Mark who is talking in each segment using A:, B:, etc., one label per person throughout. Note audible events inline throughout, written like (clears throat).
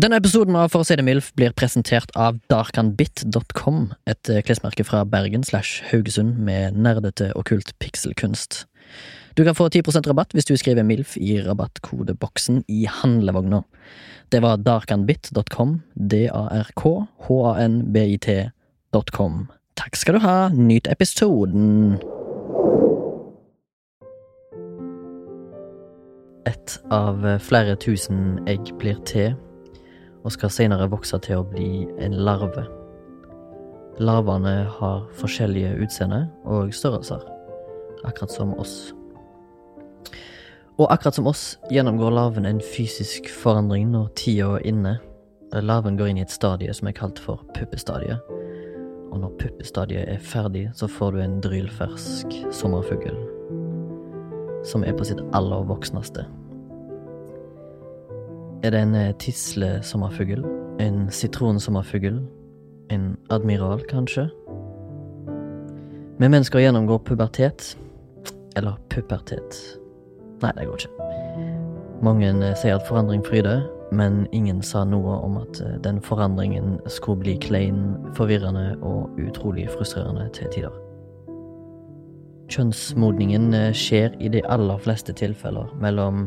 A: Denne episoden av For å si det mildt blir presentert av darkanbit.com, et eh, klesmerke fra Bergen slash Haugesund med nerdete okkult pikselkunst. Du kan få 10 rabatt hvis du skriver MILF i rabattkodeboksen i handlevogna. Det var darkanbit.com, d-a-r-k-h-a-n-b-i-t.com. Takk skal du ha, nyt episoden! Ett av flere tusen egg blir til, og skal senere vokse til å bli en larve. Larvene har forskjellige utseende og størrelser, akkurat som oss. Og akkurat som oss gjennomgår larven en fysisk forandring når tida er inne. Larven går inn i et stadie som er kalt for puppestadiet. Og når puppestadiet er ferdig, så får du en drylfersk sommerfugl. Som er på sitt aller voksneste. Er det en eh, tislesommerfugl? En sitronsommerfugl? En admiral, kanskje? Vi mennesker gjennomgår pubertet. Eller pubertet. Nei, det går ikke. Mange eh, sier at forandring fryder, men ingen sa noe om at eh, den forandringen skulle bli klein, forvirrende og utrolig frustrerende til tider. Kjønnsmodningen eh, skjer i de aller fleste tilfeller mellom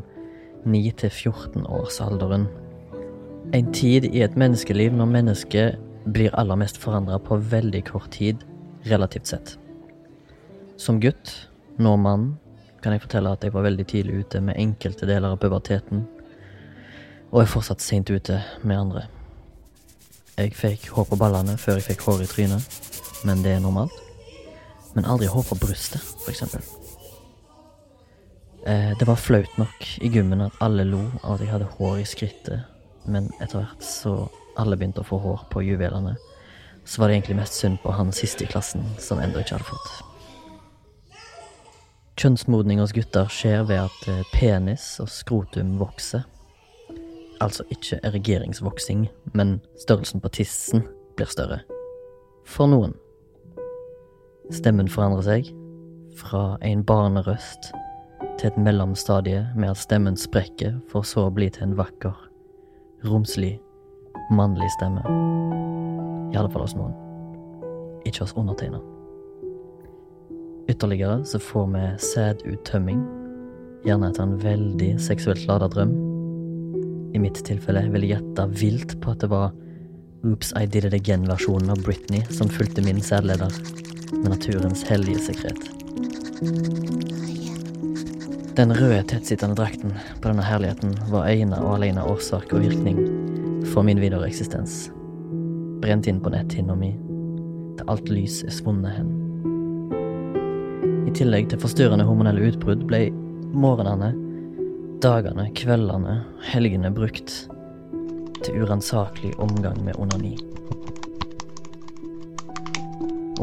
A: 9 til 14 års alderen. En tid i et menneskeliv når mennesket blir aller mest forandra på veldig kort tid, relativt sett. Som gutt, nå mann, kan jeg fortelle at jeg var veldig tidlig ute med enkelte deler av puberteten, og er fortsatt seint ute med andre. Jeg fikk hår på ballene før jeg fikk hår i trynet, men det er normalt. Men aldri hår på brystet, for eksempel. Eh, Det var flaut nok i gymmen at alle lo av at jeg hadde hår i skrittet, men etter hvert så alle begynte å få hår på juvelene, så var det egentlig mest synd på han siste i klassen som ennå ikke hadde fått. Kjønnsmodning hos gutter skjer ved at eh, penis og skrotum vokser. Altså ikke erigeringsvoksing, men størrelsen på tissen blir større. For noen. Stemmen forandrer seg, fra en barnerøst til et mellomstadie med at stemmen sprekker, for så å bli til en vakker, romslig, mannlig stemme. I alle fall hos noen. Ikke hos undertegna. Ytterligere så får vi sæduttømming, gjerne etter en veldig seksuelt lada drøm. I mitt tilfelle vil jeg gjette vilt på at det var Oops I Did It Again-versjonen av Britney som fulgte min sædleder, med naturens hellige sekret. Den røde, tettsittende drakten på denne herligheten var ene og alene årsak og virkning for min videre eksistens. Brent inn på netthinna mi, til alt lys er svunnet hen. I tillegg til forstyrrende hormonelle utbrudd ble morgenene, dagene, kveldene, helgene brukt til uransakelig omgang med onani.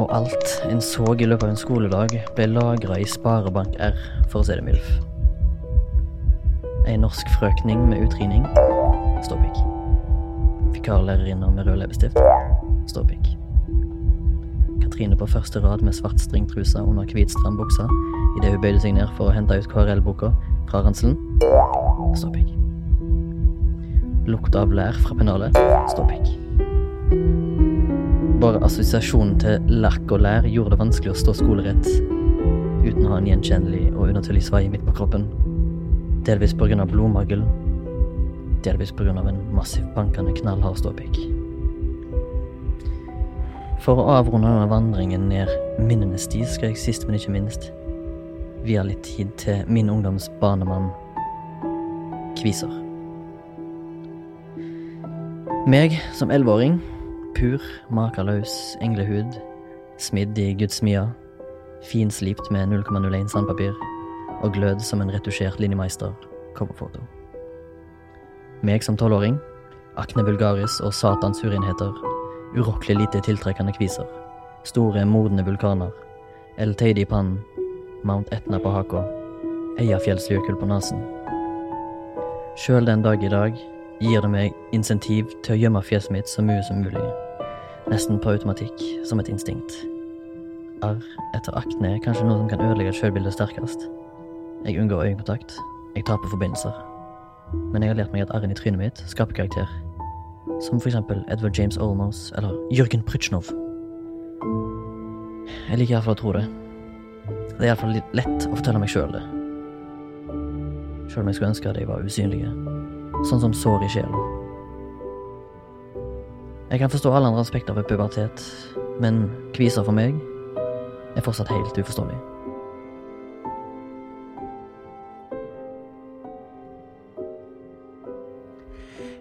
A: Og alt en så i løpet av en skoledag, ble lagra i Sparebank R, for å si det MILF. Ei norsk frøkning med utringning ståpikk. Vikarlærerinna med rød leppestift ståpikk. Katrine på første rad med svart stringtruse under hvit strandbukse idet hun bøyde seg ned for å hente ut KRL-boka fra ranselen. Ståpikk. Lukt av lær fra pennalet. Ståpikk. Bare assosiasjonen til lakk og lær gjorde det vanskelig å stå skolerett uten å ha en gjenkjennelig og unaturlig svai midt på kroppen. Delvis pga. blodmangel, delvis pga. en massivt bankende knallhard ståpikk. For å avrunde denne vandringen ned minnenes sti skal jeg sist, men ikke minst vie litt tid til min ungdoms barnemann, Kviser. Meg som elleveåring, pur, makeløs englehud, smidd i gudsmia, finslipt med 0,01 sandpapir og glød som en retusjert linjemeister, coverfoto. Meg som tolvåring, akne vulgaris og satans urenheter, urokkelig lite tiltrekkende kviser, store, modne vulkaner, El Teide i pannen, Mount Etna på haka, Eiafjellsjøkull på nesen. Sjøl den dag i dag gir det meg insentiv til å gjemme fjeset mitt så mye som mulig, nesten på automatikk, som et instinkt. Arr etter akne er kanskje noe som kan ødelegge sjølbildet sterkest. Jeg unngår øyekontakt, jeg taper forbindelser. Men jeg har lært meg at arren i trynet mitt skaper karakter, Som for eksempel Edward James Olmos eller Jørgen Prytsjnov. Jeg liker iallfall å tro det. Det er iallfall litt lett å fortelle meg sjøl det. Sjøl om jeg skulle ønske at de var usynlige. Sånn som sår i sjelen. Jeg kan forstå alle andre aspekter ved pubertet, men kviser for meg er fortsatt helt uforståelig.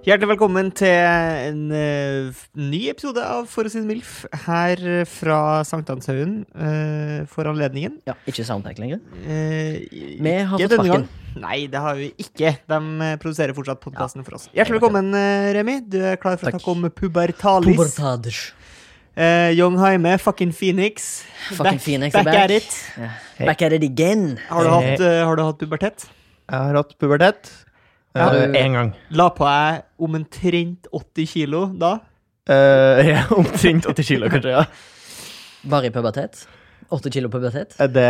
B: Hjertelig velkommen til en eh, f- ny episode av For å si det MILF, her eh, fra Sankthanshaugen eh, for anledningen.
A: Ja, ikke soundpack lenger.
B: Eh,
A: Vi har
B: ikke
A: fått
B: denne
A: sparken.
B: gang. Nei, det har vi ikke. De eh, produserer fortsatt podkasten for oss.
A: Jeg
B: Hjertelig
A: vet det.
B: velkommen, eh, Remi. Du er klar for
A: Takk.
B: å snakke om pubertalis.
A: Pubertaders.
B: Eh, Young Haime, fucking Phoenix.
A: Fucking
B: back,
A: Phoenix er
B: back,
A: back.
B: at it.
A: Ja. Back at it again.
B: Har du, hatt, eh, har du hatt pubertet?
C: Jeg har hatt pubertet.
B: Ja.
C: Eh, Én gang.
B: La på deg omtrent 80 kilo da.
C: Eh, (laughs) jeg er
B: (laughs)
C: omtrent 80 kilo, kanskje. ja.
A: Bare i pubertet. Åtte kilo pubertet.
C: Er det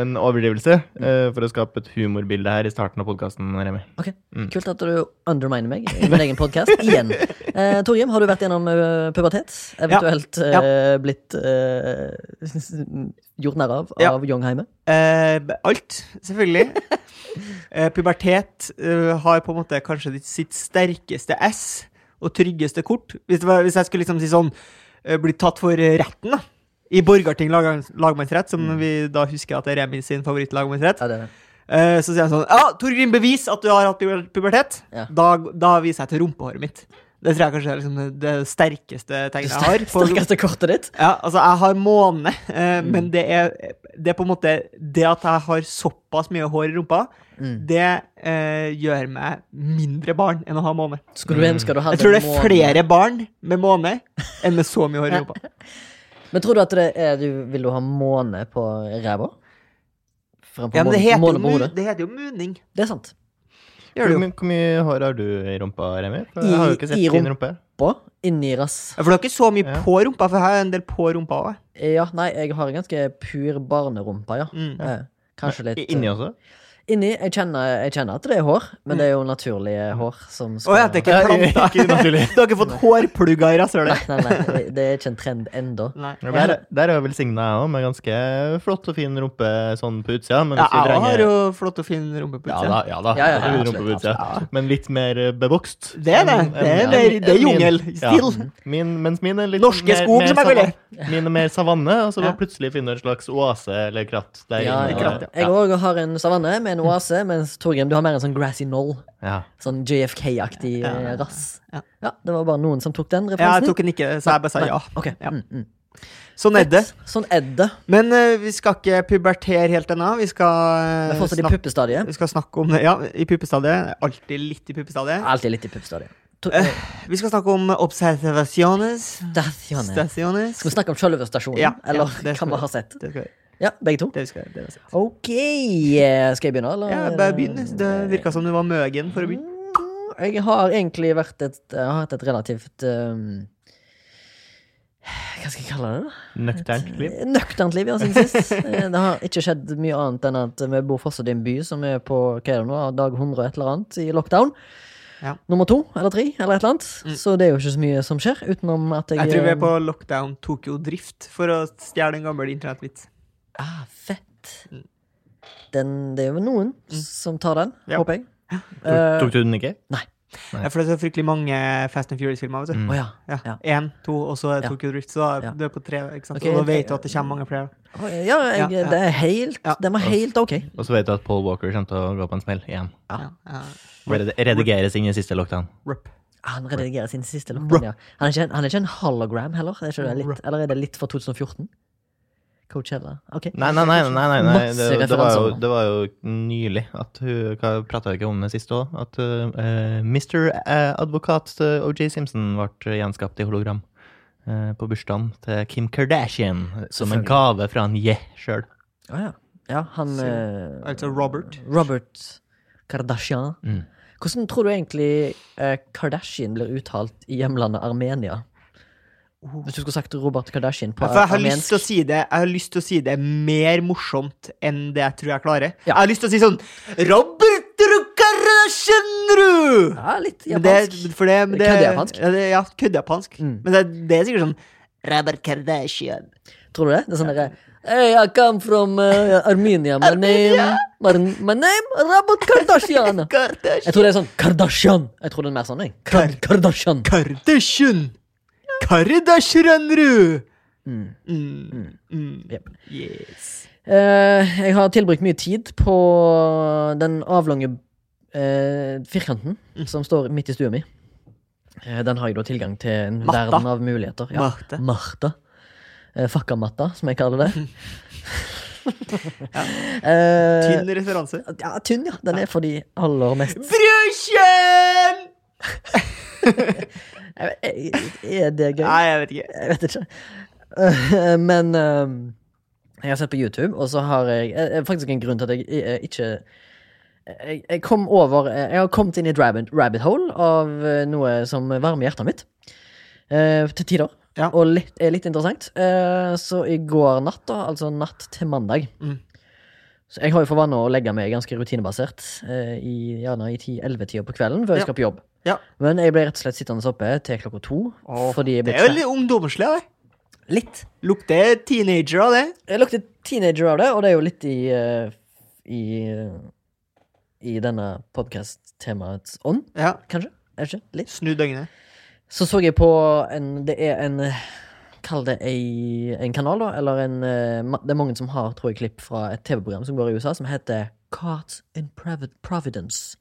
C: en overdrivelse
B: Mm.
C: eh, for å skape et humorbilde her i starten av podkasten, Remi?
A: Ok,
B: Mm.
A: Kult at du underminer meg i min egen podkast
B: (laughs)
A: igjen. Eh, Torgrim, har du vært gjennom eh, pubertet? Eventuelt eh, blitt eh, (laughs) gjort narr av
B: Ja.
A: av Youngheime?
B: Eh, b- alt,
A: (laughs)
B: selvfølgelig. eh, pubertet eh, har på en måte kanskje ditt- sitt sterkeste S og tryggeste kort. Hvis, det var, hvis jeg skulle liksom si sånn eh, Bli tatt for eh, retten, da. I Borgarting lag, lagmannsrett, som vi da husker at er Remi sin favorittlagmannsrett.
A: Mm. Ja, det er (laughs) det.
B: Eh, så sier han sånn Ja, Torgrim, bevis at du har hatt puber- pubertet.
A: Ja.
B: Da, da viser jeg til rumpehåret mitt. Det tror jeg kanskje er liksom det- det sterkeste tegnet jeg har. på-
A: Sterkeste kortet ditt?
B: ja, altså, jeg har måne, eh, men det er, det er på en måte Det at jeg har såpass mye hår i rumpa, det eh, gjør meg mindre barn enn å ha måne.
A: Skulle du ønske du hadde
B: Jeg tror det
A: månen?
B: er flere barn med måne enn med så mye hår i rumpa.
A: Men tror du at det er du, Vil du ha måne på ræva? Framfor
B: Ja, men det
A: måne,
B: heter,
A: måne
B: jo,
A: på
B: mu-
A: hodet?
B: det heter jo muning.
A: Det er sant.
B: Gjør det jo.
C: Hvor, my- hvor mye hår har du i rumpa, Remi? For jeg har
A: I-
C: jo ikke sett
A: i rum-
C: din rumpe.
A: På? Inni rass.
B: Ja, For det er ikke så mye
C: Ja.
B: på rumpa, for jeg har en del på rumpa òg.
A: Ja, nei, jeg har en ganske pur barnerumpe, ja.
B: Mm.
A: Eh, Kanskje litt
C: I- Inni også?
A: Inni, jeg kjenner, jeg kjenner at det er hår, men det er jo naturlige hår som
B: Mm. Å ja, det er ikke
C: Ja,
B: planta.
C: (laughs) ikke
B: (laughs)
C: naturlig.
B: Du har ikke fått hårplugger i rasshølet?
A: Nei, nei, det- det er ikke en trend enda.
B: Nei.
C: Ja, Der, der er jo velsigna jeg òg, med ganske flott og fin rumpe sånn på utsida. Men
B: Ja,
C: hvis du
B: jeg
C: trenger
B: har jo flott og fin rumpe på
C: Ja
B: utsida.
C: da, ja da.
A: Ja, ja, ja,
C: fin rumpe
A: absolutt,
C: på utsida.
B: absolutt.
C: Men litt mer eh, bevokst.
B: Det er det.
C: enn-
B: Det er,
C: enn-
B: det er, det er
C: enn min.
B: jungel. Still.
C: Ja. Mhm. Min, mens min er litt
B: Norske
C: mer-
B: skog,
C: mer
B: som jeg kaller det.
C: savann- Min er mer savanne, og så
B: Ja.
C: bare plutselig finner en slags oase eller kratt der
A: Ja,
C: inne.
A: ja. Jeg òg har en savanne
B: Mm.
A: med en oase, mens Torgrim, du har mer en sånn grassy knoll.
C: Ja.
A: Sånn JFK-aktig eh, rass.
B: Ja.
A: Ja, det var bare noen som tok den
B: Ja, jeg
A: referansen.
B: tok den ikke, så jeg bare sa ja.
A: Ok.
B: Ja.
A: Mm, mm.
B: Sånn er det.
A: Sånn er det.
B: Men eh, vi skal ikke pubertere helt ennå. Vi skal,
A: Det er
B: eh,
A: fortsatt i
B: snakke,
A: puppestadiet.
B: vi skal snakke om det. Ja, i puppestadiet. Alltid litt i puppestadiet.
A: Alltid litt i puppestadiet. To-
B: Vi skal snakke om observasjones.
A: Stasjoner.
B: Staciones.
A: Skal vi snakke om selve stasjonen,
B: Ja, ja,
A: eller
B: det skal
A: hva vi
B: vi.
A: har sett?
B: Det skal vi-
A: Ja, begge to.
B: det skal vi- det skal vi.
A: Ok, eh, skal jeg begynne, eller?
B: Ja, bare begynn. Det virka som du var møgen for å begynne.
A: Jeg har egentlig vært et, jeg har hatt et relativt ehm, Hva skal jeg kalle det? da?
C: Nøkternt liv.
A: Nøkternt liv, ja, siden sist. Eh, Det har ikke skjedd mye annet enn at vi bor fortsatt i en by som er på hva er det nå, dag 100 og et eller annet i lockdown.
B: Ja. Mm.
A: Nummer to eller tre eller et eller annet. Så det er jo ikke så mye som skjer, utenom at jeg
B: Jeg tror vi er på lockdown Tokyo Drift for å stjele en gammel internettvits.
A: Ah, fett. Den, det er jo noen som tar den,
B: Mm. Ja.
A: håper jeg.
B: Eh,
C: Tok, tok du den ikke?
B: Ja, For det er så fryktelig mange Fast and Furious-filmer. vet du.
A: Å Mm. ja.
B: Mm. Ja. Én, to, og så er
A: Ja.
B: Tokyo Drift. Så da
A: Ja.
B: er du er på tre. ikke sant?
A: Ok,
B: og da
A: tre,
B: vet du at det kommer mange flere.
A: Å, Ja, jeg,
B: Ja, ja.
A: det er helt
B: Ja.
A: Den var helt ok.
C: Og så vet du at Paul Walker kommer til å gå på en smell igjen.
B: Ja. Ja.
C: Red- Redigeres inn i siste lockdown.
B: Rup.
A: Han redigerer sin siste lockdown, ja. Han er ikke en, han er ikke en hologram heller? Er ikke det litt, eller er det litt for 2014? Coachella. Ok.
B: Mm.
C: Nei, nei, nei. nei, nei, nei.
A: Masse
C: Det, det, var jo,
A: referanser.
C: det var jo nylig at hun Prata ikke om det siste òg? At eh, Mr. eh, advokat eh, OJ Simpson ble gjenskapt i hologram eh, på bursdagen til Kim Kardashian som en
A: Selvfølgelig.
C: gave fra en je sjøl.
A: Å ja. ja, han
B: Så-
A: eh,
B: Altså Robert.
A: Robert Kardashian.
C: Mm.
A: Hvordan tror du egentlig eh, Kardashian blir uttalt i hjemlandet Armenia? Hvis du skulle sagt Robert Kardashian på
B: Oh. Ja, For jeg har, lyst
A: armensk
B: til å si det, jeg har lyst til å si det mer morsomt enn det jeg tror jeg klarer.
A: Ja.
B: Jeg har lyst til å si sånn Robert Kardashian, du! Woo!
A: Ja, litt
B: Men det,
A: japansk.
B: for det, men det,
A: Køddejapansk.
B: Ja, det, ja køddejapansk.
A: Mm.
B: Men det, det er sikkert sånn Robert Kardashian.
A: Tror du det? Det er sånn derre Hey, I come from eh, Armenia. My name, my, my name Robert Kardashian.
B: Kardashian.
A: Jeg tror det er sånn Kardashian. Jeg tror det er mer sånn, jeg. Kar Kardashian.
B: Kardashian! Kardashianru!
A: Mm.
B: Mm. Mm.
A: Jep.
B: Yes.
A: Eh, jeg har tilbrukt mye tid på den avlange eh, firkanten som står midt i stua mi. Eh, den har jeg da tilgang til en
B: Matta.
A: verden av muligheter. Ja.
B: Marte.
A: Marta. Eh, Fakkamatta, som jeg (laughs) kaller det. Eh,
B: Tynn referanse.
A: Ja, tynn, ja. Den er for de aller mest
B: Brødkjønn!
A: Jeg vet- jeg- Er det gøy?
B: Nei, jeg vet ikke.
A: Jeg vet ikke. (laughs) Eh, Men ehm, jeg har sett på YouTube, og så har jeg eh, eh, faktisk en grunn til at jeg eh, ikke eh, jeg, jeg kom over eh, Jeg har kommet inn i et rabbit, rabbit hole av eh, noe som varmer hjertet mitt. eh, til tider.
B: Ja.
A: Og litt, er litt interessant. Eh, så i går natt, da, altså natt til mandag
B: Mm.
A: Så Jeg har jo for vane å legge meg ganske rutinebasert, eh, i, gjerne i 10-11-tida på kvelden før
B: Ja.
A: jeg skal på jobb.
B: Ja.
A: Men jeg ble rett og slett sittende oppe til klokka to.
B: Åh,
A: fordi jeg
B: Det
A: ble
B: er jo
A: tve-
B: litt ungdomslig, det.
A: litt.
B: Lukter teenager av det.
A: Jeg lukter teenager av det, og det er jo litt i eh, i, eh, i denne podkast-temaets ånd,
B: Ja.
A: kanskje? Er det ikke? Litt.
B: Snu døgnet.
A: Så så jeg på en Det er en eh, Kall det ei, en kanal, da. Eller en eh, ma- Det er mange som har, tror jeg, klipp fra et TV-program som går i USA, som heter Caught in Provid- Providence.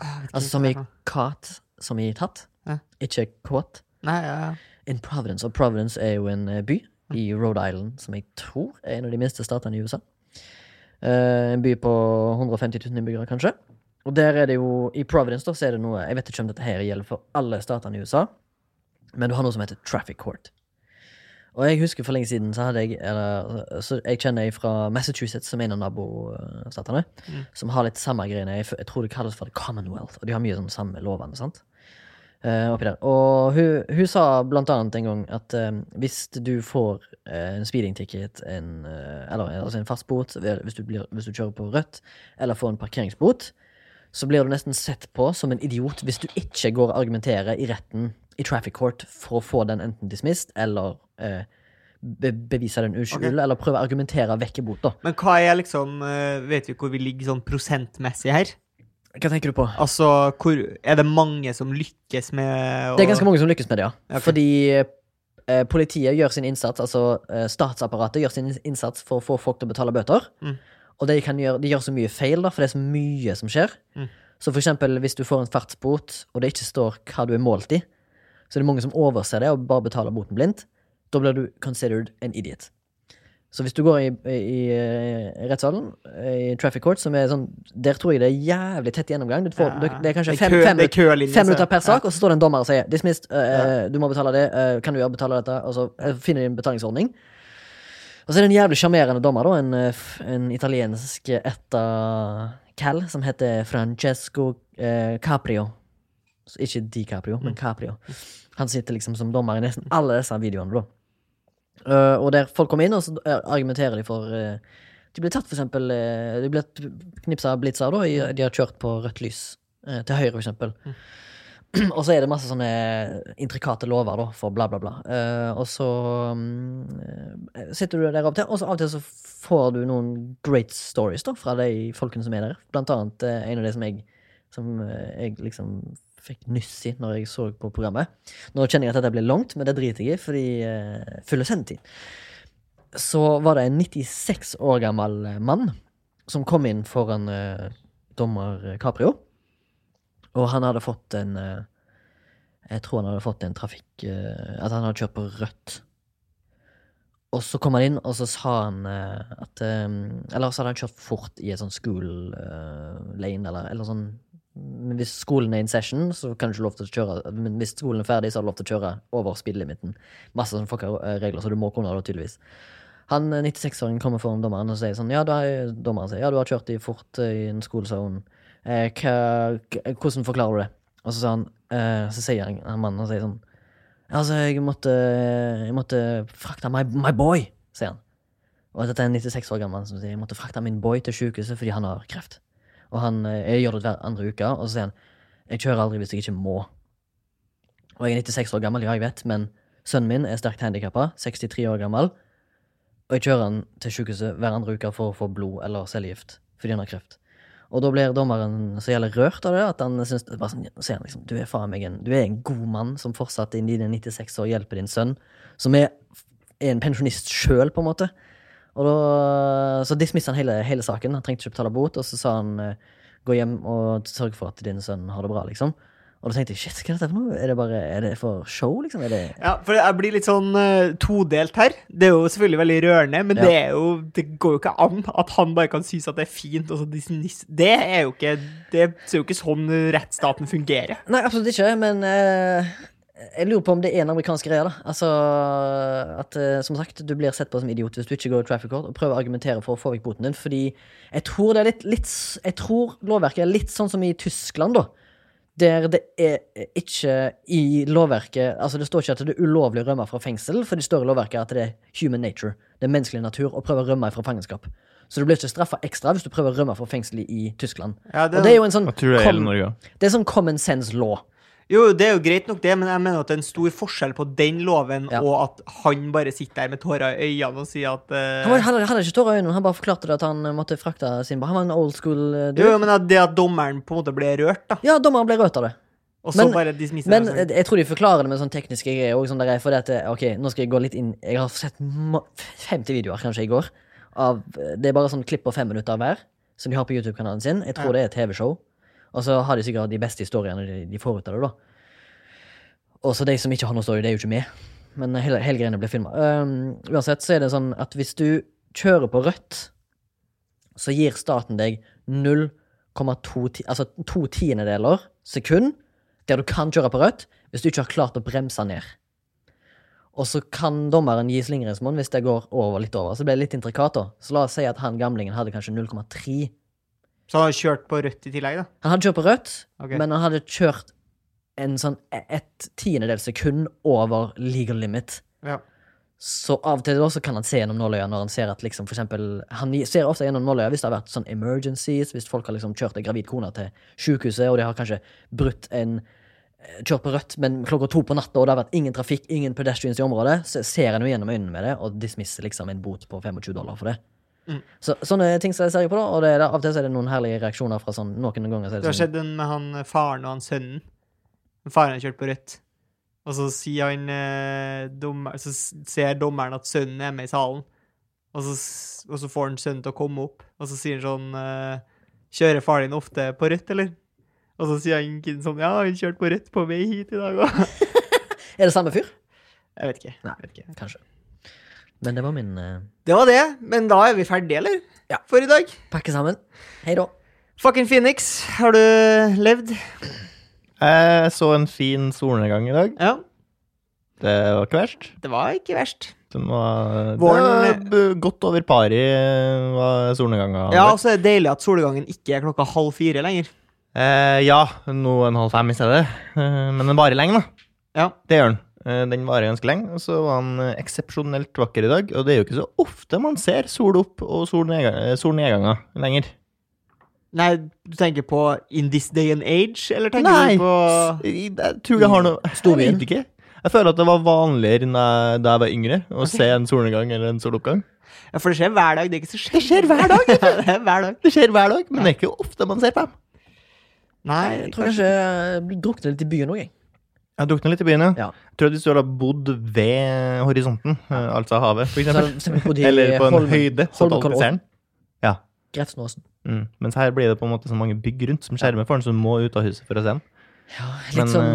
B: Ah, jeg vet ikke
A: Altså
B: hva
A: som
B: det
A: i
B: er for noe.
A: caught, som i tatt.
B: Ja.
A: Ikke caught.
B: Nei, ja, ja.
A: In Providence. Og Providence er jo en eh, by i Rhode Island, som jeg tror er en av de minste statene i USA. Eh, en by på 150 000 innbyggere, kanskje. Og der er det jo, i Providence da, så er det noe Jeg vet ikke om dette her gjelder for alle statene i USA, men du har noe som heter traffic court. Og jeg husker for lenge siden så hadde jeg eller, så Jeg kjenner ei fra Massachusetts, som er en av nabostatene, som har litt samme greiene. Jeg, f- jeg tror det kalles for the Commonwealth, og de har mye sånn samme lovene. sant? Eh, oppi der. Og hun, hun sa blant annet en gang at eh, hvis du får eh, en speeding ticket, en, eh, eller altså en fast bot, hvis du, blir, hvis du kjører på rødt, eller får en parkeringsbot, så blir du nesten sett på som en idiot hvis du ikke går og argumenterer i retten i traffic court for å få den enten dismissed eller eh, be bevise den uskyld,
B: Ok.
A: eller prøve å argumentere vekk bot, da.
B: Men hva er liksom eh, Vet vi hvor vi ligger sånn prosentmessig her?
A: Hva tenker du på?
B: Altså, hvor Er det mange som lykkes med å
A: Det er ganske mange som lykkes med det, ja.
B: Ok.
A: Fordi eh, politiet gjør sin innsats, altså eh, statsapparatet gjør sin innsats for å få folk til å betale bøter.
B: Mm.
A: Og de, kan gjøre, de gjør så mye feil, da, for det er så mye som skjer.
B: Mm.
A: Så for eksempel hvis du får en fartsbot, og det ikke står hva du er målt i, så er det mange som overser det og bare betaler boten blindt. Da blir du considered an idiot. Så hvis du går i, i, i rettssalen, i traffic court, som er sånn Der tror jeg det er jævlig tett gjennomgang. Du får,
B: Ja.
A: det, det er kanskje
B: Det er
A: fem,
B: kø-
A: fem,
B: det er kølinje,
A: fem
B: så-
A: minutter per
B: ja.
A: sak, og så står det en dommer og sier 'dismissed', eh, du må betale det, eh, kan du gjøre betale dette? Og så eh, finner de en betalingsordning. Og så er det en jævlig sjarmerende dommer, da, en, eh, f- en italiensk etta cal som heter Francesco eh, Caprio. Så ikke DiCaprio, men Caprio. Han sitter liksom som dommer i nesten alle disse videoene, da. Eh, og der folk kommer inn, og så eh, argumenterer de for eh, De blir tatt, for eksempel. eh, de blir knipsa av blitzer, da. i- De har kjørt på rødt lys. eh, til høyre, for eksempel. (clears throat) Og så er det masse sånne intrikate lover da, for bla, bla, bla. Eh, og så mm, eh, sitter du der av og til, og så av og til så får du noen great stories da, fra de folkene som er der. Blant annet eh, en av de som jeg, som, eh, jeg liksom fikk nyss i når jeg så på programmet. Nå kjenner jeg at dette blir langt, men det driter jeg i, fordi uh, fulle sendetid. Så var det en 96 år gammel eh, mann som kom inn foran eh, dommer eh, Caprio. Og han hadde fått en eh, Jeg tror han hadde fått en trafikk eh, At han hadde kjørt på rødt. Og så kom han inn, og så sa han eh, at eh, Eller så hadde han kjørt fort i en sånn school eh, lane, eller, eller sånn men hvis skolen er in session, så kan du ikke lov til å kjøre Men hvis skolen er ferdig, så har du lov til å kjøre over speedlimiten. Masse sånne fucka eh, regler, så du må kunne det, tydeligvis. Han eh, 96-åringen kommer foran dommeren og sier sånn Ja, da er dommeren sier, ja, du har kjørt i fort eh, i en skolezone. Eh, hva, k- hvordan forklarer du det? Og så sa han eh, Så sier han, han mannen han sier sånn Altså, jeg måtte eh, Jeg måtte frakte my, my boy, sier han. Og dette er en 96 år gammel mann som sier jeg måtte frakte min boy til sykehuset fordi han har kreft. Og han eh, jeg gjør det hver andre uke, og så sier han Jeg kjører aldri hvis jeg ikke må. Og jeg er 96 år gammel, ja, jeg vet, men sønnen min er sterkt handikappa, 63 år gammel, og jeg kjører han til sykehuset hver andre uke for å få blod eller cellegift fordi han har kreft. Og da blir dommeren så jævlig rørt av det, at han synes, bare sånn, så sier han liksom, du er faen meg en, du er en god mann som fortsatt i dine 96 år hjelper din sønn, som er, er en pensjonist sjøl, på en måte. Og da, så dismisset han hele, hele saken, han trengte ikke betale bot, og så sa han eh, gå hjem og sørg for at din sønn har det bra, liksom. Og da tenkte jeg, shit, hva er dette for noe? Er det bare, er det for show, liksom? Er det...
B: Ja, for jeg blir litt sånn eh, todelt her. Det er jo selvfølgelig veldig rørende, men
A: Ja.
B: det, er jo, det går jo ikke an at han bare kan synes at det er fint. Og så dismiss- det er jo ikke Det er jo ikke sånn rettsstaten fungerer.
A: Nei, absolutt ikke, men eh, jeg lurer på om det er en amerikansk greie. da. Altså, at eh, som sagt, du blir sett på som idiot hvis du ikke går i traffic court og prøver å argumentere for å få vekk boten din, fordi jeg tror, det er litt, litt, s- jeg tror lovverket er litt sånn som i Tyskland, da. Der det er ikke i lovverket Altså, det står ikke at det er ulovlig å rømme fra fengsel, for det står i lovverket at det er human nature. Det er menneskelig natur å prøve å rømme fra fangenskap. Så du blir ikke straffa ekstra hvis du prøver å rømme fra fengsel i- i Tyskland.
B: Ja,
A: Og det er jo en sånn
C: Jeg tror det er hele
A: kom-
C: Norge òg.
A: det er sånn common sense law.
B: Jo, det er jo greit nok, det, men jeg mener at det er en stor forskjell på den loven
A: Ja.
B: og at han bare sitter der med tårer i øynene og sier at eh,
A: Han, var, han, hadde- han hadde ikke tårer i øynene, han bare forklarte det at han eh, måtte frakte sin barn. Han var en old school eh,
B: Jo,
A: dude.
B: jo, men at det at dommeren på en måte ble rørt, da,
A: Ja, dommeren ble rødt av det.
B: og så
A: Men-
B: bare dismisser
A: Men
B: han og
A: eh,
B: sånn.
A: jeg tror de forklarer det med sånn tekniske greier òg. Sånn der, for det at, eh, ok, nå skal jeg gå litt inn Jeg har sett ma- 50 videoer kanskje i går. Av, eh, det er bare sånn klipp på fem minutter hver som de har på YouTube-kanalen sin. Jeg tror det
B: Ja.
A: er et TV-show. Og så har de sikkert de beste historiene de, de får ut av det. da Og så de som ikke har noe story, det er jo ikke med. Men hele, hele greiene blir filma. uansett så er det sånn at hvis du kjører på rødt, så gir staten deg 0,2 ti- altså to tiendedeler sekund der du kan kjøre på rødt, hvis du ikke har klart å bremse ned. Og så kan dommeren gi slingringsmonn hvis det går over litt over. Så det blir litt intrikat, da. Så la oss si at han gamlingen hadde kanskje 0,3.
B: Så han har kjørt på rødt i tillegg, da.
A: Han hadde kjørt på rødt,
B: Ok.
A: men han hadde kjørt en sånn et tiendedel sekund over legal limit.
B: Ja.
A: Så av og til da så kan han se gjennom nåløya når han ser at liksom for eksempel, Han ser ofte gjennom nåløya hvis det har vært sånn emergencies, hvis folk har liksom kjørt en gravid kone til sykehuset, og de har kanskje brutt en eh, Kjørt på rødt, men klokka to på natta, og det har vært ingen trafikk, ingen pedestrians i området, så ser han jo gjennom øynene med det og dismisser liksom en bot på 25 dollar for det.
B: Mm.
A: Så, sånne ting ser jeg på, da, og det er, av og til så er det noen herlige reaksjoner fra sånn noen ganger. Så er
B: Det
A: det
B: har
A: sånn,
B: skjedd en med han eh, faren og han sønnen. Faren har kjørt på rødt. Og så sier han eh, dommer, Så s- ser dommeren at sønnen er med i salen. Og så, s- og så får han sønnen til å komme opp, og så sier han sånn eh, Kjører faren din ofte på rødt, eller? Og så sier han kiden sånn Ja, han kjørte på rødt på vei hit i dag òg.
A: er det samme fyr?
B: (laughs) Jeg vet ikke.
A: Nei.
B: jeg vet ikke.
A: Kanskje. Men det var min eh,
B: Det var det. Men da er vi ferdige, eller?
A: Ja.
B: For i dag.
A: pakke sammen. Hei da.
B: Fucking Phoenix, har du eh, levd?
C: Jeg så en fin solnedgang i dag.
B: Ja.
C: Det var ikke verst.
B: Det var ikke verst.
C: Den var,
B: Våren-
C: det var b- godt over pari eh, var solnedganga.
B: Ja, og så er det deilig at solgangen ikke er klokka halv fire lenger.
C: Eh, ja, nå en halv fem i stedet. Eh, men den varer lenge, da.
B: Ja.
C: Det gjør den. Eh, den varer ganske lenge. Og så var den eh, eksepsjonelt vakker i dag. Og det er jo ikke så ofte man ser sol opp og solnedga- eh, solnedganger lenger.
B: Nei, du tenker på In This Day and Age, eller tenker
C: Nei,
B: du på
C: s- jeg tror det har noe Jeg
A: Storbyen.
C: vet ikke. Jeg føler at det var vanligere enn jeg- da jeg var yngre, å se en solnedgang eller en soloppgang.
B: Ja, For det skjer hver dag. Det er ikke så skjer. Det
C: skjer hver dag,
B: ja, (laughs) det er hver dag.
C: Det skjer hver dag, men det er ikke ofte man ser på dem.
B: Nei,
A: Jeg tror kanskje jeg blir druknet litt i byen òg, jeg.
C: Jeg drukna litt i byen, ja.
A: Ja.
C: Jeg tror at hvis du hadde bodd ved horisonten, eh, altså havet, for
A: Så,
C: eksempel,
A: for eksempel bodde i
C: eller på en
A: Holmen-
C: høyde, så at alle
A: Holmenkollen.
C: ser den. Ja.
A: Grefsenåsen.
C: Mm. Mens her blir det på en måte så mange bygg rundt som skjermer for den, så du må ut av huset for å se den.
A: Ja, litt
C: Men,
A: sånn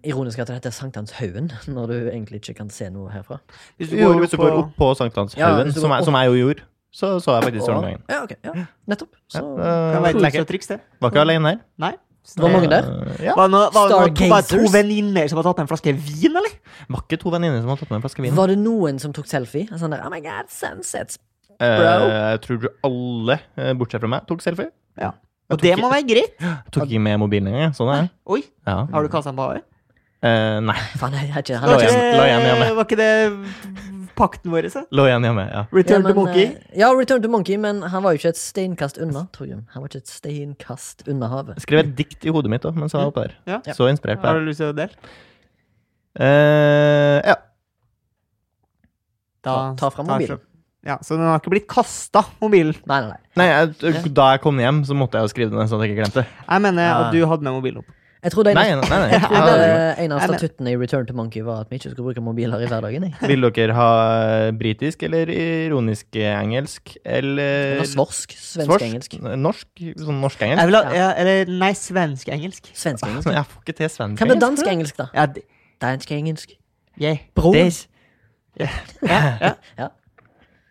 A: eh, ironisk at det heter Sankthanshaugen, (laughs) når du egentlig ikke kan se noe herfra.
B: Hvis du
C: Jo,
B: går
C: hvis
B: opp
C: du går
B: på
C: opp på
A: Ja,
C: Sankthanshaugen,
A: hvis du
C: som,
A: går
C: jeg- som jeg jo gjorde, så så jeg faktisk
A: Og-
C: solnedgangen.
A: ja, ok, ja, nettopp. Så,
C: Ja,
B: Kan
C: eh,
B: være et
C: lekkert.
B: koselig triks, det.
C: Var ikke alene her.
B: Nei.
A: det var mange der.
C: Eh, Ja.
B: Var det, noe, var det noe, to, var det to
A: Stargazers.
B: venninner som hadde tatt med en flaske vin, eller?
C: Var ikke to venninner som hadde tatt med en flaske vin?
A: Var det noen som tok selfie? En Sånn der, oh my god, sunsets.
C: Eh, jeg tror alle, eh, bortsett fra meg, tok selfie.
B: Og det må være greit.
C: Jeg tok ikke med mobilen engang. Sånn er det.
B: Oi,
C: Ja.
B: har du kasta den på havet?
C: Eh, nei.
A: Faen, jeg har ikke
C: La
A: han har ikke-
C: igjen- la igjen hjemme.
B: var ikke det pakten vår, så.
C: Lå igjen hjemme, ja.
B: Return
A: ja, men,
B: to Monkey.
A: eh, Ja, Return to Monkey, men han var jo ikke et steinkast unna, Torjum. Han var ikke et steinkast unna havet.
C: Skrev et dikt i hodet mitt òg mens jeg var oppe der.
B: Ja.
C: Så inspirert
B: Har
C: var jeg.
B: du lyst til å dele?
C: Eh, ja.
A: Ta- ta fram mobilen.
B: fram- Ja, så den har ikke blitt kasta, mobilen.
A: Nei, nei, nei.
C: Nei, jeg, da jeg kom hjem, så måtte jeg jo skrive det ned, sånn at jeg ikke glemte det.
B: Jeg mener
A: Ah.
B: at du hadde med mobilen opp.
A: Jeg trodde en,
C: Nei, nei, nei.
A: jeg trodde
C: Ja,
A: en av
B: Nei, men-
A: statuttene i Return to Monkey var at vi ikke skulle bruke mobiler i hverdagen. Jeg.
C: Vil dere ha eh, britisk eller ironisk engelsk eller
A: Eller svorsk.
C: Svorsk?
A: Svensk-engelsk.
C: Norsk? Sånn norsk-engelsk?
B: Jeg vil ha,
A: Ja.
B: ja. Eller nei, svensk-engelsk.
C: Sånn,
A: Svensk-engelsk.
C: Jeg får ikke til svensk.
A: Hva med dansk-engelsk, da?
B: Ja, det-
A: Dansk-engelsk.
B: jeg.
A: Bror.
C: Det-
A: Ja.
C: (laughs)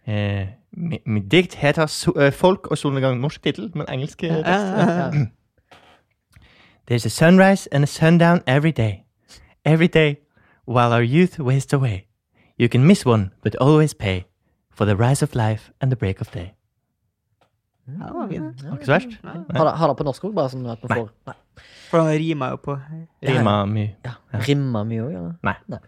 C: Eh, mi- Mitt dikt heter so eh, 'Folk og solnedgang'. Norsk tittel, men engelsk eh, tekst.
B: Ja, ja,
C: There's a sunrise and a sundown every day. Every day, while our youth wastes away. You can miss one, but always pay for the rise of life and the break of day.
B: ja, det var fint.
C: Ikke så verst?
A: Har det, har det på norsk òg, bare sånn at vi får Nei.
B: For han rima jo på
C: Rima mye.
A: Ja. Rimma mye òg, eller?
C: Nei.
A: Det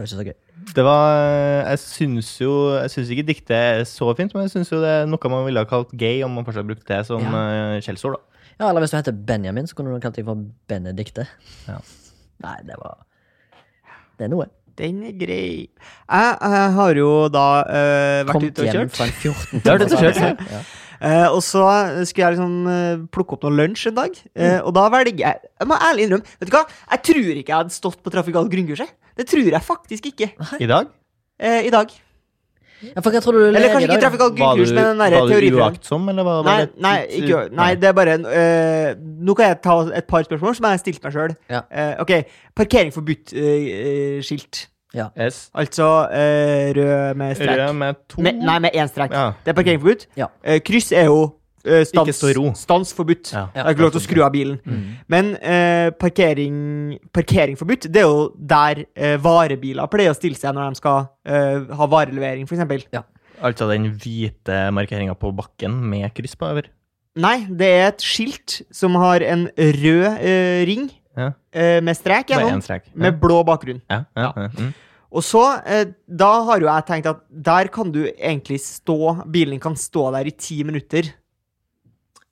A: var ikke så gøy.
C: Det var eh, Jeg syns jo Jeg syns ikke diktet er så fint, men jeg syns jo det er noe man ville ha kalt gay om man fortsatt brukte det som eh, skjellsord, da.
A: Ja, Eller hvis du heter Benjamin, så kunne du kalt deg for Benedikte.
C: Ja.
A: Nei, det var Det er noe.
B: Den er grei. Jeg, eh, har jo da eh, vært
A: Kommet
B: ute og
A: hjem
B: kjørt.
A: fra en 14
C: har du kjørt, ja.
A: Ja.
B: Eh, og så skulle jeg liksom eh, plukke opp noe lunsj en dag, eh, og da velger jeg Jeg må ærlig innrømme, vet du hva? Jeg tror ikke jeg hadde stått på trafikalt grunnkurs. jeg. Det tror jeg faktisk ikke
C: I dag
B: eh, i dag.
A: Ja, for hva tror du du
B: Eller
A: lærer i
B: kanskje
A: dag?
B: ikke
A: da?
B: trafikalt
C: var du,
B: grunnkurs, men den derre
C: var du
B: teoriprøven.
C: uaktsom, eller var, var
B: Nei,
C: det
B: nei, ikke, nei, det er bare en eh, Nå kan jeg ta et par spørsmål som jeg har stilt meg sjøl.
A: Ja.
B: ok, parkering forbudt-skilt.
C: S.
B: altså eh, rød med strek.
C: Rød med to
B: Med, nei, med én strek.
C: Ja.
B: Det er parkering forbudt.
A: Ja.
B: Eh, kryss er jo eh, stans,
C: Ikke stå i ro.
B: stans forbudt.
C: Ja.
B: Det er ikke lov til å skru av bilen. Men eh, parkering, parkering forbudt, det er jo der eh, varebiler pleier å stille seg når de skal eh, ha varelevering, f.eks.
C: Altså den hvite markeringa på bakken med kryss på over.
B: Nei, det er et skilt som har en rød eh, ring
C: Ja.
B: eh, med strek
C: Med
B: gjennom,
C: én strek. Ja.
B: med blå bakgrunn.
C: ja, ja, ja. Mm.
B: Og så, eh, da har jo jeg tenkt at der kan du egentlig stå Bilen kan stå der i ti minutter.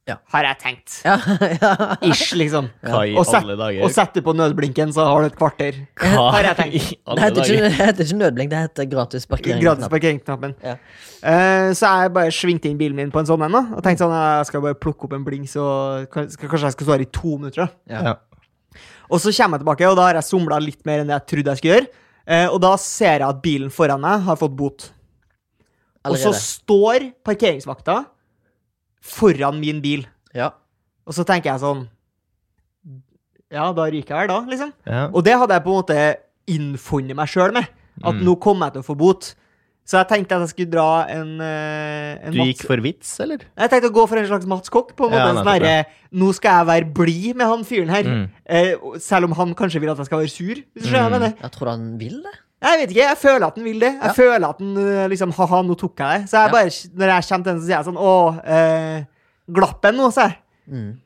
A: Ja.
B: Har jeg tenkt.
A: Ja, (laughs) ja.
B: (laughs) Ish, liksom.
C: Hva i
B: Og sett-
C: alle dager?
B: Og setter på nødblinken, så har du et kvarter.
C: Hva
B: (laughs) har jeg tenkt.
C: i alle
A: Det heter
C: dager?
A: ikke, det heter ikke nødblink, det heter gratis parkering.
B: Gratis parkeringsknappen.
A: Ja.
B: Eh, så jeg bare svingte inn bilen min på en sånn en, da. Og tenkte sånn, jeg skal bare plukke opp en bling, så kan- skal- kanskje jeg skal stå her i to minutter. da.
C: Ja.
B: Og så kommer jeg tilbake, og da har jeg somla litt mer enn det jeg trodde jeg skulle gjøre. Eh, og da ser jeg at bilen foran meg har fått bot. Og
A: Allerede.
B: så står parkeringsvakta foran min bil.
A: Ja.
B: Og så tenker jeg sånn Ja, da ryker jeg vel, da, liksom.
C: Ja.
B: Og det hadde jeg på en måte innfunnet meg sjøl med. At
C: Mm.
B: nå kommer jeg til å få bot. Så jeg tenkte at jeg skulle dra en, eh, en
C: Du gikk
B: Mats-
C: for vits, eller?
B: Jeg tenkte å gå for en slags Mats Kokk. På en måte
C: Ja,
B: en sånn
C: nettopp,
B: herre Nå skal jeg være blid med han fyren her.
C: Mm.
B: Eh, og selv om han kanskje vil at jeg skal være sur. Hvis du skjønner hva jeg mener.
A: Jeg tror du han vil det?
B: Jeg vet ikke, jeg føler at den vil det. Jeg
A: Ja.
B: føler at den eh, liksom Ha-ha, nå tok jeg det. Så jeg
A: Ja.
B: bare, når jeg kommer til den, så sier jeg sånn Å, eh, glapp en nå, sa jeg.
A: Mm.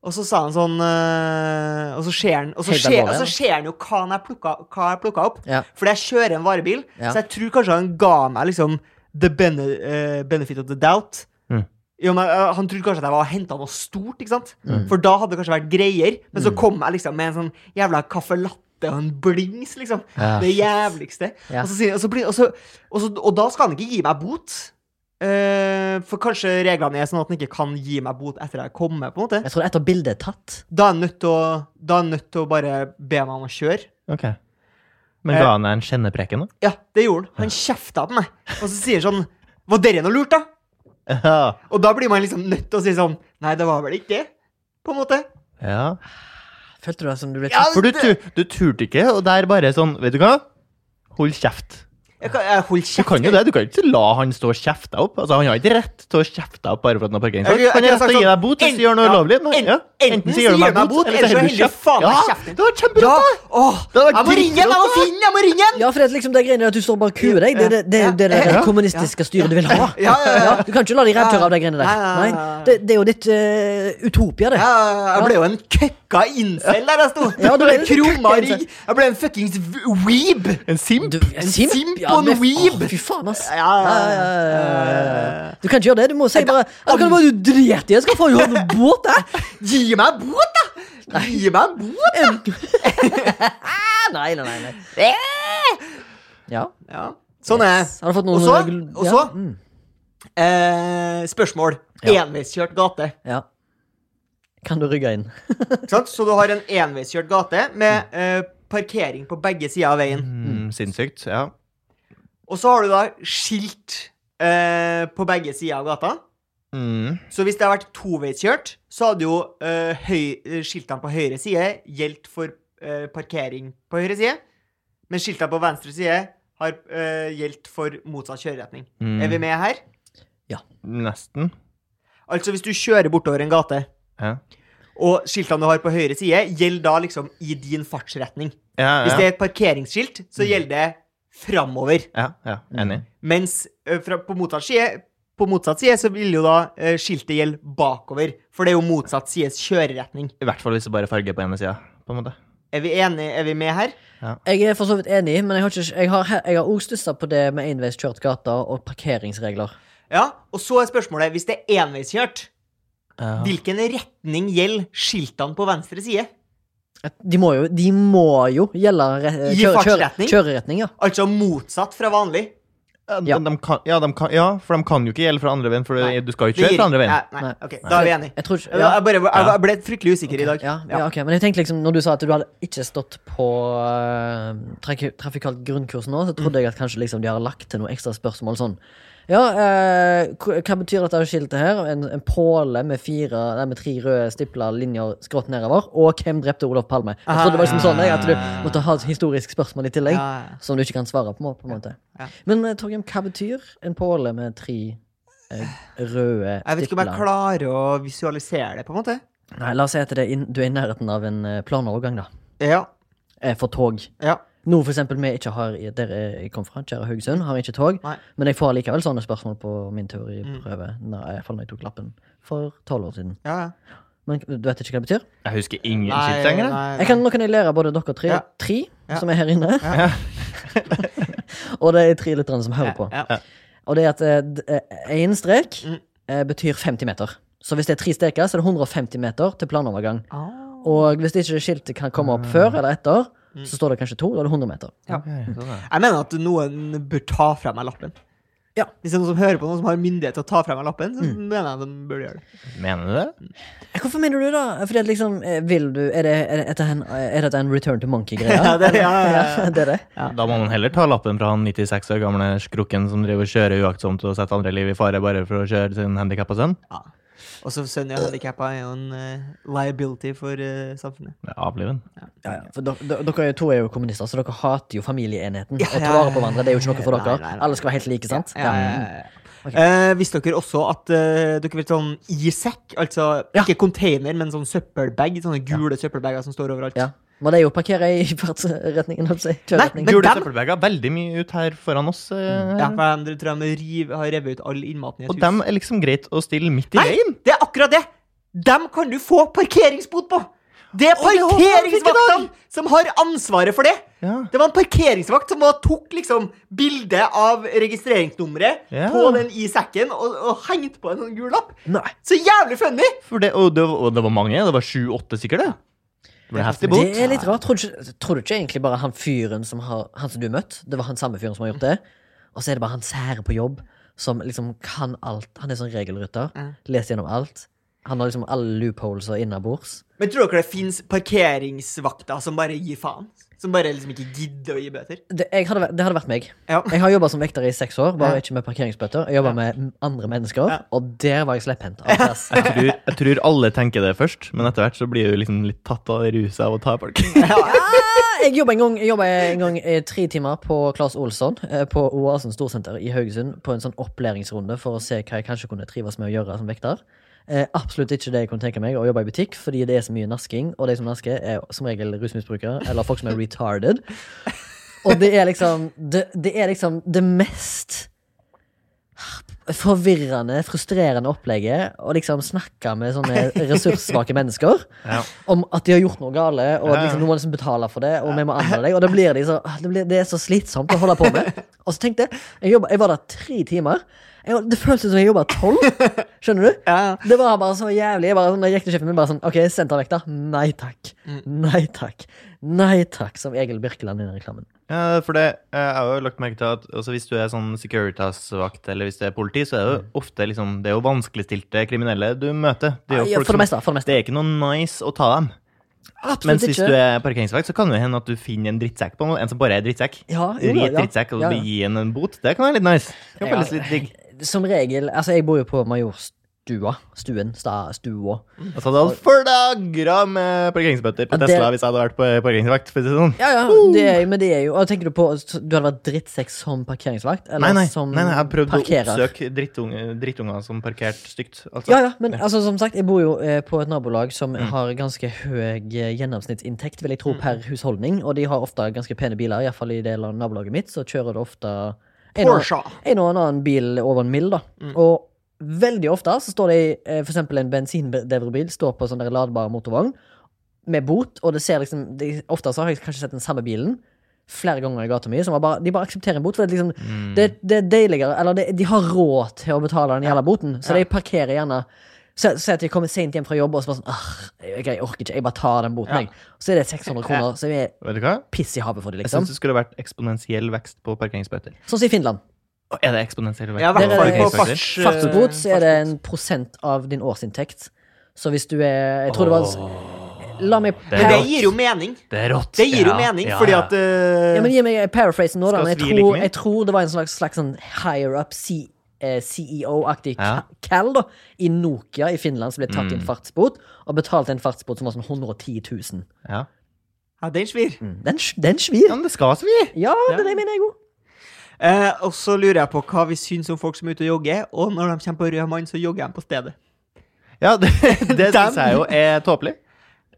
B: Og så sa han sånn eh, Og så ser han, og så
A: Helt
B: ser,
A: alvorlig,
B: og så
A: ja.
B: ser han jo hva han jeg plukka, hva jeg plukka opp.
A: Ja.
B: Fordi jeg kjører en varebil,
A: Ja.
B: så jeg tror kanskje han ga meg liksom the bene, eh, benefit of the doubt.
C: Mm.
B: Jo, men, eh, han trodde kanskje at jeg var henta noe stort, ikke sant?
A: Mm.
B: For da hadde det kanskje vært greier. Men så kom jeg liksom med en sånn jævla caffè latte og en blings, liksom.
C: Ja.
B: Det jævligste.
A: Ja.
B: Og, så sier, og, så blir, og, så, og, så, og da skal han ikke gi meg bot. Eh, for kanskje reglene er sånn at han ikke kan gi meg bot etter jeg kommer. på en måte
A: Jeg tror det er etter bildet er tatt.
B: Da er han nødt til å, da er han nødt til å bare be meg om å kjøre.
C: Ok.
B: Eh,
C: Men ga han deg en kjennepreken, da?
B: Ja, det gjorde han. Han kjefta på meg. Og så sier han sånn Var dere noe lurt, da?
C: Ja.
B: Og da blir man liksom nødt til å si sånn Nei, det var vel ikke det? På en måte.
C: ja.
B: Altså,
A: Følte du deg som du ble
B: Ja,
A: tatt?
C: For du, tu- du turte ikke, og det er bare sånn Vet du hva? Hold kjeft.
B: Jeg, kan, jeg holder
C: Du
B: kjeft.
C: kan jo det. Du kan ikke la han stå og kjefte deg opp. Altså, Han har ikke rett til å kjefte deg opp bare for at han har parkeringsvakt.
B: Jeg- jeg-
C: Han
B: jeg har
C: har rett til å
B: sagt
C: gi
B: sånn,
C: deg bot hvis
B: en-
C: du gjør noe
B: ja,
C: ulovlig. Nei,
B: en-
C: Ja. Enten så gjør du meg
B: noe
C: en bot, eller så
B: ellers
C: holder du kjeft.
B: faen meg
C: Ja,
B: kjeften.
C: det var kjempebra!
B: Ja! Åh,
C: Det var
B: jeg må ringe den! Jeg må
C: dritbra.
B: finne den! Jeg må ringe den!
A: Ja, for det er liksom det greiene at du står bare og kuer deg. Det er det, det, er jo det,
B: Ja.
A: der
B: Ja.
A: kommunistiske styret du vil ha.
B: Ja, ja, ja.
A: Du kan ikke la de
B: Ja.
A: rævtørre av de greiene der.
B: Nei, nei, nei,
A: Nei,
B: nei.
A: det, det er jo ditt eh, utopia, det.
B: Ja, jeg ble jo en køkka incel der jeg sto.
A: Ja, du ble
B: Jeg
A: en
B: krumma
A: køkka
B: rygg. Jeg ble en fuckings weeb.
C: En simp?
A: Du,
B: En simp
A: ja,
B: og
A: men-
B: en weeb.
A: Åh, Fy faen, ass.
B: Ja, ja, ja,
A: Ja, ja, ja, ja,
B: ja.
A: ja. Du kan ikke gjøre det. Du må si bare ja, Du kan bare du drite i det, så kan faen jo ha noe båt, jeg.
B: (laughs) Gi meg en bot, da! Gi meg en bot!
A: (laughs) Nei, nei, nei. nei. Ja.
B: Ja, Eh! sånn er det.
A: Yes. Har du fått noen
B: Og så-
A: gl-
B: og
A: ja,
B: så-
A: mm,
B: Eh, spørsmål.
A: Ja.
B: Enveiskjørt gate.
A: ja. Kan du rygge inn?
B: Ikke sant? Så du har en enveiskjørt gate med
A: Mm.
B: eh, parkering på begge sider av veien.
C: Mm, sinnssykt, ja.
B: Og så har du da skilt eh, på begge sider av gata.
C: Mm.
B: Så hvis det har vært toveiskjørt, så hadde jo eh, høy, eh, skiltene på høyre side gjeldt for eh, parkering på høyre side, men skiltene på venstre side har eh, gjeldt for motsatt kjøreretning.
C: Mm.
B: Er vi med her?
C: Nesten.
B: Altså hvis du kjører bortover en gate,
C: Ja.
B: og skiltene du har på høyre side, gjelder da liksom i din fartsretning.
C: Ja,
B: Hvis det
C: ja. Mm.
B: er et parkeringsskilt, så gjelder det framover.
C: ja, ja. Enig.
B: Mens ø, fra, på, motsatt side, på motsatt side så vil jo da ø, skiltet gjelde bakover. For det er jo motsatt sides kjøreretning.
C: I hvert fall hvis det bare er farge på ene sida, på en måte.
B: Er vi enige? Er vi med her?
A: Jeg er for så vidt enig, men jeg har, ikke, jeg har, he- jeg har også stussa på det med enveiskjørt gate og parkeringsregler.
B: Ja. Og så er spørsmålet, hvis det er enveiskjørt,
C: Ja.
B: hvilken retning gjelder skiltene på venstre side?
A: De må jo, de må jo gjelde re-
B: Gi
A: kjøre- kjøre-
B: fartsretning.
A: kjøreretning, ja.
B: Altså motsatt fra vanlig.
C: Ja, de,
A: Ja.
C: de kan, ja, de kan, ja, for de kan jo ikke gjelde fra andre veien, for
B: Nei.
C: du skal jo
B: Det
C: ikke kjøre
B: gir-
C: fra andre veien.
B: Nei, nei.
A: Nei.
B: ok, Da er vi enige.
A: Jeg tror ikke ja.
B: Jeg, bare, jeg, jeg ble fryktelig usikker i dag.
A: Ja, ja, ok, Men jeg tenkte liksom, når du sa at du hadde ikke stått på uh, trafikalt grunnkurs nå, så trodde jeg at kanskje liksom de har lagt til noen ekstra spørsmål sånn. Ja, eh, hva hva betyr dette skiltet her? En, en påle med, fire, nei, med tre røde stipla linjer skrått nedover. Og hvem drepte Olof Palme? Jeg trodde det var liksom sånn jeg, at du måtte ha et historisk spørsmål i tillegg.
B: Ja, ja.
A: Som du ikke kan svare på. må- på en måte.
B: Ja.
A: Men eh, Torgrim, hva betyr en påle med tre eh, røde
B: Jeg vet ikke om jeg
A: stipler?
B: klarer å visualisere det, på en måte.
A: Nei, La oss si at det er inn- du er i nærheten av en eh, planovergang, da.
B: Ja.
A: eh, for tog.
B: ja.
A: Noe for eksempel vi ikke har i- Der jeg kom fra, kjære Haugesund, har ikke tog.
B: Nei. Mm.
A: Men jeg får likevel sånne spørsmål på min teoriprøve. Nei, Iallfall når jeg tok lappen for tolv år siden.
B: ja. ja.
A: Men du vet ikke hva det betyr?
C: Jeg husker ingen
B: Nei,
C: skilt lenger. jeg.
B: nei,
A: Jeg kan, nå kan jeg lære både dere tre,
B: Ja.
A: tre
B: Ja.
A: som er her inne, (laughs) og det er tre lytterne som hører
B: nei.
A: på.
B: Ja, ja.
A: Og det er at eh, én strek
B: Mm.
A: eh, betyr 50 meter. Så hvis det er tre streker, så er det 150 meter til planovergang.
B: Ah.
A: Og hvis ikke skiltet kan komme opp før eller etter,
B: Mm.
A: så står det kanskje to, da er det 100 meter.
B: Ja.
C: Ok, sånn, ja.
B: Jeg mener at noen bør ta fra meg lappen.
A: Ja. Mm.
B: Hvis det er noen som hører på noen som har myndighet til å ta fra meg lappen, så mener jeg de burde gjøre det.
C: Mener du det?
A: Eh, Hvorfor mener du det? da? Fordi at liksom, eh, vil du, er, det, er, dette en, eh, er dette en return to (laughs) monkey-greie?
B: Ja, det- ja, ja, ja.
A: det er det.
C: Da må man heller ta lappen fra han 96 år gamle skrukken som driver og kjører uaktsomt og setter andre liv i fare bare for å kjøre sin handikappa sønn.
B: Ja. Og så sønnen jeg handikappa er jo en eh, liability for eh, samfunnet.
C: Ja, Avliv den.
A: Ja, ja. For dere, dere er jo to er jo kommunister, så dere hater jo familieenheten.
B: Ja,
A: Å ta
B: ja,
A: vare på hverandre det er jo ikke noe for
B: Nei,
A: dere.
B: nei, nei.
A: Alle skal være helt like, sant?
B: Ja, ja, ja, ja. Eh, visste dere også at eh, dere vet sånn ISEC, altså
A: Ja.
B: ikke container, men sånn søppelbag, sånne gule søppelbager som står overalt?
A: Ja. Mm. Må de jo parkere i fartsretningen? holdt jeg på å si,
B: Nei,
A: kjøreretningen.
B: Men
C: Gule
B: dem-
C: søppelbager veldig mye ut her foran oss. eh,
B: Ja, for de tror de riv, har revet ut all innmaten i et
C: Og
B: hus.
C: dem er liksom greit å stille midt i
B: Nei,
C: veien.
B: det er akkurat det! Dem kan du få parkeringsbot på! Det er
C: Å, det håper jeg fikk i dag!
B: parkeringsvaktene som har ansvaret for det!
C: Ja.
B: Det var en parkeringsvakt som var, tok liksom bilde av registreringsnummeret
C: Ja.
B: på den i sekken og, og hengte på en sånn gul lapp.
A: Nei.
B: Så jævlig funny!
C: For det, og, det, og det var mange. Det var sju-åtte sikkert, det. Det ble heftig bot.
A: Det er litt rart. Tror du, ikke, tror du ikke egentlig bare han fyren som har, han som du møtte, det var han samme fyren som har gjort det? Og så er det bare han sære på jobb som liksom kan alt. Han er sånn regelrytter.
B: Mm.
A: Leser gjennom alt. Han har liksom alle loopholes og innabords.
B: Men tror dere det fins parkeringsvakter som bare gir faen? Som bare liksom ikke gidder å gi bøter?
A: Det, jeg hadde, vært- det hadde vært meg.
B: Ja.
A: Jeg har jobba som vekter i seks år,
B: Ja.
A: bare ikke med parkeringsbøter. Jeg jobba med andre mennesker,
B: Ja.
A: og der var jeg slepphendt. av plass.
C: Jeg tror, jeg tror alle tenker det først, men etter hvert så blir du liksom litt tatt av ruset av å
B: (laughs)
C: ta folk.
A: (laughs) Jeg jobba en gang, jeg jobbet en gang eh, tre timer på Claes Olsson eh, på Oasen Storsenter i Haugesund på en sånn opplæringsrunde for å se hva jeg kanskje kunne trives med å gjøre som vekter. Eh, absolutt ikke det jeg kunne tenke meg å jobbe i butikk, fordi det er så mye nasking, og de som nasker, er som regel rusmisbrukere eller folk som er retarded. Og det er liksom det, det er liksom det mest forvirrende, frustrerende opplegget å liksom snakke med sånne ressurssvake mennesker
C: Ja.
A: om at de har gjort noe gale, og at
C: Ja, ja.
A: liksom, noen liksom betaler for det, og vi må anmelde deg. Og da blir de så, ah, det, blir, det er så slitsomt å holde på med. Og så tenkte jeg Jeg, jobbet, jeg var der tre timer. Jeg, var- det føltes som jeg jobba tolv. Skjønner du?
B: Ja,
A: Det var bare så jævlig. Jeg, bare, sånn- jeg gikk til sjefen min bare sånn OK, send han vekk, da. Nei takk.
C: Mm.
A: Nei takk. Nei takk. Som Egil Birkeland i den reklamen.
C: Ja, for det, eh, jeg har jo lagt merke til at altså hvis du er sånn Securitas-vakt eller hvis det er politi, så er det
A: Mm.
C: jo ofte liksom, det er jo vanskeligstilte kriminelle du møter. Det er jo
A: Ja,
C: folk
A: for det
C: som-
A: meste. For det meste.
C: Det er ikke noe nice å ta dem. Mens
A: Absolutt
C: hvis du
A: ikke.
C: er parkeringsvakt, så kan det jo hende at du finner en drittsekk på noen, en som bare er drittsekk.
A: Ja, jo
C: Ri
A: da,
C: et
A: ja.
C: drittsekk og
A: Ja,
C: ja,
A: ja.
C: gi henne en bot. Det kan være litt nice. Det kan
A: Ja.
C: føles
A: (laughs)
C: litt digg.
A: Som regel Altså, jeg bor jo på Majorstua. Stuen. Sta, stua.
C: Altså, det hadde fordagra med parkeringsbøtter på
A: Ja, det-
C: Tesla hvis jeg hadde vært på parkeringsvakt. For å si det sånn.
A: Ja, ja, Uh. det er, men det er jo og Tenker du på så Du hadde vært drittsekk som parkeringsvakt? Eller
C: Nei, nei,
A: som
C: nei, nei, jeg prøvde
A: parkerer?
C: å oppsøke drittunge- drittunger som parkerte stygt. Altså.
A: Ja, ja, men altså, som sagt, jeg bor jo eh, på et nabolag som har ganske høy eh, gjennomsnittsinntekt, vil jeg tro, per husholdning. Og de har ofte ganske pene biler, iallfall i deler av nabolaget mitt, så kjører det ofte en og,
B: Porsche.
A: en og annen bil over en mil, da. Og veldig ofte så står det eh, for eksempel en bensindreverbil står på sånn der ladbar motorvogn med bot, og det ser liksom de, Ofte så har jeg kanskje sett den samme bilen flere ganger i gata mi, som har bare, de bare aksepterer en bot. For det er liksom
C: Mm.
A: det, det er deiligere Eller det, de har råd til å betale den jævla boten, så de parkerer gjerne Se se at de kommer sent hjem fra jobb og så bare sånn «Arr, jeg, jeg orker ikke, jeg bare tar den boten,
B: Ja.
A: jeg. Så er det 600 kroner, som er
C: Vet du hva?
A: piss i havet for dem,
C: Jeg
A: liksom.
C: syns det skulle vært eksponentiell vekst på parkeringsbøter.
A: Sånn som i Finland.
C: Å, Er det eksponentiell vekst?
B: Ja, i hvert
A: Det er
B: fall på
A: det-
B: farts...
A: Fartsbot så er det
B: fartsbot.
A: en prosent av din årsinntekt. Så hvis du er Jeg tror det var La meg
C: Det
B: Men det
C: er
A: para-
C: rått.
B: gir jo mening.
C: Det er rått.
B: Det gir jo
C: Ja,
B: mening,
C: ja,
B: fordi
C: ja.
B: at eh,
A: Ja, men Gi meg paraphrase nå, da.
C: Skal
A: Men jeg
C: svi like
A: tror,
C: mye?
A: jeg tror det var en slags, slags sånn higher up C, eh, CEO-aktig
C: Ja. Mm.
A: ka- kall da, i Nokia i Finland som ble tatt i en fartsbot, og betalte en fartsbot som var sånn 110 000.
C: ja.
B: Ja, den svir.
A: Den, sj- den svir.
C: Mm. ja, men det skal svi!
A: Ja, det
B: Ja.
A: er det jeg mener jeg òg.
B: Eh, og så lurer jeg på hva vi syns om folk som er ute og jogger, og når de kommer på rød mann, så jogger de på stedet. (laughs)
C: Ja, det,
B: Den-
C: det syns jeg jo er tåpelig.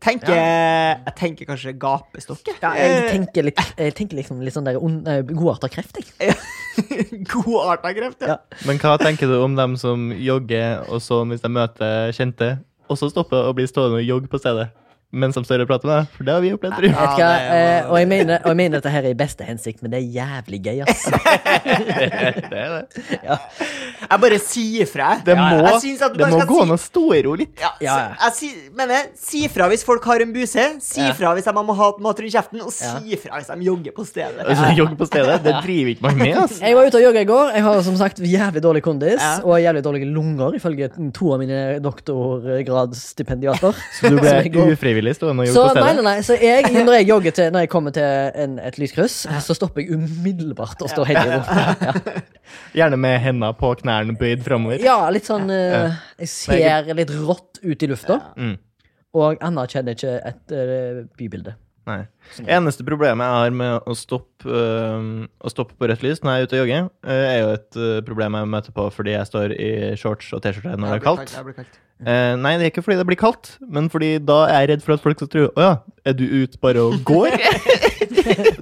B: Tenker, Jeg tenker kanskje gapestokk.
A: Ja, jeg
C: Eh.
B: (laughs)
A: tenker, litt, jeg tenker liksom litt sånn der ond- eh, godarta kreft, jeg.
B: tenker God art av kreft, ja.
A: Ja.
C: Men hva tenker du om dem som jogger, og så hvis de møter kjente, og så stopper og blir stående og jogge på stedet mens de står og prater med deg? For det har vi opplevd, tror jeg.
A: Vet du hva?
B: Ja, det er jo-
A: Eh, og, jeg mener, og jeg mener dette her er i beste hensikt, men det er jævlig gøy, ass.
C: Det, er det.
B: Jeg bare sier fra. jeg.
C: det
B: Ja,
C: må,
B: jeg synes at du
C: det
B: bare
C: må
B: skal
C: gå
B: si-
C: an å storro litt.
B: Ja,
A: Ja,
B: så- Jeg si, mener, si fra hvis folk har en buse, si
A: Ja.
B: fra hvis de må ha mat rundt kjeften, og si
A: Ja.
B: fra hvis de jogger på stedet.
C: Altså, jogge på stedet, det driver ikke man med, (laughs) altså.
A: Jeg var ute og jogga i går. Jeg har som sagt jævlig dårlig kondis
B: Ja.
A: og jævlig dårlige lunger, ifølge to av mine doktorgradsstipendiater.
C: Så du
A: Som jeg
C: ble
A: går-
C: ufrivillig stående og
A: Så
C: jogge på
A: nei, nei,
C: stedet?
A: nei, så jeg, når jeg jogger til Når jeg kommer til en, et lyskryss, så stopper jeg umiddelbart og står helt i ro. Ja.
C: Gjerne med hendene på knærne bøyd framover.
A: ja, litt sånn eh, Jeg ser litt rått ut i lufta,
C: Mm.
A: og anerkjenner ikke et eh, bybilde.
C: Nei. Eneste problemet jeg har med å stoppe, øhm, å stoppe på rødt lys når jeg er ute og jogger, øh, er jo et øh, problem jeg møter på fordi jeg står i shorts og T-skjorte når det er kaldt.
B: Jeg blir kaldt.
C: Eh, nei, det er ikke fordi det blir kaldt, men fordi da er jeg redd for at folk skal tro Å ja, er du ute bare og går?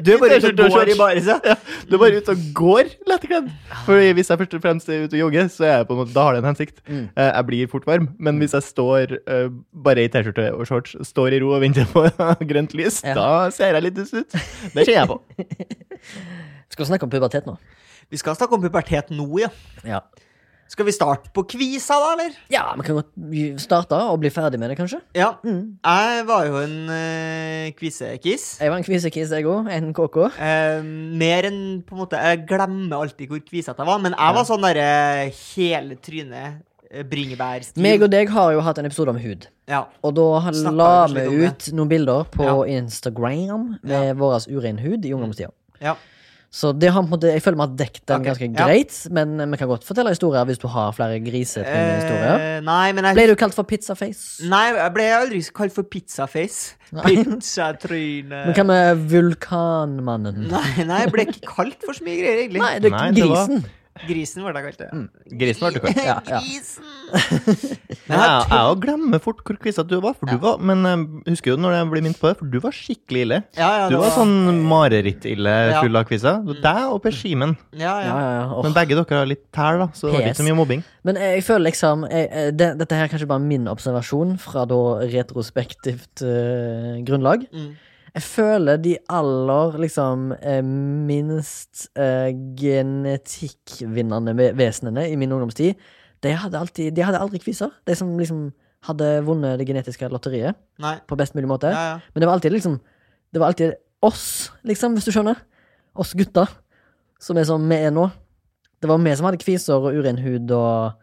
B: Du er bare ute
C: T-skjorte
B: og
C: og
B: går i
C: shorts.
B: baris, ja.
C: ja, du er bare ute og går, lettkledd. Fordi hvis jeg først og fremst er ute og jogger, så er jeg på en måte, da har det en hensikt.
A: Mm.
C: Eh, jeg blir fort varm. Men hvis jeg står eh, bare i T-skjorte og shorts, står i ro og venter på (laughs) grønt lys,
A: Ja.
C: da ser jeg litt dust ut. Det kjenner jeg på.
A: Skal vi snakke om pubertet nå?
B: Vi skal snakke om pubertet nå, ja.
A: Ja.
B: Skal vi starte på kvisa, da, eller?
A: ja, vi kan godt starte og bli ferdig med det, kanskje.
B: Ja. Jeg var jo en uh, kvisekiss.
A: Jeg var en kvisekiss, jeg òg. En KK.
B: Eh, mer enn på en måte Jeg glemmer alltid hvor kvisete jeg var, men jeg var sånn derre hele trynet, eh, bringebærstil.
A: Meg og deg har jo hatt en episode om hud.
B: Ja.
A: Og da
B: Snakket
A: la
B: kanskje
A: vi
B: litt om
A: ut noen bilder på
B: Ja.
A: Instagram med
B: Ja.
A: vår uren hud i ungdomstida.
B: ja.
A: Så det har, på en måte- jeg føler vi har dekket den
B: Ok,
A: ganske
B: ja.
A: greit, men eh, vi kan godt fortelle historier hvis du har flere grisetrynehistorier.
B: Eh, Mm. nei, men jeg
A: Ble du kalt for pizzaface?
B: Nei, jeg ble aldri kalt for pizzaface.
A: (laughs) Nei.
B: Pizzatryne
A: Men hva med vulkanmannen?
B: Nei, nei, jeg ble ikke kalt for så mye greier, egentlig.
A: Nei, det er
C: Nei, det var-
A: grisen.
B: Grisen ble det kalt. det.
C: Grisen ble du kalt.
A: Ja, ja. (laughs)
B: Grisen!
C: Men jeg, jeg også glemmer fort hvor kvisete du var, for
B: Ja.
C: du var Men jeg husker jo når jeg blir minnet på det, for du var skikkelig ille.
B: Ja, ja,
C: Du
B: det
C: var sånn marerittille
B: Ja.
C: full av quizer. Deg og Per Simen.
B: ja,
A: sånn- Ja,
B: ja.
A: ja, ja. Åh.
C: Men begge dere har litt tæl, da, så det var
A: PS.
C: ikke så mye mobbing.
A: Men jeg, jeg føler liksom jeg, eh, det, Dette her er kanskje bare min observasjon fra da retrospektivt eh, grunnlag.
B: Mm.
A: Jeg føler de aller liksom eh, minst eh, genetikkvinnende ve- vesenene i min ungdomstid, de hadde, alltid, de hadde aldri kviser. De som liksom hadde vunnet det genetiske lotteriet
B: Nei.
A: på best mulig måte.
B: Ja, ja.
A: Men det var alltid liksom Det var alltid oss, liksom, hvis du skjønner. Oss gutta. Som er som vi er nå. Det var vi som hadde kviser og uren hud og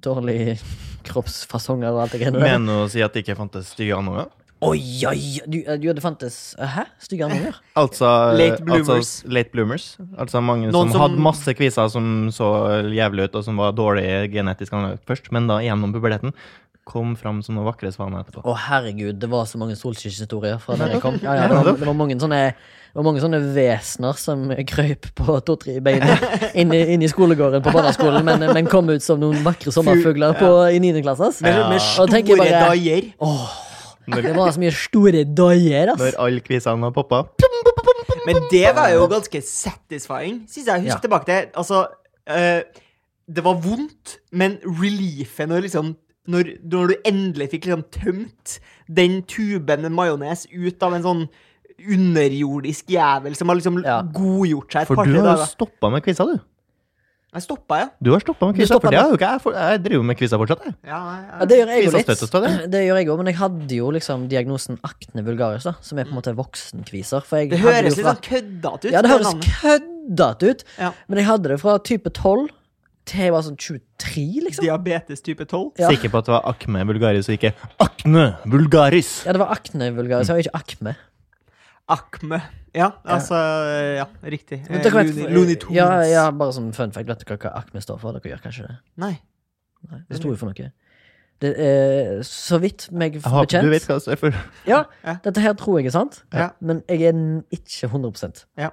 A: dårlige (laughs) kroppsfasonger og alt det greiene der.
C: Mener du å si at det ikke fantes stygge andunger?
A: Oi, oi, du, du, det fantes Hæ? Stygge andunger?
C: Altså
B: Late bloomers.
C: Altså, late bloomers. Altså mange
B: Noen
C: som,
B: som-
C: hadde masse kviser som så jævlig ut, og som var dårlige genetisk anlagt først, men da gjennom puberteten kom fram som noen vakre svaner etterpå.
A: Å, herregud, det var så mange solskinnshistorier fra der jeg
B: (laughs)
A: kom. Ja, ja,
C: Ja,
A: det, var,
C: nettopp.
A: det, var mange sånne, det var mange sånne vesener som krøyp på to-tre bein inne inn i skolegården på barneskolen, men, men kom ut som noen vakre sommerfugler på, i 9. klasse. ass.
B: Med,
C: Ja.
B: sånn med
A: Og
B: store
A: tenker bare-
B: dager.
A: Det var så mye store dager, ass.
C: Når alle kvisene var poppa.
B: Men det var jo ganske satisfying, syns jeg. Husk
A: Ja.
B: tilbake til Altså, eh, det var vondt, men reliefen når liksom når, når du endelig fikk liksom tømt den tuben med majones ut av en sånn underjordisk jævel som har liksom
A: Ja.
B: godgjort seg et
C: For
B: par-tre
C: du har jo
B: dager.
C: stoppa med kviser, du.
B: Jeg stoppa, ja.
C: Du har stoppa med
A: Du
C: kviser,
A: stoppet
C: for det har jo ikke jeg. For jeg driver med kviser fortsatt, jeg.
B: Ja, nei,
A: Ja, det gjør jeg jo
C: Kvisa
A: litt.
C: støttes av det.
A: (clears throat) Det gjør jeg òg, men jeg hadde jo liksom diagnosen akne vulgaris, da, som er på en måte voksenkviser. For jeg
B: Det
A: hadde jo
B: høres litt
A: fra-
B: sånn køddete ut.
A: Ja, det høres
B: navnet.
A: køddete ut,
B: Ja.
A: men jeg hadde det fra type 12 til jeg var sånn 23, liksom.
B: Diabetes type 12.
A: Ja.
C: Sikker på at det var akme vulgaris og ikke akne vulgaris.
A: Ja, det var akne vulgaris, og ikke
B: Eh,
A: akme.
B: Akme. Ja, altså Ja, riktig.
A: Men dere vet-
B: Lunitons.
A: Ja, ja, bare sånn fun fact. Vet dere hva akme står for? Dere gjør kanskje det?
B: Nei.
A: Nei, det sto jo for noe. Det, eh, så vidt meg
C: Jeg håper du vet
A: bekjent
C: hva det er for.
A: Ja,
B: Ja.
A: dette her tror jeg er sant,
B: Ja.
A: men jeg er n- ikke 100
B: Ja.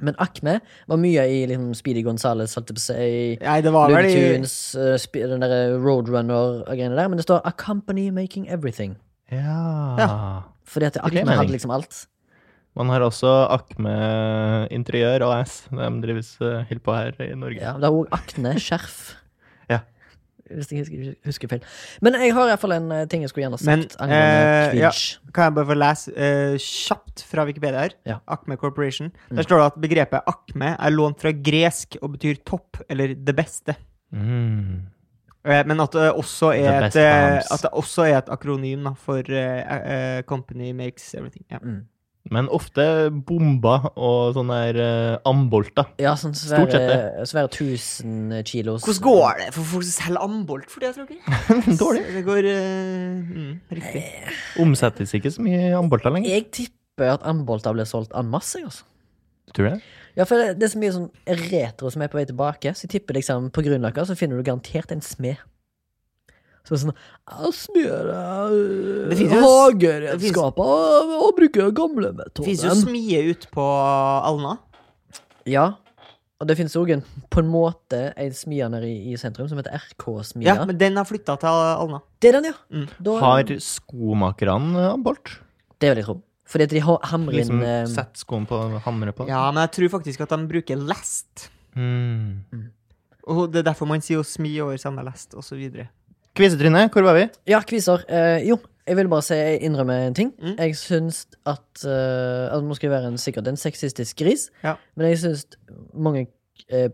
A: Men akme var mye i liksom, Speedy Gonzales, holdt jeg på å si.
B: Nei, det var vel
A: Looney
B: i
A: Tunes, eh, spe- den derre Roadrunner-greiene der. Men det står 'A Company Making Everything'.
C: ja.
A: Fordi at
C: Det gir
A: akme hadde
C: mening.
A: liksom alt.
C: Man har også Akme Interiør AS. De drives eh, helt på her i Norge.
A: Ja, det er òg akne, skjerf.
C: Ja.
A: Hvis jeg husker, husker feil. Men jeg har iallfall en eh, ting jeg skulle gjerne
B: Men,
A: sagt angående
B: eh, ja.
A: kvinch.
B: Kan jeg bare få lese eh, kjapt fra Wikipedia her?
A: Ja.
B: Acme Corporation. Der står det at begrepet akme er lånt fra gresk og betyr topp eller det beste.
C: Mm.
B: Eh, Men at det, også
C: The
B: er
C: best
B: et, eh,
C: arms.
B: at det også er et akronym da, for eh, eh, Company Makes Everything. Ja.
A: Mm.
C: Men ofte bomber og sånne her eh, (laughs) ambolter.
A: Ja, sånn
C: Stort sett
A: svære, svære 1000 kilos
B: Hvordan går det for folk som selger ambolt for det, tror dere?
C: Dårlig.
B: Det går eh, mm, riktig.
C: Omsettes ikke så mye ambolter lenger.
A: Jeg tipper at Ambolta ble solgt en masse, altså.
C: Tror du det?
A: Ja, for det, det er så mye sånn retro som er på vei tilbake. Så jeg tipper liksom på Grünerløkka så finner du garantert en smed. Så det er sånn «Jeg
B: Det
A: Smeder
B: finnes jo-
A: hageredskaper og, og bruker gamle
B: Det fins jo
A: metoder.
B: smie ut på Alna.
A: Ja. Og det finnes òg en på en måte en smie nede i, i sentrum som heter RK-smia.
B: Ja, men den har flytta til Alna.
A: Det er den, ja.
B: Mm.
A: Da,
C: Har skomakerne eh, ambolt?
A: Det vil jeg tro. Fordi at de har- hamrer inn
C: Liksom
A: eh,
C: sett skoen på hamre på?
B: Ja, men jeg tror faktisk at de bruker lest.
C: Mm.
B: Og det er derfor man sier å smi over samme lest, osv.
C: Kvisetryne, hvor var vi?
A: Ja, kviser. Eh, jo, jeg vil bare si jeg innrømmer en ting.
B: Mm.
A: Jeg syns at eh, altså, Nå skal jeg være en, sikkert en sexistisk gris,
B: Ja.
A: men jeg syns mange eh,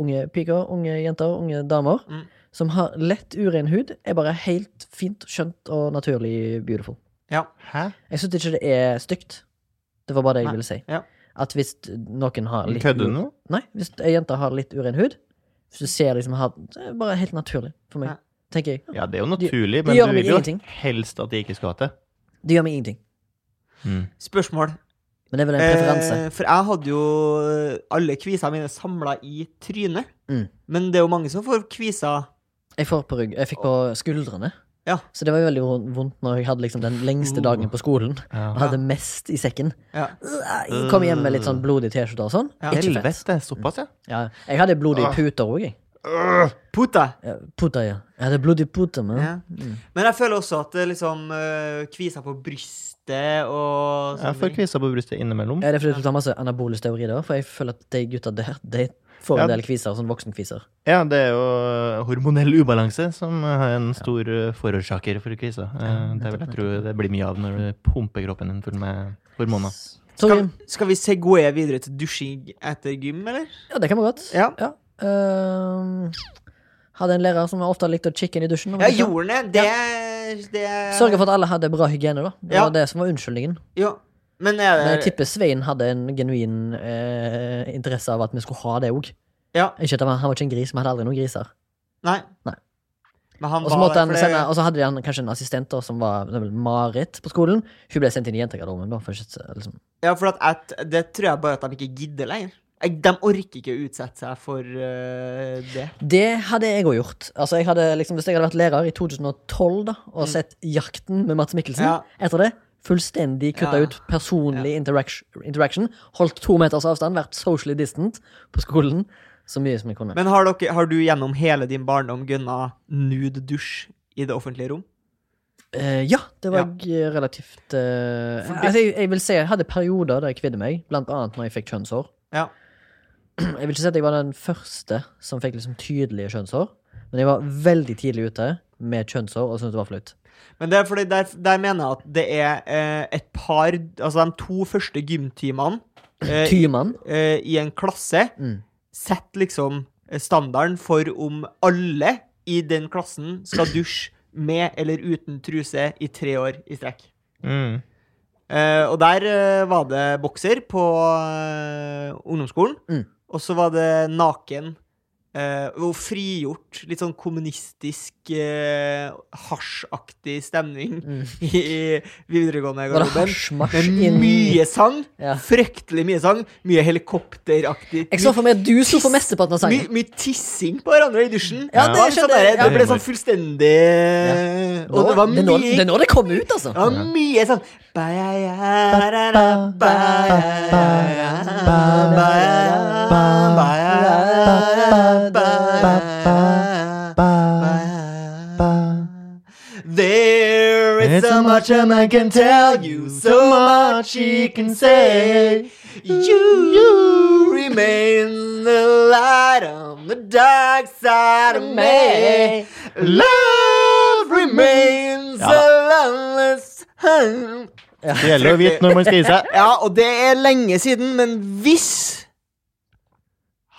A: unge piker, unge jenter, unge damer
B: Mm.
A: som har lett uren hud, er bare helt fint, skjønt og naturlig beautiful.
B: Ja.
C: Hæ?
A: Jeg syns ikke det er stygt. Det var bare det jeg
B: Nei,
A: ville si.
B: ja.
A: At hvis noen har litt
C: Kødder du nå?
A: Nei, hvis ei jente har litt uren hud, hvis du ser liksom har, Det er bare helt naturlig for meg,
B: Ja.
A: tenker jeg.
C: Ja, det er jo
A: De- de
C: naturlig, men
A: gjør
C: du
A: meg
C: vil jo
A: ingenting.
C: helst at de ikke skal ha det.
A: Det gjør meg ingenting.
C: Mm.
B: Spørsmål.
A: Men det er vel en preferanse.
B: Eh, for jeg hadde jo eh, alle kvisene mine samla i trynet.
A: Mm.
B: Men det er jo mange som får kviser
A: Jeg får på rygg Jeg fikk på skuldrene.
B: Ja. Uh.
A: Så det var jo veldig vond- vondt når jeg hadde liksom den lengste dagen på skolen og hadde mest i sekken.
B: Ja.
A: Jeg Kom hjem med litt sånn blodig T-skjorte og sånn.
B: Uh. Ja.
A: Ikke fett.
C: Helvete, såpass, ja.
A: Ja. Jeg hadde blodig puter òg, jeg.
B: Puta!
A: Ja, Puter, ja. Jeg hadde blodig puter, men Mm.
B: Ja. Men jeg føler også at det liksom øh, kviser på brystet og
C: Jeg
B: sånne
C: får
B: ting.
C: kvisa på brystet innimellom.
A: Er det fordi du tar masse anabolisk teori da? For jeg føler at de gutta der, de får en
C: Ja.
A: del kviser, sånn voksenkviser.
C: Ja, det er jo eh, hormonell ubalanse som er en stor eh, forårsaker for kvisa. Eh, Det vil jeg tro det blir mye av når du pumper kroppen din full med hormoner.
A: Sorry.
B: Skal, skal vi segway videre til dusjing etter gym, eller?
A: Ja, det kan vi godt.
B: Ja.
A: Ehm, hadde en lærer som ofte likte å chicken i dusjen. var
B: Ja,
A: det ikke?
B: jorden er det, det
A: Sørge for at alle hadde bra hygiene, da. Det
B: Ja. Eh,
A: var det som var unnskyldningen.
B: Jo. Men er
A: Men jeg
B: det
A: tipper Svein hadde en genuin eh, interesse av at vi skulle ha det òg.
B: Ja.
A: Ikke at han var, han var ikke en gris, vi hadde aldri noen griser.
B: Nei.
A: Nei.
B: Men han
A: Og så måtte
B: der
A: han
B: for det-
A: sende, og så hadde han kanskje en assistent da, som var det var vel Marit på skolen. Hun ble sendt inn i jentegarderoben. da, for ikke, liksom.
B: Ja, for at at- det tror jeg bare at de ikke gidder lenger. Jeg- De orker ikke å utsette seg for øh, det.
A: Det hadde jeg òg gjort. Altså, jeg hadde, liksom, hvis jeg hadde vært lærer i 2012 da, og sett Jakten med Mats Mikkelsen
B: Mm. Ja.
A: etter det Fullstendig kutta
B: Ja.
A: ut personlig interaction, interaction. Holdt to meters avstand, vært socially distant på skolen så mye som jeg kunne.
B: Men har, dere, har du gjennom hele din barndom gunna nude dusj i det offentlige rom?
A: Eh, ja, det var
B: Ja.
A: jeg eh, relativt eh,
B: Fordi-
A: altså, jeg, jeg vil si jeg hadde perioder der jeg kvidde meg, blant annet når jeg fikk kjønnshår.
B: Ja.
A: Jeg vil ikke si at jeg var den første som fikk liksom tydelige kjønnshår, men jeg var veldig tidlig ute med kjønnshår og syntes det var flaut.
B: Men det er fordi der, der mener jeg at det er eh, et par Altså de to første gymtimene eh, i,
A: Tymann.
B: eh, i en klasse
A: Mm.
B: setter liksom eh, standarden for om alle i den klassen skal dusje med eller uten truse i tre år i strekk.
C: Mm.
B: Eh, og der eh, var det bokser på eh, ungdomsskolen.
A: Mm.
B: Og så var det naken eh, og frigjort, litt sånn kommunistisk, eh, hasjaktig stemning
A: (laughs) Mm.
B: i, i videregående
A: Var det
B: garderoben.
A: hasjmarsj
B: Med
A: inn
B: mye sang.
A: Ja.
B: Fryktelig mye sang. Mye helikopteraktig.
A: Jeg så for meg at du sto for
B: Tiss.
A: mesteparten av
B: Mye,
A: sangen.
B: mye tissing på hverandre i dusjen.
A: Ja, det
B: var
A: skjedde,
B: sånn der,
A: ja.
B: det ble sånn fullstendig
A: Nå-
B: Og det var
A: det, er nå, det
B: mye
A: er nå det kom ut, altså.
B: det var mye sånn Ba-ya-ya-ra-ra, ba-ya-ya-ra, ba-ya-ya-ra, ba-ya-ya-ra, ba-ya-ya-ra, ba-ya-ya-ra. There is so much a man can tell you, so much he can say. You remain the light on the dark side of me. Love remains
C: Ja da.
B: a loveless home.
C: Det gjelder å vite når man skal gi
B: (laughs)
C: seg.
B: Ja, og det er lenge siden, men hvis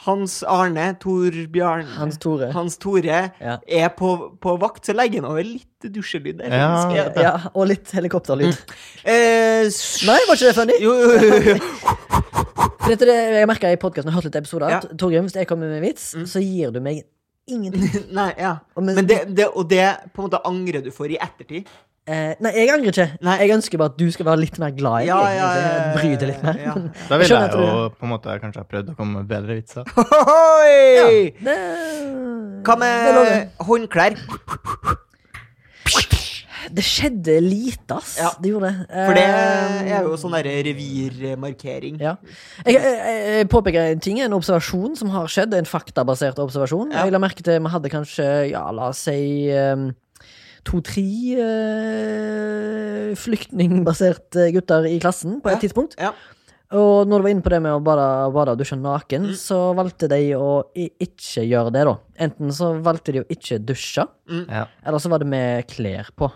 B: Hans Arne, Tor Bjarne
A: Hans Tore.
B: Hans Tore
A: Ja.
B: er på, på vakt, så legger han over litt dusjelyd der.
C: Ja.
B: faktisk.
A: Ja, ja, og litt helikopterlyd.
B: Eh, s-
A: Nei, var ikke det funny?
B: Jo, jo, jo, jo. (laughs)
A: For dette, er det, jeg merka i podkasten, hørt litt episoder, at
B: Ja.
A: Torgrim, hvis jeg kommer med en vits, så gir du meg
B: (laughs)
A: ingenting.
B: Nei, ja.
A: Og men-
B: Men det, det, og det på en måte angrer du for i ettertid.
A: Eh, nei, jeg angrer ikke.
B: Nei.
A: Jeg ønsker bare at du skal være litt mer glad i
B: Ja,
A: meg.
B: ja, ja,
A: egentlig.
B: ja,
A: Bry deg litt mer. (laughs)
B: ja, ja.
C: Da
A: Jeg skjønner
C: ville jeg
A: at du-
C: jo på en måte kanskje ha prøvd å komme med bedre vitser.
B: Ohoi!
A: Det,
B: Hva
A: det,
B: med
A: lover.
B: håndklær?
A: det skjedde lite, ass.
B: Ja.
A: Det gjorde det.
B: For det
A: Eh,
B: er jo sånn der revirmarkering.
A: ja. Jeg, jeg, jeg påpeker en ting, en observasjon som har skjedd. En faktabasert observasjon.
B: Ja.
A: Jeg la merke til Vi hadde kanskje, ja, la oss si um, to-tre eh, flyktningbaserte gutter i klassen på et
B: Ja.
A: tidspunkt.
B: Ja.
A: Og når du var inne på det med å bade, bade og dusje
B: Mm.
A: naken, så valgte de å i- ikke gjøre det, da. Enten så valgte de å ikke dusje,
B: Mm.
C: Ja.
A: eller så var det med klær på.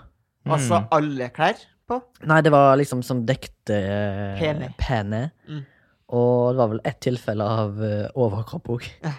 B: Altså alle klær på.
A: Nei, det var liksom som dekte eh,
B: Pene.
A: pene.
B: Mm.
A: Og det var vel ett tilfelle av eh, overkropp òg.
B: Ja.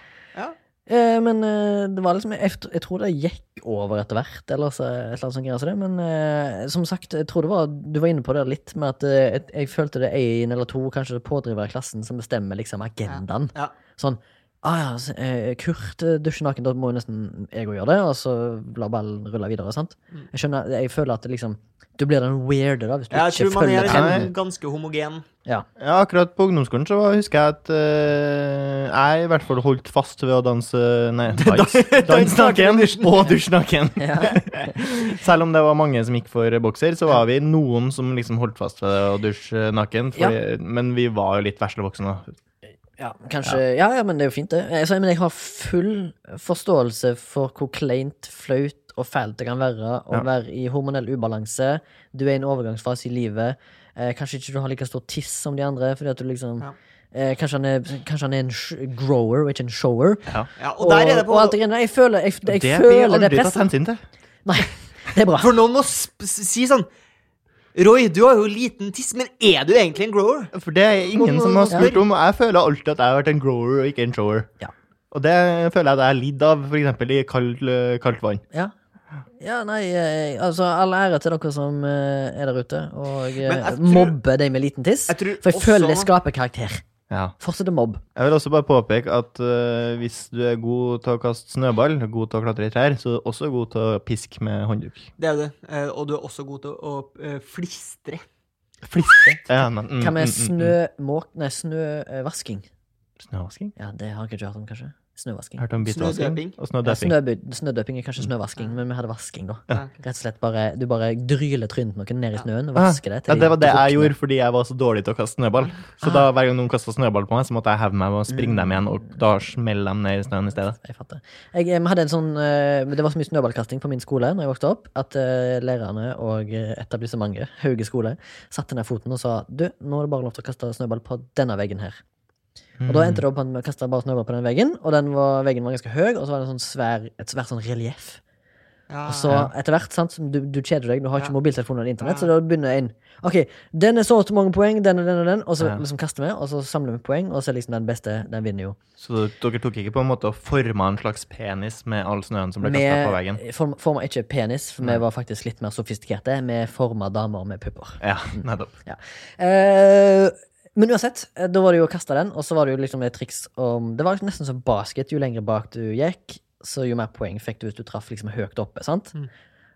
A: Eh, men eh, det var liksom jeg, jeg tror det gikk over etter hvert, eller så, et eller annet sånt greier som det. Men eh, som sagt, jeg tror det var Du var inne på det litt med at eh, jeg, jeg følte det er en eller to, kanskje pådrivere i klassen, som bestemmer liksom agendaen.
B: Ja.
A: Sånn ah, ja, så, eh, Kurt eh, dusjer naken, da må jo nesten jeg òg gjøre det. Og så lar ballen rulle videre. sant?
B: Mm.
A: Jeg skjønner, jeg føler at det liksom Du blir den weirde, da, hvis du
B: Ja, jeg
A: ikke
B: tror man er
A: følger
B: liksom
A: trenden.
B: ganske homogen.
A: Ja.
C: Ja, akkurat på ungdomsskolen så var- husker jeg at eh, jeg i hvert fall holdt fast ved å danse Nei,
B: (laughs)
C: dans, dans naken og dusj naken.
A: Ja.
B: (laughs)
C: Selv om det var mange som gikk for bokser, så var vi noen som liksom holdt fast ved det å dusje naken. Fordi, Men vi var jo litt veslevoksne. da.
A: Ja, kanskje ja. ja, men det er jo fint, det. Jeg, så, men jeg har full forståelse for hvor kleint, flaut og fælt det kan være å
C: Ja.
A: være i hormonell ubalanse. Du er i en overgangsfase i livet. Eh, kanskje ikke du har like stor tiss som de andre. Fordi at du liksom
B: Ja.
A: eh, kanskje, han er, kanskje han er en sh grower og ikke en shower.
B: Ja, og
A: Og,
B: der er det på
A: og alt det greiene. Jeg føler, jeg, jeg
C: det blir
A: føler det
C: aldri tatt
A: presset.
C: hensyn til.
A: Nei, det er
C: (laughs)
A: bra.
B: For noen må sp si sånn Roy, du har jo liten tiss, men er du egentlig en grower?
C: For det er ingen
B: Nå-
C: som
B: nå
C: har
B: spør-
C: spurt om. og Jeg føler alltid at jeg har vært en grower og ikke en shower.
A: Ja.
C: Og det føler jeg at jeg har lidd av, f.eks. i kaldt, kaldt vann.
A: Ja. Ja, nei, eh, altså All ære til dere som eh, er der ute og eh,
B: Men jeg tror-
A: mobber de med liten tiss.
B: Jeg tror
A: For jeg føler det
B: også-
A: skaper karakter.
C: Ja.
A: Fortsett å mobbe.
C: Jeg vil også bare påpeke at eh, hvis du er god til å kaste snøball, god til å klatre i trær, så er du også god til å piske med håndduk.
B: Det er du. Eh, Og du er også god til å eh, flistre.
C: Fliste. Ja, men, mm,
A: Hva med
C: mm, mm, mm.
A: snømåk... Nei, snøvasking.
C: Snøvasking?
A: Ja, det har jeg ikke hørt om, kanskje. Snøvasking.
C: Hørt om
B: Snødøping.
C: bitevasking og
A: Ja,
C: snødøping.
A: snøby- snødøping er
C: Mm.
A: kanskje snøvasking, men vi hadde vasking, da.
B: Ja. ok.
A: Rett og slett bare Du bare dryler trynet noen ned i
B: Ja.
A: snøen og
C: Ah,
A: vasker det. til
C: Ja, det var
A: de
C: det jeg
A: drukner.
C: gjorde fordi jeg var så dårlig til å kaste snøball. Så da hver gang noen kasta snøball på meg, så måtte jeg heve meg og springe dem igjen, og da smeller de ned i snøen i stedet.
A: Jeg fatter. Jeg, eh, vi hadde en sånn eh, Det var så mye snøballkasting på min skole Når jeg vokste opp, at eh, lærerne og eh, etablissementet, Hauge skole, satte ned foten og sa Du, nå er det bare lov til å kaste snøball på denne veggen her. Og
C: Mm.
A: da endte det opp med å kaste bare snøball på den veggen, og den var, veggen var ganske høy, og så var det en sånn svær, et svært sånn relieff.
B: Ja.
A: Og så etter hvert, sant, som du, du kjeder deg, du har ikke
B: Ja.
A: mobiltelefonen eller internett, så
B: Ja.
A: da begynner en Ok, den er så og så mange poeng, den og den og den, og så
C: Ja.
A: liksom kaster vi, og så samler vi poeng, og så er liksom den beste, den vinner jo.
C: Mm. Så dere tok ikke på en måte og forma en slags penis med all snøen som ble
A: Vi
C: kasta på veggen?
A: form- forma ikke penis, for vi var faktisk litt mer sofistikerte. Vi forma damer med pupper.
C: Ja, nettopp.
A: Ja. Eh, men uansett, eh, da var det jo å kaste den, og så var det jo liksom et triks om Det var nesten som basket. Jo lenger bak du gikk, så jo mer poeng fikk du hvis du traff liksom høyt oppe. sant?
B: Mm.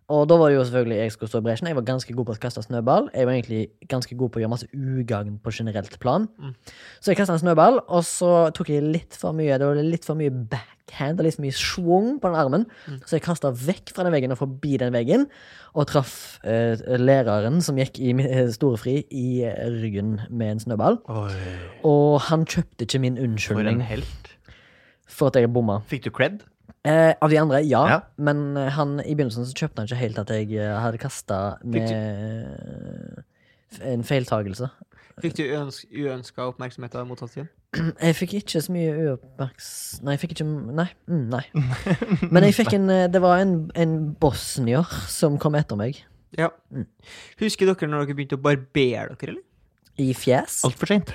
A: Og da var det jo selvfølgelig jeg skulle stå i bresjen. Jeg var ganske god på å kaste snøball. Jeg var egentlig ganske god på å gjøre masse ugagn på generelt plan.
B: Mm.
A: Så jeg kasta en snøball, og så tok jeg litt for mye. Det var litt for mye backhand og litt for mye schwung på den armen.
B: Mm.
A: Så jeg kasta vekk fra den veggen og forbi den veggen, og traff eh, læreren som gikk i min- eh, storefri i eh, ryggen med en snøball.
C: Oi,
A: Og han kjøpte ikke min
C: for en
A: unnskyldning
C: helt.
A: for at jeg bomma.
C: Fikk du cred?
A: Eh, av de andre, ja.
C: Ja.
A: Men eh, han, i begynnelsen så kjøpte han ikke helt at jeg eh, hadde kasta med eh, en feiltagelse. (clears throat)
B: Fikk du uøns uønska oppmerksomhet av mottatt-siden?
A: Jeg fikk ikke så mye uoppmerks... Nei, jeg fikk ikke Nei. Mm,
C: (laughs)
A: nei. Men jeg fikk en eh, Det var en, en bosnier som kom etter meg.
B: Ja. Mm. Husker dere når dere begynte å barbere dere, eller?
A: I fjes.
C: Altfor seint.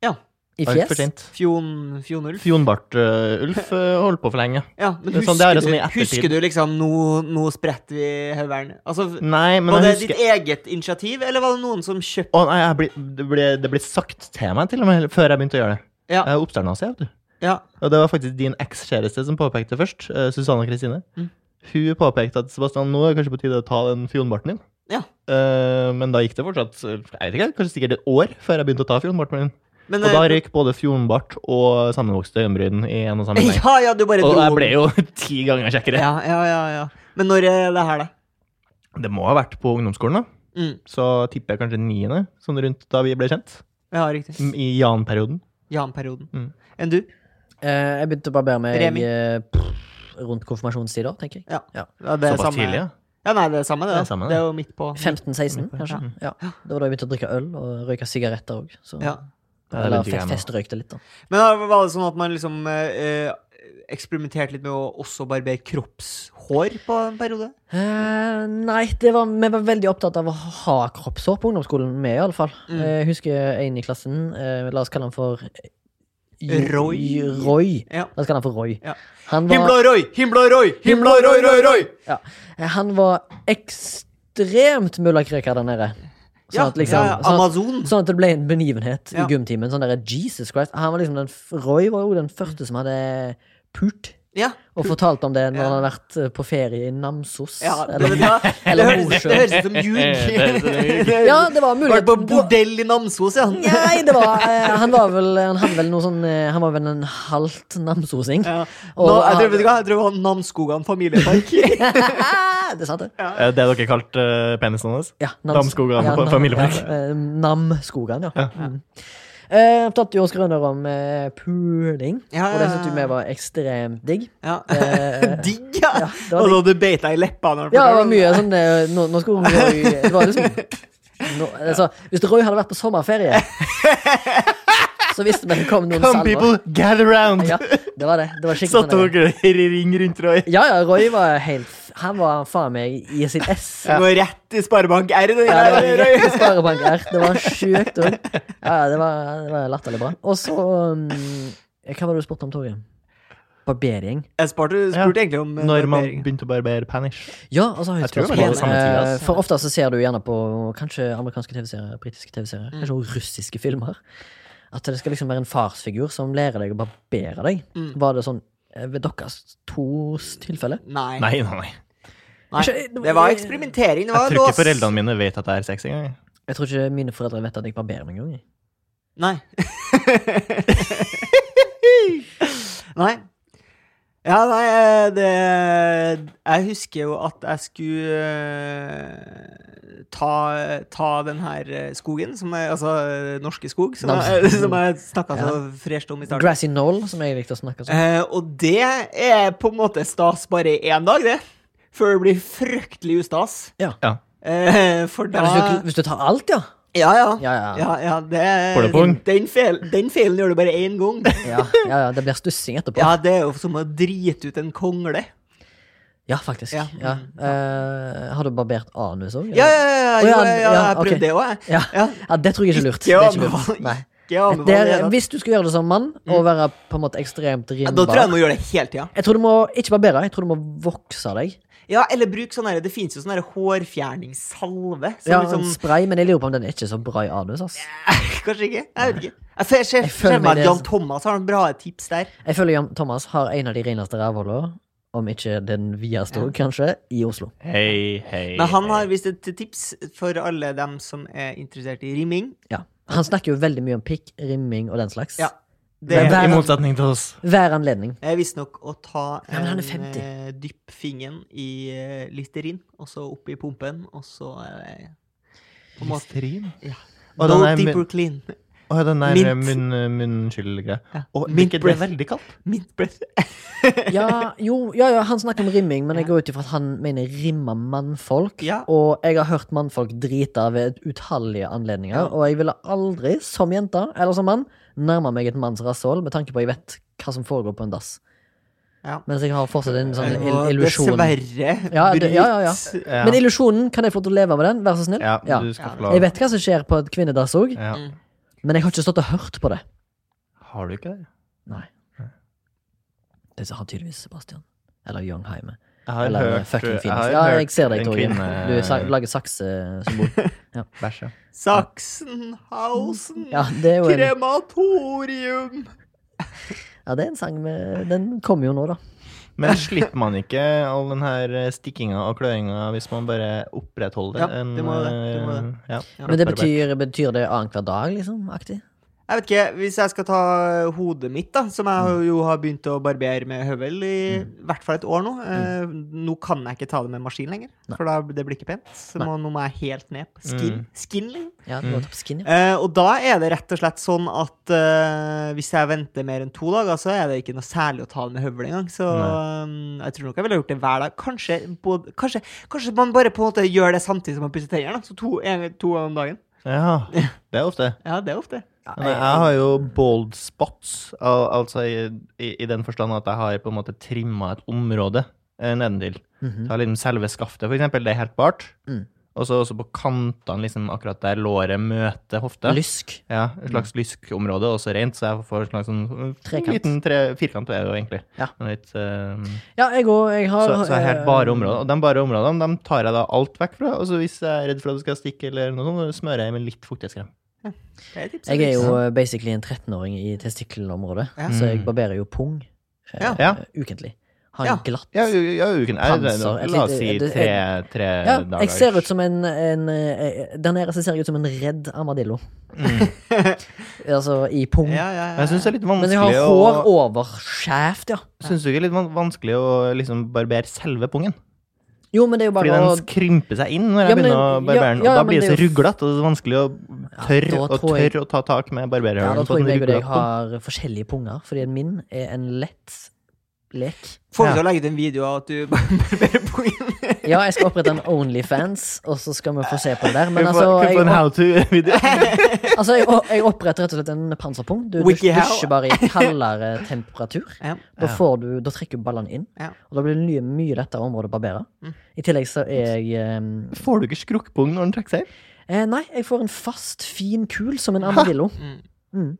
B: Ja.
A: I
C: Alt for
A: fjes.
C: sent.
B: Fjon, Fjonulf?
C: Fjonbart-Ulf eh, holdt på for lenge.
B: Ja, men
C: Det er
B: husker,
C: sånn- det
B: du,
C: er sånn i ettertid.
B: husker du liksom Nå, nå spretter vi høvelen? Altså,
C: Nei, men
B: var det
C: jeg husker
B: ditt eget initiativ, eller var det noen som kjøpte
C: Å nei, jeg ble, det, ble, det ble sagt til meg til og med før jeg begynte å gjøre det.
B: Ja.
C: Jeg er oppstarnazi, vet du.
B: Ja.
C: Og det var faktisk din ekskjæreste som påpekte det først. eh, Susanne Kristine.
B: Mm.
C: Hun påpekte at Sebastian, nå er det kanskje på tide å ta den fjonbarten din.
B: Ja.
C: Eh, men da gikk det fortsatt eh, jeg vet ikke, kanskje sikkert et år før jeg begynte å ta fjonbarten min.
B: Men,
C: Og da
B: eh,
C: røyk både fjonbart og sammenvokste øyenbryn i en og samme vei.
B: (laughs) Ja, ja, du bare
C: Og
B: dro
C: jeg ble
B: den.
C: jo (laughs) ti ganger kjekkere.
B: Ja, ja, ja, ja. Men når er det her, da?
C: Det må ha vært på ungdomsskolen, da.
B: Mm.
C: Så tipper jeg kanskje niende, sånn rundt da vi ble kjent.
B: Ja, riktig.
C: M- I Jan-perioden.
B: Jan-perioden.
C: Mm.
B: Enn du?
A: Eh, jeg begynte å barbere meg
B: Remi.
A: eh, pff, rundt konfirmasjonstider, tenker jeg.
B: Ja.
A: Ja.
B: Ja, det er
C: Såpass
B: samme-
C: tidlig, ja.
B: Ja, nei, det er samme, det.
C: Det
B: da.
C: er samme, det.
B: det er jo midt på.
A: 15-16,
C: Ja.
A: kanskje. Ja. Det var da jeg begynte å drikke øl og røyke sigaretter òg.
B: Ja.
C: Ja, det
A: Eller
C: begynte jeg
A: fe-
C: med.
A: festrøykte litt, da.
B: Men da var det sånn at man liksom eh, eh, eksperimenterte litt med å også barbere kroppshår på en periode?
A: Eh, nei, det var, vi var veldig opptatt av å ha kroppshår på ungdomsskolen, vi i alle fall.
B: Mm.
A: Eh, Jeg husker en i klassen, eh, la oss kalle han for Jo-
B: Roy.
A: Roy.
B: Ja.
A: La oss kalle han for Roy.
B: Ja.
A: Han, var,
B: Himla Roy! Himla Roy! Himla Roy, Roy, Roy!
A: eh, han var ekstremt mullakrøker der nede. Sånn at liksom
B: ja,
A: sånn,
B: Amazon.
A: Sånn at det ble en begivenhet i
B: Ja.
A: gymtimen. Sånn der, Jesus Christ han var liksom den, f- Roy var jo den første som hadde pult,
B: Ja.
A: og fortalte om det når
B: Ja.
A: han hadde vært eh, på ferie i Namsos.
B: ja det,
A: eller,
B: det, det,
A: (laughs) eller
B: høres, det
A: Mosjøen.
B: høres ut
A: (laughs)
B: som (laughs) ljug.
A: Ja, det var mulig.
B: Vært på bordell i Namsos, ja.
A: Nei, det var eh, Han var vel Han hadde vel noe sånn eh, Han var vel en halvt namsosing.
B: ja.
A: Og
B: Nå, jeg
A: han-
B: tror vet du hva, jeg tror det var Namsskogan familiepark.
A: (laughs) (laughs) det er sant, det.
C: Eh, Det dere kalte eh, penisen hans?
A: Ja,
C: Namsskogan på-
A: nam-
C: familiepark.
A: Ja, eh, Namsskogan, ja. Mm. Eh, tatt jo skrøner om eh, puling,
B: Ja,
A: og det
B: ja,
A: syntes vi
B: ja.
A: var ekstremt
B: (laughs)
A: digg.
B: Ja.
A: Eh,
B: (laughs) Digg, ja.
A: ja, det var
B: og så du beit deg i leppa. når du
A: Ja, det var
B: fortalte om
A: mye sånn eh, Nå, nå skulle Roy Det var liksom nå, altså, Hvis Roy hadde vært på sommerferie Så visste vi det kom noen
C: Come
A: salver
C: people, gather round!
A: Ja, det var det Det var skikkelig
C: Satt
A: sånn
C: dere i ring rundt Roy?
A: Ja, ja, Roy var helt Han var faen meg i sitt S
B: Det går rett i Sparebank R. Det,
A: ja, det var
B: der, Røy.
A: rett i Sparebank her. Det var sjukt òg. Ja, ja, det var, det var latterlig bra. Og så um, Hva var det du spurte om, Torgeir? Barbering?
B: Jeg spurte, spurte egentlig om eh,
C: Når man
B: barbering.
C: begynte å barbere penis.
A: Ja, altså høyt
C: Jeg tror det var
A: spørsmål.
B: litt samme
C: tid, altså. ass.
A: Eh, For ofte så ser du gjerne på kanskje amerikanske TV-serier, britiske TV-serier,
B: Mm.
A: kanskje også russiske filmer, at det skal liksom være en farsfigur som lærer deg å barbere deg.
B: Mm.
A: Var det sånn eh, ved deres tos tilfelle?
B: Nei.
C: Nei, nei, nei.
B: Nei.
A: Ikke-
B: Det var eksperimentering. Det
C: Jeg
B: var
C: tror ikke
B: lås.
C: foreldrene mine vet at det er sex engang.
A: Jeg tror ikke mine foreldre vet at jeg barberer meg engang. jeg.
B: (laughs) Nei. nei. Ja, nei, eh, det Jeg husker jo at jeg skulle eh, ta, ta den her eh, skogen, som er, altså eh, Norske Skog, som jeg, (laughs) som jeg snakka så fresht om i starten.
A: Grassy Knoll, som jeg likte å snakke om.
B: Eh, og det er på en måte stas bare i én dag, det. Før det blir fryktelig ustas.
A: Ja.
C: Ja.
B: Eh, for da
A: Ja, hvis, du, hvis du tar alt, ja.
B: Ja, ja.
A: Ja, ja.
B: ja, ja det,
C: Får du pung?
B: den, feil, den feilen gjør du bare én gang.
A: Ja, ja, ja det blir stussing etterpå.
B: Ja, det er jo som å drite ut en kongle.
A: Ja, faktisk.
B: Ja.
A: Ja. Eh, har du barbert anus òg?
B: Ja, ja, ja, ja,
A: Å, ja,
B: ja, ja,
A: ja,
B: jeg prøvde
A: ok.
B: det òg, jeg.
A: Ja.
B: Ja.
A: ja, det tror jeg ikke er lurt. Det
B: Ikke
A: er ikke lurt.
B: anbefale
A: Nei.
B: ikke anbefale
A: Det
B: det,
A: er,
B: da.
A: hvis du skal gjøre det som mann, og være på en måte ekstremt
B: Mm. Ja, Da tror jeg jeg
A: rimbar
B: må gjøre det hele tida.
A: Jeg tror du må ikke barbere, jeg tror du må vokse deg.
B: Ja, eller bruk sånn her Det fins jo sånn her hårfjerningssalve. Som
A: Ja,
B: liksom
A: en Spray, men jeg lurer på om den er ikke så bra i anus. Ass.
B: Kanskje ikke? Jeg vet ikke. Jeg ser- ser
A: Jeg
B: ser
A: føler
B: meg
A: det- altså.
B: at Jan Thomas har noen bra tips der.
A: Jeg føler Jan Thomas har en av de reneste rævhullene, om ikke den videste, kanskje, i Oslo.
C: Hei, hei.
B: Men han
C: hei.
B: har visst et tips for alle dem som er interessert i rimming.
A: Ja. Han snakker jo veldig mye om pikk, rimming og den slags.
B: Ja. Det
A: Men
B: er
C: I
A: hver,
C: motsetning til oss.
A: hver anledning.
B: visstnok å ta
A: Ja, men han
B: en
A: er 50.
B: eh, dypp fingeren i eh, Listerin, og så opp i pumpen, og så eh, på en måte
C: Listerin?
B: ja.
C: Og
B: Go
C: den er
B: deeper
C: munn-
B: clean.
C: Og den der eh,
B: Mint.
C: munn- munnskyldgreia.
B: Ja.
C: Og
B: Mint
C: ikke- det
B: breath.
C: er veldig kaldt.
B: Mint breath.
A: Ja, jo, ja, ja, han snakker om rimming, men jeg går ut ifra at han mener rimma mannfolk.
B: Ja.
A: Og jeg har hørt mannfolk drite ved utallige anledninger,
B: Ja.
A: og jeg ville aldri, som jente eller som mann, nærma meg et manns rasshøl med tanke på at jeg vet hva som foregår på en dass.
B: Ja. Eh,
A: Mens jeg har fortsatt en sånn
B: Og
A: ill- illusjon.
B: Dessverre.
A: Ja, det- ja, ja, ja.
B: bryt-
C: Ja.
A: Men illusjonen, kan jeg få til å leve med den, vær så snill?
C: ja,
A: Ja.
C: du skal få
B: Ja.
C: lov.
A: Jeg vet hva som skjer på et kvinnedass òg,
C: Ja.
B: Mm.
A: men jeg har ikke stått og hørt på det.
C: Har du ikke det?
A: Nei. Det har tydeligvis Sebastian. Eller Young Heime.
C: Jeg har
A: Eller
C: hørt eh,
A: fucking
C: jeg
A: Phoenix.
C: har
A: Ja,
C: hørt
A: jeg ser deg,
C: en
A: Torgrim.
C: kvinne- eh,
A: Du sa- lager eh,
C: (laughs)
A: saksesymbol.
C: Bæsje.
B: Sachsenhausen,
A: Ja, det er jo en,
B: krematorium
A: ja, det er en sang med Den kommer jo nå, da.
C: Men slipper man ikke all den her eh, stikkinga og kløinga hvis man bare opprettholder
B: Ja, det må det, det må det.
C: eh, ja,
A: Men det betyr, betyr det annenhver dag, liksom? Aktig?
B: Jeg vet ikke, Hvis jeg skal ta eh, hodet mitt, da, som
C: Mm.
B: jeg jo har begynt å barbere med høvel i hvert fall et år nå eh,
C: Mm.
B: Nå kan jeg ikke ta det med maskin lenger, for da det blir ikke pent. Så nå, nå må jeg helt ned på skin.
C: Mm.
B: skin liksom.
A: Ja, du må ta på skin, ja.
B: Eh, og da er det rett og slett sånn at eh, hvis jeg venter mer enn to dager, så er det ikke noe særlig å ta det med høvel engang. Så eh, jeg tror nok jeg ville gjort det hver dag. Kanskje, både, kanskje, kanskje man bare på en måte gjør det samtidig som man pusser tennene. da. Så to, en, to ganger om dagen.
C: Ja, det er ofte.
B: Ja, det er ofte.
C: Men jeg har jo bold spots, al altså i, i, i den forstand at jeg har på en måte trimma et område eh, nedentil. Ta liksom selve skaftet, for eksempel. Det er helt bart.
A: Mhm. Mm.
C: Og så også på kantene, liksom akkurat der låret møter hofta.
A: Lysk.
C: Ja, et slags lyskområde, også rent, så jeg får en slags sånn
A: Trekant.
C: liten tre, firkant er det jo egentlig.
A: Ja.
C: Men Litt, eh,
A: Ja, jeg òg. Jeg har
C: så, så er her
A: eh,
C: bare områder. Og de bare områdene de tar jeg da alt vekk fra. Og så hvis jeg er redd for at det skal stikke, eller noe sånt, så smører jeg med litt fuktighetskrem.
B: Det er tipset
A: Jeg er
B: mitt.
A: jo eh, basically en 13-åring i testikkelområdet,
B: Ja.
A: så jeg barberer jo pung eh,
B: Ja.
C: Mm. Ja.
A: ukentlig. Har
B: Ja.
A: en glatt
C: Ja, u- ja uken. Jeg,
A: Panser, et
C: la oss
A: lite-
C: si
A: et- et-
C: tre, tre
A: Ja,
C: dager.
A: jeg ser ut som en, en eh, Der nede så ser jeg ut som en redd armadillo.
C: Mm.
A: (laughs) altså i pung.
B: Ja, ja, ja.
C: Men jeg syns det er litt
A: Men jeg har
C: vanskelig
A: hår
C: å
A: over skjevt, ja.
C: Syns du ikke det er litt van- vanskelig å liksom barbere selve pungen?
A: Jo, men det er jo
C: Fordi
A: bare å
C: den krymper seg inn når jeg
A: Ja, men
C: begynner å
A: den-
C: barbere den.
A: ja, ja,
C: og da blir
A: men
C: det så
A: det er jo-
C: ruglete, og det er vanskelig å tørre,
A: Ja, da
C: og
A: tror jeg-
C: tørre å ta tak med
A: Ja, da
C: barberhølen.
A: tror jeg meg og deg
C: har...
A: har forskjellige punger, fordi min er en lett lek.
B: Får vi
C: Ja.
B: til å legge ut en video av at du (laughs) barberer pungen?
A: Ja, jeg skal opprette en Onlyfans, og så skal vi få se på det der. Men
C: Kunne få
A: altså,
C: kunne få en
A: jeg,
C: how to-video.
A: altså jeg, jeg oppretter rett og slett en panserpung. Du dus-
B: Wiki how?
A: dusjer bare i kaldere temperatur.
B: Ja.
A: Da,
C: Ja.
A: får du, da trekker du ballene inn,
B: Ja.
A: og da blir det mye, mye lettere område å barbere.
B: Mm.
A: I tillegg så er jeg ehm,
C: (laughs) Får du ikke skrukkpung når den trekker seg inn?
A: eh, Nei, jeg får en fast, fin kul
C: (laughs)
A: som en armadillo.
B: Mm.
A: Mm.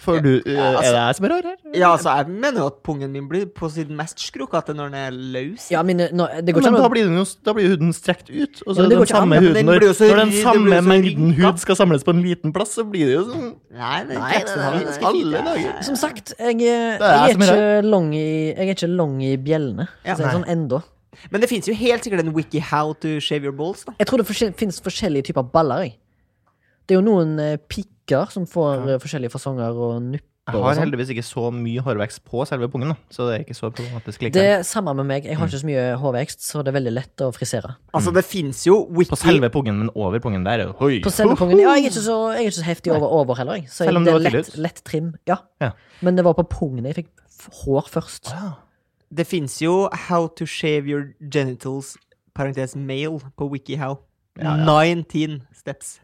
C: Får du, eh,
B: Ja, altså-
C: er det jeg som er rar her?
B: Ja, altså, jeg mener jo at pungen min blir på sin mest skrukkete når den er løs.
A: Ja, mine, nå, det går ikke
C: Men
A: an
C: da
A: å
C: blir, den jo, da blir huden strekt ut,
A: Ja,
C: og så
A: men
C: er
A: det
C: den
A: går ikke an,
C: samme
A: ja,
B: men
C: huden
B: den
C: når,
B: blir jo så
C: når den
B: ri- det
C: samme
B: blir jo så
C: mengden
B: rynka.
C: hud skal samles på en liten plass, så blir det jo sånn
B: Nei, den
A: Nei, den
B: teksten her
A: er
B: er ganske fin,
C: Alle
B: ja.
C: dager!
A: Som sagt, jeg, eh, jeg,
C: Det er
A: er,
C: jeg som er
A: ikke lang i, jeg er ikke lang i bjellene.
B: Ja.
A: så jeg er sånn enda.
B: Men det fins jo helt sikkert en wiki how to shave your balls, da.
A: Jeg tror det forskjell, finnes forskjellige typer baller. Jeg. Det er jo noen eh, pikker som får eh, forskjellige fasonger og nupper.
C: Jeg
A: og
C: har
A: sånn.
C: heldigvis ikke så mye hårvekst på selve pungen, da, så det er ikke så problematisk
A: Det
C: likevel.
A: er samme med meg. Jeg har ikke så mye hårvekst, så det er veldig lett å frisere.
B: Altså, det fins jo wiki
C: På selve pungen, men over pungen der er det hoi!
A: På selve pungen, ja, jeg er ikke så, jeg er ikke så heftig over, over heller, jeg. Så jeg,
C: Selv om
A: det
C: det
A: er
C: var tidlig
A: lett,
C: ut?
A: lett trim. Ja.
C: Ja.
A: Men det var på pungen jeg fikk f- hår først.
C: Ja.
B: Det fins jo how to shave your genitals, parentes male, på wikihow.
C: Ja,
B: 19 steps.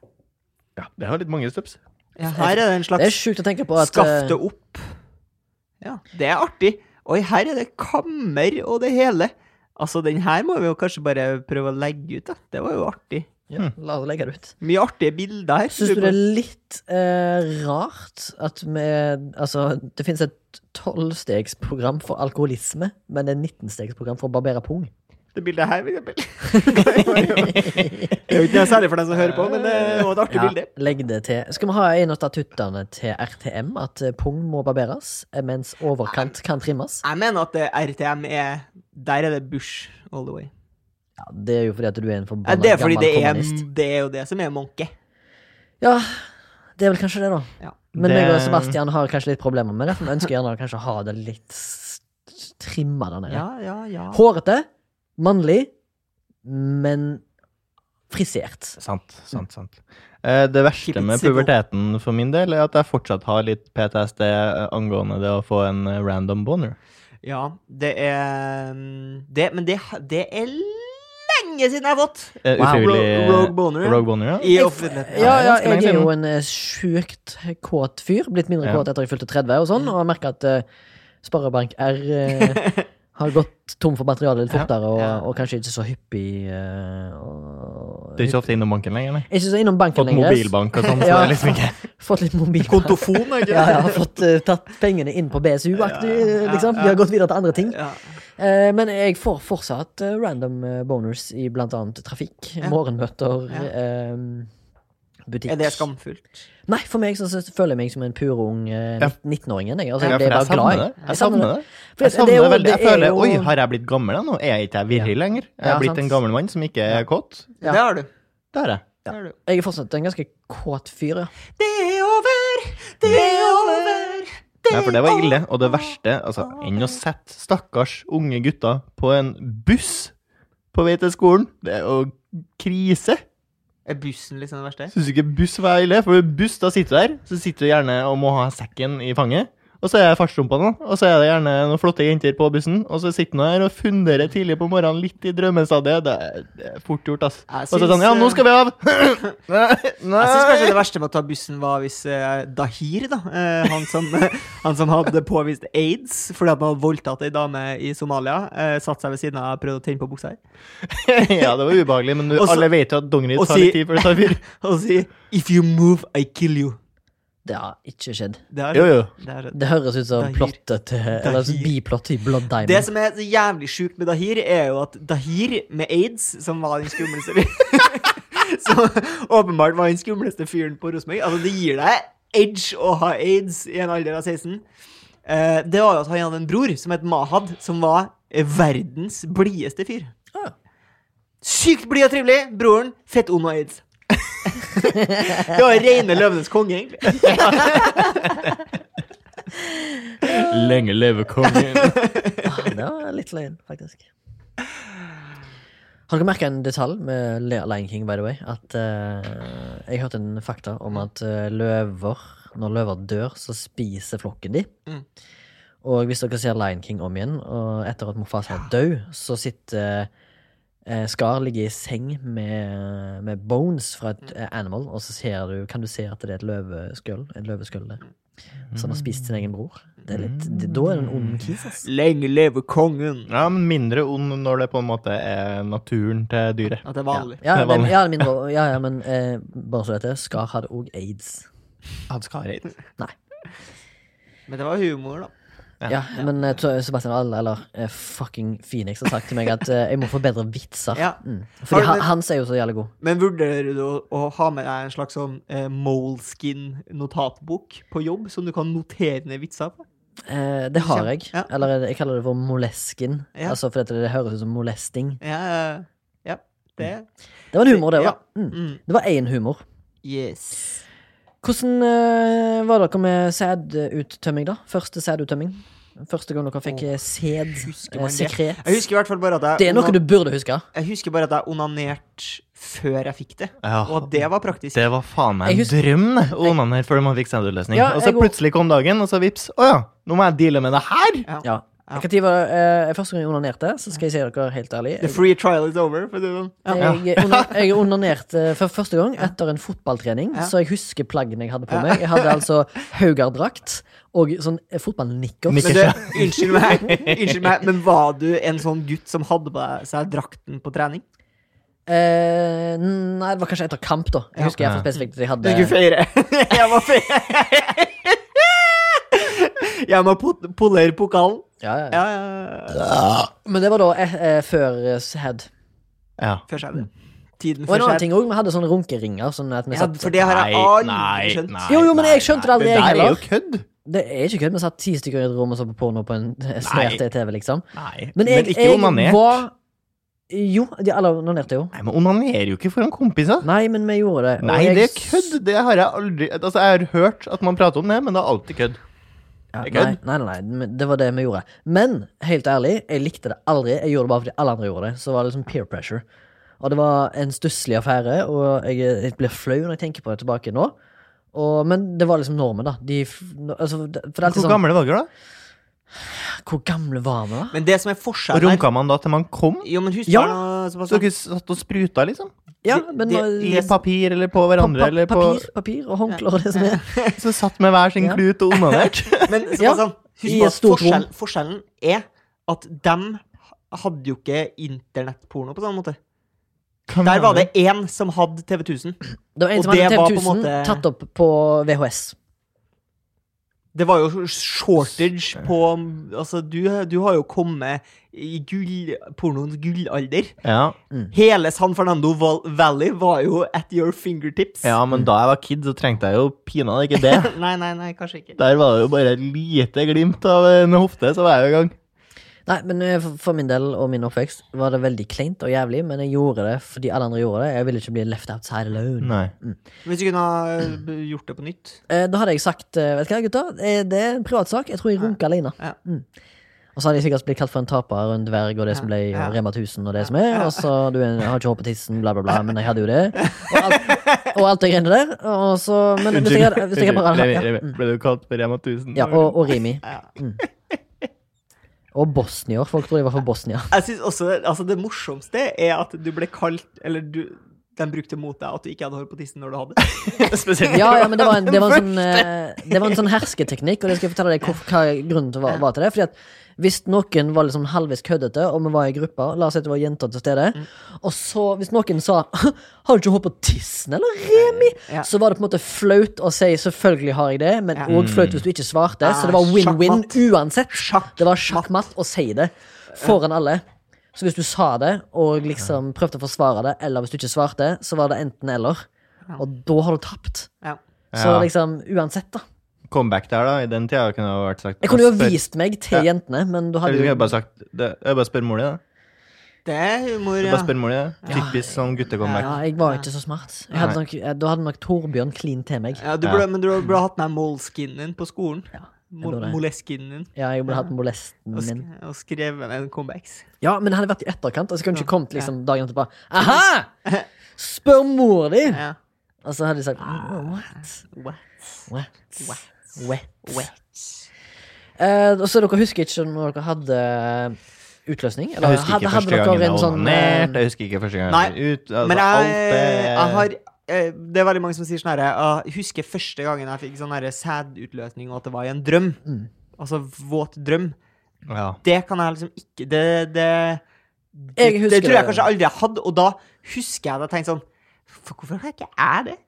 C: Ja, det har litt mange steps.
B: Ja, her er det en
A: Det er
B: slags
A: sjukt å tenke på at eh,
B: skaft det opp. Ja, det er artig. Oi, her er det kammer og det hele. Altså, den her må vi jo kanskje bare prøve å legge ut, da. Det var jo artig.
A: ja, La oss legge det ut.
B: Mye artige bilder her.
A: Syns du det er litt eh, rart at vi Altså, det finnes et tolvstegsprogram for alkoholisme, men et 19-stegsprogram for å barbere pung.
B: Det bildet her, for eksempel. det er jo ikke noe særlig for deg som hører på, men det var et artig
A: Ja,
B: bilde.
A: legg det til. Skal vi ha en av statuttene til RTM, at eh, pung må barberes, eh, mens overkant kan trimmes?
B: Jeg mener at eh, RTM er Der er det Bush all the way.
A: Ja, det er jo fordi at du er en
B: Ja,
A: forbanna
B: det er fordi
A: gammel
B: det er,
A: kommunist.
B: det er jo det som er Monke.
A: Ja, det er vel kanskje det, da.
B: Ja.
A: Men
C: Det-
A: meg og Sebastian har kanskje litt problemer med det, for vi ønsker gjerne å kanskje ha det litt s- s- trimma der nede.
B: Ja, ja, ja.
A: Hårete, mannlig, men frisert.
C: Sant, sant, sant. Eh, Det
B: Keep
C: verste
B: it
C: med
B: simple.
C: puberteten for min del er at jeg fortsatt har litt PTSD angående det å få en eh, random boner.
B: Ja, det er mm, det, Men det, det er lenge siden jeg har fått
C: Eh,
A: Wow.
B: Ro-
C: Ufrivillig
B: Rogue Boner.
C: Rogue boner, ja.
B: I
A: Jeg-
B: offentligheten.
A: Ja, ja,
C: det er ganske lenge
A: jeg er
C: siden.
A: jo en eh, sjukt kåt fyr. Blitt mindre
C: Ja.
A: kåt etter jeg fylte 30 og sånn, og jeg merker at eh, Sparebank R
C: (laughs)
A: eh, har gått tom for materiale litt
C: Ja.
A: fortere, og,
B: Ja.
A: og kanskje ikke så hyppig eh, og,
C: Du er ikke ofte innom banken lenger, nei.
A: Jeg er Ikke så innom banken
C: Fått
A: lenger.
C: mobilbank og sånn, så
A: (laughs) Ja.
C: det er liksom ikke
A: Fått litt mobil.
B: Kontofon, er ikke (laughs)
A: Ja, jeg har fått eh, tatt pengene inn på BSU-aktig,
B: ja,
A: liksom.
B: ja.
A: Vi har gått videre til andre ting.
B: Ja.
A: Eh, men jeg får fortsatt eh, random eh, boners i blant annet trafikk,
B: Ja.
A: morgenmøter,
B: Ja.
A: eh, butikk.
B: Er det skamfullt?
A: Nei, for meg så, så føler jeg meg som en purung eh,
C: Ja.
A: 19-åringen. jeg. Altså, jeg
C: Ja, for
A: blir
C: jeg
A: bare
C: savner
A: glad.
C: det. Jeg savner det. Jeg
A: For det
C: savner
A: er
C: det
A: jo-
C: veldig.
A: det
C: Jeg
A: er
C: føler
A: jo-
C: Oi, har jeg blitt gammel da nå? Er jeg ikke jeg virrig lenger? Jeg
A: Ja,
C: er blitt
A: sant.
C: en gammel mann som ikke er kåt?
A: Ja.
B: Det har du.
C: Det er jeg.
B: Det har du.
A: Jeg er fortsatt en ganske kåt fyr, ja.
B: Det er over, det er over.
C: Nei, for det var ille. Og det verste, altså, enn å sette stakkars unge gutter på en buss på vei til skolen, det er jo krise.
B: Er bussen liksom det verste?
C: Syns du ikke buss var ille? For buss, da sitter du der, så sitter du gjerne og må ha sekken i fanget. Og så er jeg fartsrumpa nå, og så er det gjerne noen flotte jenter på bussen. Og så sitter han her og funderer tidlig på morgenen, litt i drømmestadiet. Det er, det er fort gjort, ass.
B: Jeg
C: Og så er det sånn
B: syns,
C: Ja, nå
B: eh,
C: skal vi av! Nei,
B: Jeg syns kanskje
C: nei.
B: det verste med å ta bussen var hvis eh, Dahir, da, eh, han, som, (laughs) han som hadde påvist aids fordi at man hadde voldtatt ei dame i Somalia, eh, satte seg ved siden av og prøvde å tenne på buksa her,
C: (laughs) Ja, det var ubehagelig, men du,
B: Og så-
C: alle vet jo at dongeri
B: og
C: tar
B: si-
C: litt tid før det tar
B: (laughs)
C: fyr.
B: og si 'If you move, I kill you'.
A: Det har ikke skjedd.
B: Det har
C: Jo, jo.
B: Det har skjedd.
A: Det høres ut som
B: Dahir.
A: plottet til Eller
B: Dahir.
A: biplottet i Blood Diamond.
B: Det som er så jævlig sjukt med Dahir, er jo at Dahir med aids, som var den skumleste (laughs) Som åpenbart var den skumleste fyren på Rosenborg Altså, det gir deg edge å ha aids i en alder av 16. Eh, det var jo at han hadde en bror som het Mahad, som var eh, verdens blideste fyr.
A: Ah.
B: Sykt blid og trivelig! Broren fett ond og aids. det var reine løvenes konge, egentlig.
C: Lenge leve kongen.
A: Ah, (laughs) det var litt løgn, faktisk. Har dere merka en detalj med Le- Lion King, by the way? At eh, Jeg hørte en fakta om at eh, løver Når løver dør, så spiser flokken de.
B: Mm.
A: Og hvis dere ser Lion King om igjen, og etter at Mofasa er død, så sitter eh, Skar ligger i seng med, med bones fra et eh, animal, og så ser du, kan du se at det er et løveskull. En løveskull der. Som har spist sin egen bror. Det er litt, det, da er det en ond kis, ass.
B: Lenge leve kongen.
C: Ja, men mindre ond når det på en måte er naturen til dyret.
B: At det er vanlig.
A: Ja,
C: Det er
A: men,
C: vanlig.
A: ja, det er mindre, ja, ja, men eh, bare så dette, Skar hadde òg aids.
C: Hadde Skareid.
B: Men det var humor, da.
C: Ja.
A: Ja, Men eh, så- Sebastian All, eller eh, fucking Phoenix, har sagt til meg at eh, jeg må få bedre vitser.
B: Ja.
A: Mm.
B: Har
A: Fordi
B: du-
A: han, hans er jo så jævlig god.
B: Men vurderer du å, å ha med deg en slags sånn eh, Moleskin-notatbok på jobb, som du kan notere ned vitser på?
A: Eh, det har jeg.
B: Ja.
A: Eller eh, jeg kaller det for molesken.
B: Ja.
A: Altså fordi det, det høres ut som molesting.
B: Ja, eh, ja det
A: Det var en humor, det òg.
B: Ja.
A: Mm.
B: mm,
A: Det var én humor.
B: Yes.
A: Hvordan eh, var dere med sæduttømming, da? Første sæduttømming? Første gang dere fikk eh, sæd?
B: husker man
A: Eh,
B: det?
A: sekret?
B: Jeg husker i hvert fall bare at jeg,
A: Det er noe
B: onan-
A: du burde huske.
B: jeg husker bare at jeg onanerte før jeg fikk det,
C: Ja.
B: og at det var praktisk.
C: Det var faen meg
A: Jeg
C: en
A: husker-
C: drøm det, å onanere før man fikk sendeløsning.
A: Ja,
C: og så
A: jeg går-
C: plutselig kom dagen, og så vips. Å ja, nå må jeg deale med det her!
A: Ja.
B: Ja.
A: Hva tid var det, eh, første gang jeg onanerte, så skal jeg si dere helt ærlig.
B: The free trial is over. For å si det sånn.
A: Jeg, jeg, ona-
B: (laughs)
A: jeg onanerte eh, for første gang etter en fotballtrening,
B: Ja.
A: så jeg husker plaggene jeg hadde på meg. Jeg
B: (laughs)
A: hadde altså Haugar-drakt og sånn eh, fotballnikkers.
B: Men det, unnskyld, meg, unnskyld meg, men var du en sånn gutt som hadde på deg- seg drakten på trening?
A: Eh, nei, det var kanskje etter kamp, da. Jeg
B: Ja.
A: husker i hvert fall spesifikt at jeg
B: Du skulle
A: hadde
B: feire. Jeg må feire. Jeg må po- polere pokalen.
A: ja, ja.
B: Ja, ja, ja.
A: Men det var da eh, eh, før eh, head.
C: Ja.
B: Før skjedd. Tiden
A: Og en
B: før
A: annen
B: skjedd.
A: ting òg, vi hadde sånne runkeringer. Sånn at vi
B: Ja,
A: satt,
B: for det har jeg
C: Nei,
B: aldri
C: nei,
B: skjønt.
C: nei,
A: Jo, jo, men jeg
C: nei,
A: skjønte det
C: nei.
A: aldri, jeg
C: Det der er
A: heller.
C: jo kødd.
A: det er ikke kødd, vi satt ti stykker i et rom og så på porno på en eh, snert
C: Nei.
A: TV, liksom.
C: Nei,
A: Men jeg,
C: ikke
A: jeg
C: onanert.
A: var Jo, de alle onanerte jo.
C: Nei, men onanerer jo ikke foran kompiser.
A: Nei, men vi gjorde det. og
C: Nei,
A: jeg-
C: det er kødd. Det har jeg aldri Altså, jeg har hørt at man prater om det, men det er alltid kødd.
A: Ja,
C: Det er
A: nei,
C: kødd.
A: nei, nei, nei, men det var det vi gjorde. Men helt ærlig, jeg likte det aldri. Jeg gjorde det bare fordi alle andre gjorde det. Så var det liksom peer pressure. Og det var en stusslig affære, og jeg, jeg blir flau når jeg tenker på det tilbake nå. Og, men det var liksom normen, da. De, f- altså, det- for det er alltid
C: Hvor
A: sånn
C: gamle var dere da?
A: Hvor gamle var vi, da?
B: Men det som er Sånn.
C: Og
B: forskjellen her
C: runka man da til man kom?
B: Jo, men husk
A: Ja.
B: bare nå, Sebastian.
C: Så dere satt og spruta, liksom?
A: Ja,
B: det-
A: men
B: det-
A: nå-
C: I papir eller på
A: pa-
C: hverandre
A: pa-
C: eller på
A: papir, papir og håndklær og det som er.
C: Så satt med hver sin
A: Ja.
C: klut og
B: (laughs)
C: onanerte?
B: Men
A: Ja.
B: Sebastian,
A: I
B: husk
A: et
B: på at
A: stort rom.
B: forskjell, forskjellen er at dem hadde jo ikke internettporno på samme måte. Der var det én som hadde TV 1000.
A: Det var en
B: Og
A: som hadde
B: det var på en
A: TV1000
B: måte-
A: tatt opp på VHS.
B: Det var jo shortage på Altså, du, du har jo kommet i gull, pornoens gullalder.
C: Ja.
B: Hele San Fernando Val Valley var jo at your fingertips.
C: ja, men da jeg var kid, så trengte jeg jo pinadø ikke
A: (laughs)
C: det.
B: (laughs) Nei, nei, nei, kanskje ikke.
C: Der var det jo bare et lite glimt av en hofte, så var jeg jo i gang.
A: Nei, men eh, for- for min del og min oppvekst var det veldig kleint og jævlig, men jeg gjorde det fordi alle andre gjorde det. Jeg ville ikke bli left outside alone.
C: Nei.
B: Hvis du kunne ha eh, gjort det på nytt.
A: Eh, da hadde jeg sagt eh, Vet du hva, gutter, Eh, det er en privatsak. Jeg tror jeg runker alene.
B: Ja.
A: Mm. Og så hadde jeg sikkert blitt kalt for en taper og en dverg og det som ble og
B: Ja. (laughs)
A: Rema 1000 og det som er. Og så du er- har ikke hår på tissen, bla, bla, bla. Men jeg hadde jo det. Og alt, og alt det greiene der. Og så, men hvis jeg, hadde- hvis jeg bare hadde
C: Remi,
A: ja,
C: Remi,
A: mm.
C: ble du kalt på Rema 1000?
A: ja, og, og Rimi.
B: Ja.
A: Mm. Og bosnier. Folk tror jeg var fra Bosnia.
B: Jeg synes også, altså Det morsomste er at du ble kalt Eller du, de brukte mot deg at du ikke hadde hår på tissen når du hadde det. (laughs) Spesielt.
A: Ja, ja, men det var en, det
B: (laughs)
A: var en, sånn, eh, det var en sånn hersketeknikk, og det skal jeg fortelle deg hvor, hva grunnen til var, var til det. Fordi at hvis noen var liksom halvvis køddete, og vi var i grupper, la oss si at det var jenter til stede,
B: Mm.
A: og så hvis noen sa (laughs) 'Har du ikke hår på tissen, eller, Remi?'
B: Ja.
A: Så var det på en måte flaut å si 'selvfølgelig har jeg det', men
B: Ja.
A: òg flaut hvis du ikke svarte. Så det
B: Ah,
A: var win-win
B: sjakkmatt.
A: uansett.
B: Sjakk.
A: Det var sjakkmatt å si det foran alle. Så hvis du sa det, og liksom prøvde å forsvare det, eller hvis du ikke svarte, så var det enten-eller.
B: Ja.
A: Og da har du tapt.
B: Ja.
A: Så
C: Ja.
A: liksom, uansett, da.
C: Comeback der, da? I den tida kunne det vært sagt
A: Jeg kunne jo ha
C: Spør-
A: vist meg til
C: Ja.
A: jentene, men du
C: Eller
A: hadde
C: du kunne
A: jo
C: bare sagt det. Jeg bare spør mor di, da.
B: Det er humor,
C: Jeg
B: ja.
C: bare spør mor di. da.
A: Ja.
C: Typisk sånn
A: ja,
C: gutte-comeback.
A: jeg var ikke så smart. Jeg hadde
C: Nei.
A: nok, eh, da hadde nok Torbjørn klint til meg.
B: ja du burde, Men du burde hatt med moleskinen din på skolen. Mo-
A: burde det.
B: Moleskinen din.
A: Ja, jeg burde hatt molesten
B: Og, sk
A: min.
B: og skrevet en comebacks.
A: Ja, men det hadde vært i etterkant. Altså, jeg kunne ikke kommet
B: Ja.
A: liksom dagen etterpå. Aha! Spør mor di!
B: Ja.
A: (laughs) Og så hadde de sagt "Mm, What?
B: Wet.
A: What?
B: Wet.
A: Wet.
B: Wet.
A: Eh, og så dere husker ikke når dere hadde eh, utløsning? Eller
C: Jeg husker
A: hadde,
C: ikke
A: hadde
C: første
A: dere
C: gangen jeg
A: en sånn eh,
C: onanerte. Jeg husker ikke første gangen jeg var ut. Altså,
B: Men
C: alt
B: jeg,
C: det-
B: jeg har eh, Det er veldig mange som sier sånn her Jeg husker første gangen jeg fikk sånn her sædutløsning, og at det var i en drøm.
A: Mm.
B: Altså våt drøm.
C: ja.
B: Det kan jeg liksom ikke Det, det, det,
A: Jeg husker
B: det tror jeg
A: det.
B: kanskje aldri jeg hadde, og da husker jeg det og tenkte sånn "For Hvorfor har ikke jeg det?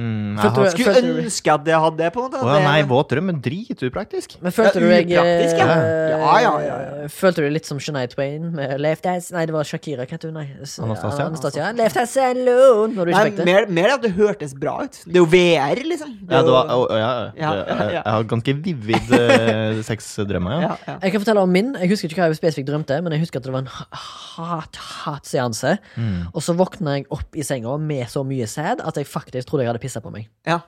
C: Mm, jeg
A: Følte
C: har
A: du-
B: Skulle ønske at jeg hadde det, på en måte.
C: Å
B: Det-
C: ja, nei, våt drøm er drituspraktisk.
A: Men følte
B: Ja,
A: du deg
B: upraktisk, ja.
A: eh,
B: Ja, ja, ja,
A: Følte du deg litt som Shania Twain med Left Hands Nei, det var Shakira, hva het hun? Nei, s-
C: Anastasia.
A: Anastasia. Left Hands Alone! Når du ikke
B: Nei,
A: fikk det.
B: mer, mer at det hørtes bra ut. Det er jo VR, liksom. Det er
C: Ja, det var,
B: jo-
C: å, ja,
B: Ja,
C: det-
B: ja,
C: jeg,
B: ja.
C: jeg har ganske vivid eh, sexdrømmer, ja.
B: ja, ja.
A: Jeg kan fortelle om min. Jeg husker ikke hva jeg spesifikt drømte, men jeg husker at det var en hat, hat seanse.
C: Mm.
A: Og så våkna jeg opp i senga med så mye sæd at jeg faktisk trodde jeg hadde pissa på meg.
B: ja.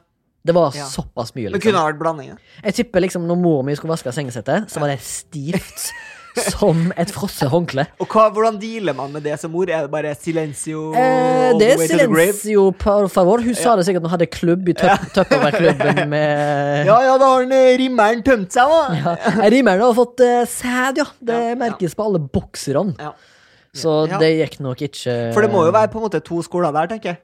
A: Det var
B: Ja.
A: såpass mye.
B: Men kunne
A: Liksom.
B: ha vært blanding, ja.
A: Jeg tipper liksom når mor mi skulle vaske sengesettet, så var det
B: (laughs)
A: stivt som et frosset håndkle.
B: Og hva, hvordan dealer man med det som ord? Er det bare silencio?
A: Eh,
B: all
A: det
B: the
A: er
B: way to the grave?
A: silencio, por favor. Hun sa det sikkert når hun hadde klubb i tøp-
B: (laughs)
A: Tupperware-klubben med
B: Ja, ja, da har den eh, rimmeren tømt seg, da.
A: ja. Rimerne har fått eh, sæd, ja. Det
B: Ja, ja.
A: merkes på alle bokserne.
B: Ja.
A: Så
B: Ja.
A: det gikk nok ikke
B: For det må jo være på en måte to skoler der, tenker jeg.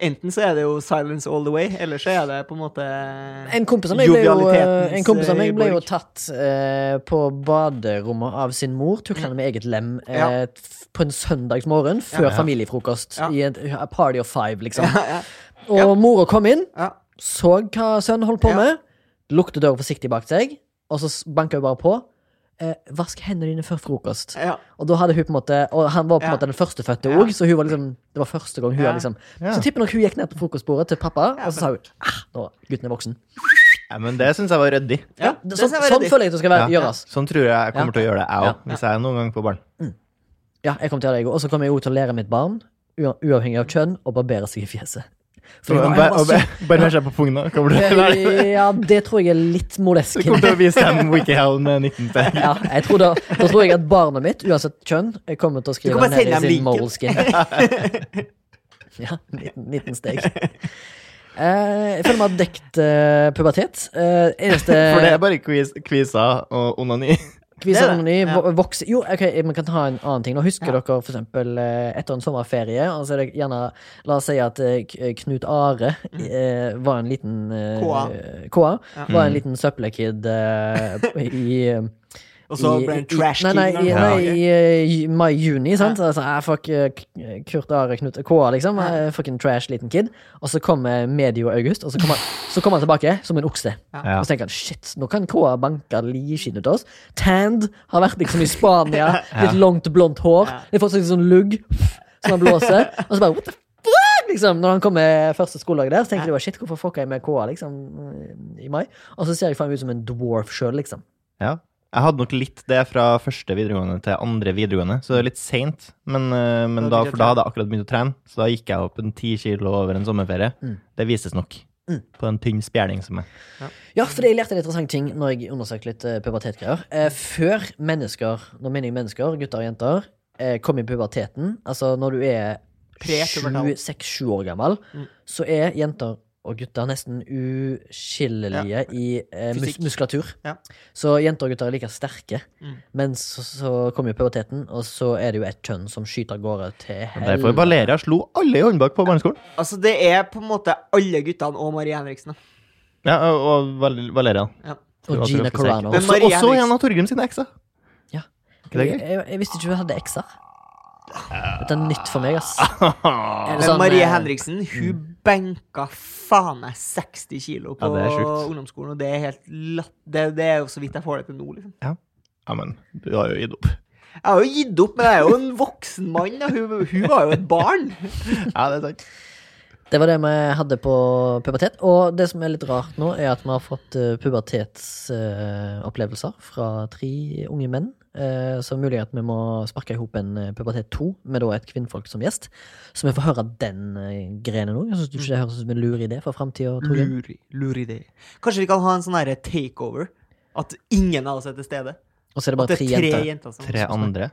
B: Enten så er det jo silence all the way, eller så er det på en måte
A: en kompis av meg ble jo, eh,
B: Jovialitetens,
A: en kompis av meg
B: eh,
A: ble jo
B: borg.
A: tatt eh, på baderommet av sin mor, tukla med eget lem, eh,
B: Ja.
A: f- på en søndagsmorgen før
C: Ja.
A: familiefrokost.
B: Ja.
A: I en a party of five, liksom.
B: (laughs) ja,
A: Og mora kom inn,
B: ja.
A: så hva sønnen holdt på
B: Ja.
A: med, lukte døra forsiktig bak seg, og så s- banka hun bare på. Eh, vask hendene dine før frokost.
B: ja.
A: Og da hadde hun på en måte Og han var på en
B: Ja.
A: måte den førstefødte
B: Ja.
A: òg, så hun var liksom det var første gang hun
B: Ja.
A: hadde liksom
C: Ja.
A: Så tipper nok hun gikk ned på frokostbordet til pappa,
B: Ja,
A: og så sa hun ah, nå, gutten er voksen.
C: ja, men det syns jeg var ryddig.
B: ja.
A: Det-
B: det
A: sånn,
B: skal jeg være
A: sånn
B: redd i.
A: føler jeg det skal være,
C: Ja.
A: gjøres.
C: Sånn tror jeg jeg kommer
A: Ja.
C: til å gjøre det, jeg
A: Ja.
C: òg, hvis jeg noen gang får barn.
A: Ja, jeg kommer til å gjøre det, jeg òg. Og så kommer jeg òg til å lære mitt barn, ua- uavhengig av kjønn, å barbere seg i fjeset. For det var-
C: Bare
A: jeg var
B: (laughs)
C: bare- bare seg på pungen, da. Kommer du til å lære det?
A: så- ja, det tror jeg er litt
C: Du
A: molesk.
C: (laughs) kommer til å vise dem Wikihow med 19 steg.
A: Ja, jeg tror da, da tror jeg at barnet mitt, uansett kjønn, jeg kommer til å
B: Du
A: skrive
B: kommer
A: ned
B: til
A: i
B: å
A: sin
B: sende dem
A: moleskin.
B: (laughs)
A: Ja, 19, 19 steg. Eh, jeg føler meg dekt eh, pubertet. Eh,
B: (laughs)
A: eneste
C: (laughs) For det er bare quiz, quizer og onani.
A: quiz
B: det er det.
A: onani
B: Ja.
A: vo- vokser Jo, ok, man kan ta en annen ting. Nå husker
B: Ja.
A: dere for eksempel eh, etter en sommerferie, og så er det gjerne La oss si at eh, K- Knut Are eh, var en liten eh,
B: KA.
A: KA.
B: Mm. Ja.
A: Var en liten søppelkid eh, i eh,
B: Og så
A: i-
B: ble
A: i-
B: han trash
A: Nei, nei,
B: king.
A: i-
B: når
A: nei,
B: han var-
A: i eh, i mai-juni, sant. Altså, ah, fuck eh, K- Kurt Are Knut K.A., liksom.
B: Ja.
A: Eh, Fucking trash liten kid. Og så kommer medio august, og så kommer han, så kommer han tilbake som en okse.
C: Ja.
A: Og så tenker han shit, nå kan KA banke livskinn ut av oss. Tanned, har vært liksom i Spania.
B: (laughs)
A: Litt langt, blondt hår.
B: Ja.
A: Litt fortsatt sånn lugg som han blåser. Og så bare what the fuck? Liksom, når han kommer første skoledag der, så tenkte jeg bare shit, hvorfor fucka jeg med KA liksom i mai? Og så ser jeg faen meg ut som en dwarf sjøl, liksom.
C: Ja. Jeg hadde nok litt det fra første videregående til andre videregående, så det er litt seint. Men, eh, men
B: Da begynte du
C: da,
B: å
C: for da hadde jeg akkurat begynt å trene, så da gikk jeg opp en ti kilo over en sommerferie. Det vises nok på en tynn spjerning som meg.
A: Ja, for jeg lærte en interessant ting når jeg undersøkte litt eh, pubertetgreier. Eh, før mennesker, nå mener jeg mennesker, gutter og jenter, eh, kom i puberteten, altså når du er
B: Prepubertal.
A: 26-7 år gammel,
B: Mm.
A: så er jenter og gutter nesten uskillelige i eh, mus
B: Fysikk.
A: muskulatur.
B: Ja.
A: Så jenter og gutter er like sterke.
B: Mm.
A: Men så, så kommer jo puberteten, og så er det jo et kjønn som skyter av gårde til
C: Derfor Valeria slo alle i håndbak på barneskolen.
B: Altså, det er på en måte alle guttene og Marie Henriksen. da.
C: Ja, og- og Val- Valeria.
B: Ja.
A: Og Gina Carano.
B: Men
C: Også,
B: Maria
C: også en
B: Henriksen.
C: av Torgrim sine ekser.
A: Ja.
C: Ikke det
A: Jeg,
C: gøy?
A: jeg, jeg visste ikke hun hadde ekser. Dette er nytt for meg, ass. Er det
B: Men
A: sånn,
B: Marie
A: eh, mm.
B: Henriksen hun benka faen meg 60 kilo på
C: Ja, det er sjukt.
B: ungdomsskolen, og det er helt latt. Det, det er jo så vidt jeg får det til nå, liksom.
C: Ja, men du har jo gitt opp.
B: Jeg har jo gitt opp, men jeg er jo en voksen mann, og hun, hun var jo et barn.
C: Ja, det er sant.
A: Det var det vi hadde på pubertet. Og det som er litt rart nå, er at vi har fått eh, pubertetsopplevelser fra tre unge menn. eh, Så mulig at vi må sparke i hop en eh, pubertet to, med da et kvinnfolk som gjest. Så vi får høre den eh, grenen òg. Syns du ikke det høres ut som en lur idé for framtida?
B: Lur, lur idé. Kanskje vi kan ha en sånn herre takeover? At ingen av oss er til stede?
A: Og så er det
B: At
A: bare
B: det
A: tre
B: er tre
A: jenter.
B: jenter som
C: Tre andre.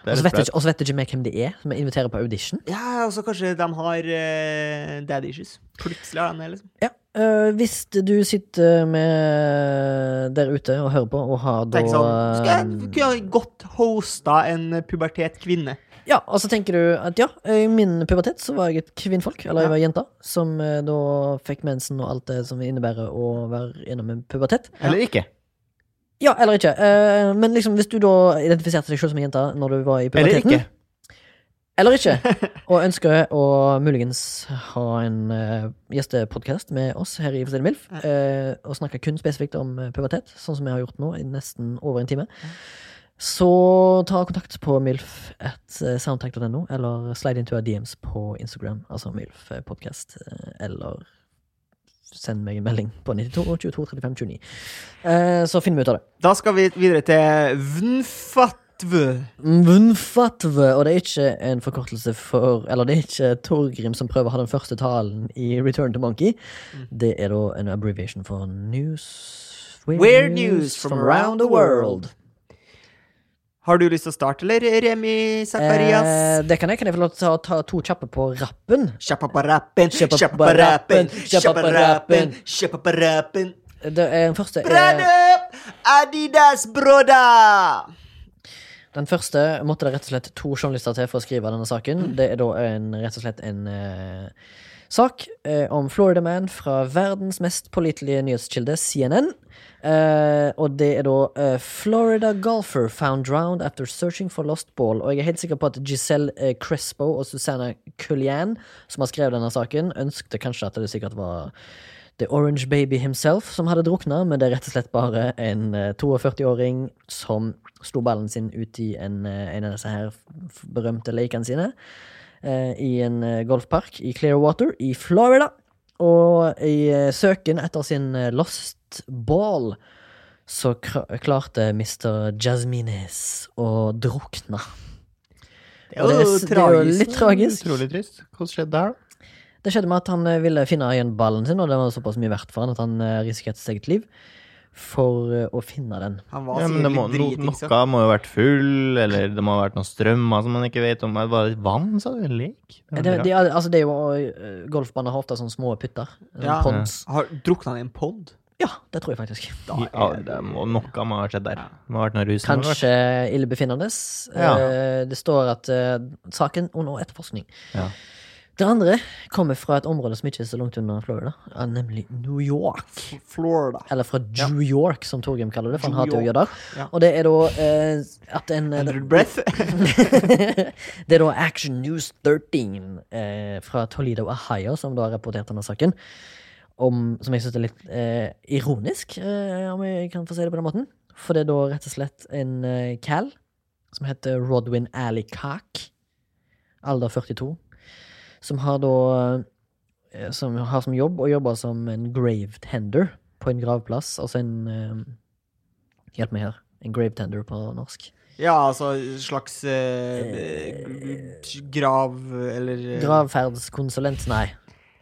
A: Og så vet jeg ikke- og så vet jeg ikke vi hvem de er, som vi inviterer på audition.
B: Ja, og så kanskje de har eh, daddy issues. Plutselig har de det, liksom.
A: Ja, øh, hvis du sitter med der ute og hører på, og har da um,
B: Tenk sånn Skulle jeg kunne jeg godt hosta en pubertet kvinne?
A: Ja, og så tenker du at ja, i min pubertet så var jeg et kvinnfolk, eller jeg
B: Ja.
A: var jenta, som eh, da fikk mensen og alt det som innebærer å være gjennom en pubertet.
C: Eller ikke.
A: Ja, eller ikke. eh, Men liksom, hvis du da identifiserte deg selv som en jente når du var i
C: Eller
A: puberteten
C: ikke.
A: Eller ikke. Og ønsker å muligens ha en uh, gjestepodkast med oss her i Forstille Milf. eh, og snakke kun spesifikt om eh, pubertet, sånn som vi har gjort nå i nesten over en time. Så ta kontakt på milf at eh, soundtact.no, eller slide into our DMs på Instagram, altså milfpodkast, eh, eller send meg en melding på 92 22 35 29. Eh, så finner vi ut av det.
B: Da skal vi videre til Vnfatvø.
A: Mvnfatvø, og det er ikke en forkortelse for Eller det er ikke Torgrim som prøver å ha den første talen i Return to Monkey.
B: Mm.
A: Det er da en abbreviation for news
B: Weird news from around the world. Har du lyst til å starte, eller, Remi
A: Eh,
B: Zakarias?
A: det kan jeg. Kan jeg få lov til å ta, ta to kjappe på rappen?
B: Kjappaparappen,
A: Kjappa- kjappaparappen,
B: kjappaparappen, kjappaparappen, kjappaparappen.
A: Det er, den første er
B: Brannup! Adidas, broda!
A: Den første måtte det rett og slett to journalister til for å skrive denne saken. Det er da en, rett og slett en eh, sak eh, om Florida Man fra verdens mest pålitelige nyhetskilde, CNN. Eh, og det er da eh, 'Florida golfer found drowned after searching for lost ball'. Og jeg er helt sikker på at Giselle eh, Crespo og Susanna Cullian, som har skrevet denne saken, ønskte kanskje at det sikkert var The Orange Baby himself som hadde drukna, men det er rett og slett bare en eh, 42-åring som slo ballen sin ut i en, eh, en av disse her f- berømte lekene sine eh, i en eh, golfpark i Clearwater i Florida. Og i eh, søken etter sin eh, lost ball så kra- klarte Mr. Jasmines å drukne.
B: Det
A: Og
B: er jo
A: s- det er jo
B: tragisk.
A: litt tragisk.
C: Utrolig trist. Hva skjedde der, da?
A: Det skjedde med at han eh, ville finne igjen ballen sin, og det var såpass mye verdt for han at han eh, risikerte sitt eget liv for eh, å finne den.
B: Han var
C: Ja, men det
B: sikkert
C: må,
B: litt
C: no,
B: dritings.
C: noe må jo ha vært full, eller det må ha vært noen strømmer som man ikke vet om. Var det vann, sa du? Lek?
A: Det,
C: var
A: det,
C: bra.
A: er- altså, det er jo eh, Golfbaner har ofte sånne små putter. Ja.
B: Ja.
A: Ponds.
B: Har drukna han i en pond?
A: Ja, det tror jeg faktisk.
B: Da
C: ja,
B: er
C: det
B: det
C: må, noe må ha skjedd der. Det må ha vært noe rus. må ha vært-
A: Kanskje illebefinnende.
C: Ja.
A: Eh, Det står at eh, saken under etterforskning.
C: Ja.
A: Det andre kommer fra et område som ikke er så langt unna Florida, eh, nemlig New York.
B: Florida.
A: Eller fra New York, som Torgrim kaller det, for han
B: New
A: hater jo å
B: York.
A: gjøre det.
B: Ja.
A: Og det er da eh, at en eh,
B: Hundred breath.
A: (laughs)
B: (laughs)
A: det er da Action News 13 eh, fra Toledo, Ohio, som da har rapportert denne saken. Om, som jeg syns er litt eh, ironisk, eh, om jeg kan få si det på den måten. For det er da rett og slett en eh, cal som heter Rodwin Alicock, alder 42, som har da eh, som har som jobb å jobbe som en grave tender på en gravplass. Altså en eh, Hjelp meg her. En grave tender på norsk.
B: Ja, altså slags eh, g- grav eller eh,
A: Gravferdskonsulent, nei.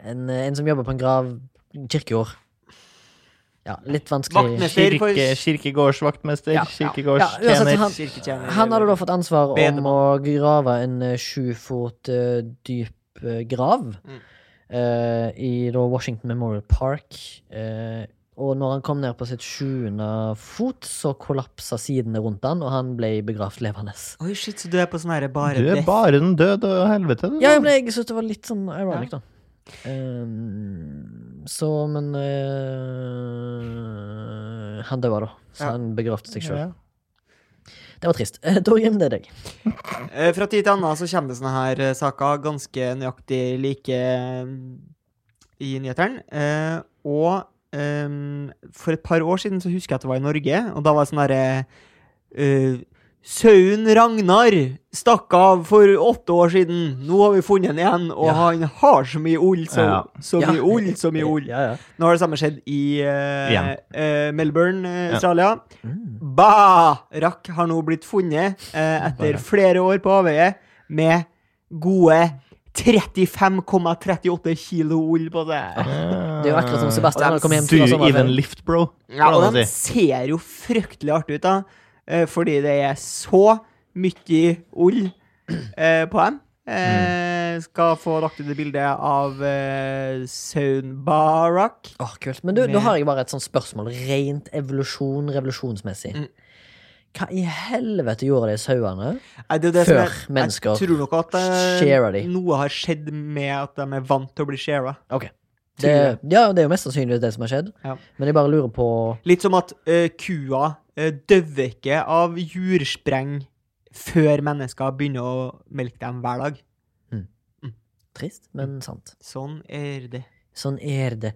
A: En, eh, en som jobber på en grav kirkejord. Ja, litt vanskelig.
B: Vaktmester. Ser for-
C: Kirke, kirkegårdsvaktmester,
A: Ja, ja. Ja, uansett,
C: kirkegårdstjener.
A: han-
B: kirketjener.
A: Han hadde da fått ansvar om
B: Bedemann.
A: å grave en eh, sju fot eh, dyp dyp eh, grav
B: Mm.
A: eh, i da Washington Memorial Park. eh, og når han kom ned på sitt sjuende fot, så kollapsa sidene rundt han, og han ble begravd levende.
B: Oi, shit, så du er på sånn her bare
C: Du er
B: death.
C: bare den døde og helvete, du.
A: Ja,
C: da.
A: jeg, ble- jeg syntes det var litt sånn ironic, da. Ehm, så, men eh, Han døde, da. Så
B: Ja.
A: han begravde seg sjøl.
C: Ja.
A: Det var trist. (laughs) Torgrim, det er deg.
B: Eh, Fra tid til annen så kommer det sånne her eh, saker, ganske nøyaktig like eh, i nyhetene. Eh, og ehm, for et par år siden så husker jeg at det var i Norge, og da var det sånn herre eh, Sauen Ragnar stakk av for åtte år siden. Nå har vi funnet han igjen, og
A: Ja.
B: han har så mye ull, så,
C: Ja.
B: så
A: Ja.
B: mye ull,
A: (laughs)
B: så mye ull.
A: Ja, ja.
B: Nå har det samme skjedd i eh,
C: Igjen.
B: eh, Melbourne, eh,
C: Ja.
B: Australia.
A: Mm.
B: Barak har nå blitt funnet eh, etter flere år på avveie med gode 35,38 kilo ull på seg.
A: Det er jo akkurat som Sebastian når han kom hjem
C: Do
A: fra
C: you even
A: sommerferien.
C: lift, bro?
B: Ja,
C: Hvordan
B: og de
C: man sier.
B: ser jo fryktelig artig ut, da. eh, Fordi det er så mye ull eh, på dem. Eh,
A: Mm.
B: skal få lagt ut et bilde av eh, Saun Barak.
A: Åh, kult. Men du,
B: Med-
A: nå har jeg bare et sånt spørsmål. Rent evolusjon, revolusjonsmessig.
B: Mm.
A: Hva i helvete gjorde de sauene?
B: Nei, det er jo det
A: Før
B: som er,
A: mennesker
B: Jeg tror nok at
A: sharer
B: eh,
A: de.
B: noe har skjedd med at de er vant til å bli shara.
A: Ok. Det,
B: Tror
A: ja, det er jo mest sannsynlig det som har skjedd.
B: Ja.
A: Men jeg bare lurer på
B: Litt som at eh, kua eh, døver ikke av jurspreng før mennesker begynner å melke dem hver dag.
A: Trist, men sant.
B: Sånn er det.
A: Sånn er det.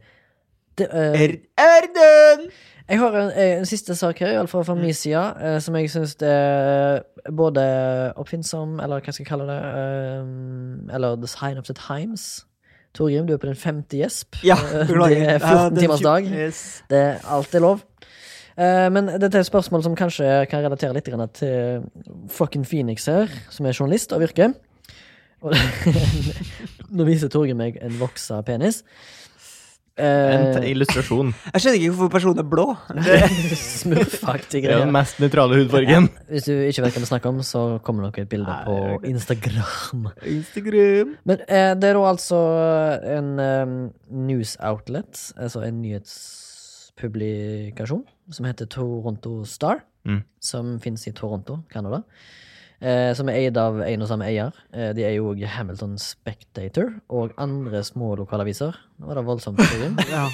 A: det eh,
B: Er, er den!
A: Jeg har en, eh, en siste sak her, iallfall
B: Mm.
A: fra min side, eh, som jeg syns er både oppfinnsom, eller hva skal jeg kalle det, eh, eller the sign of the times. Torgrim, du er på din femte gjesp.
B: Ja, (laughs)
A: Eh,
B: beklager.
A: Det er
B: Ja,
A: 14
B: den
A: timers dag.
B: tjue- eh. Yes.
A: Det er alt er lov. Eh, Men dette er et spørsmål som kanskje kan relatere litt grann til fucking Phoenix her, som er journalist av yrke. Og (laughs) Nå viser Torgrim meg en voksa penis.
C: En
A: Eh,
C: te- illustrasjon.
B: Jeg skjønner ikke hvorfor personen er blå.
A: (laughs) Smurfaktig
C: Det er jo
A: greie.
C: den mest nøytrale hudfargen.
A: Hvis du ikke vet hva vi snakker om, så kommer nok et bilde
C: Nei,
A: på
C: det gjør ikke
A: Instagram.
B: Instagram.
A: Men eh, det er da altså en eh, news outlet, altså en nyhetspublikasjon, som heter Toronto Star,
C: Mm.
A: som finnes i Toronto, Canada. Eh, som er eid av en og samme eier. Eh, de er jo også Hamilton Spectator og andre små lokalaviser. Nå var det voldsomt. Torgrim.
B: Ja.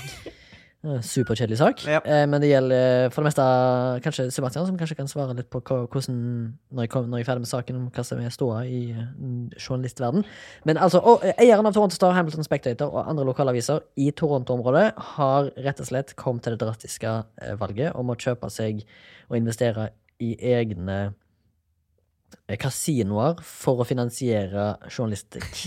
A: Eh, Superkjedelig sak.
B: Ja.
A: Eh, men det gjelder eh, for det meste kanskje Sebastian, som kanskje kan svare litt på hva, hvordan, når jeg, kom, når jeg er ferdig med saken, om hva som er ståa i eh, journalistverden. Men altså, og, eh, eieren av Toronto Star, Hamilton Spectator og andre lokalaviser i Toronto-området har rett og slett kommet til det drastiske eh, valget om å kjøpe seg og investere i egne eh, kasinoer for å finansiere journalistikk.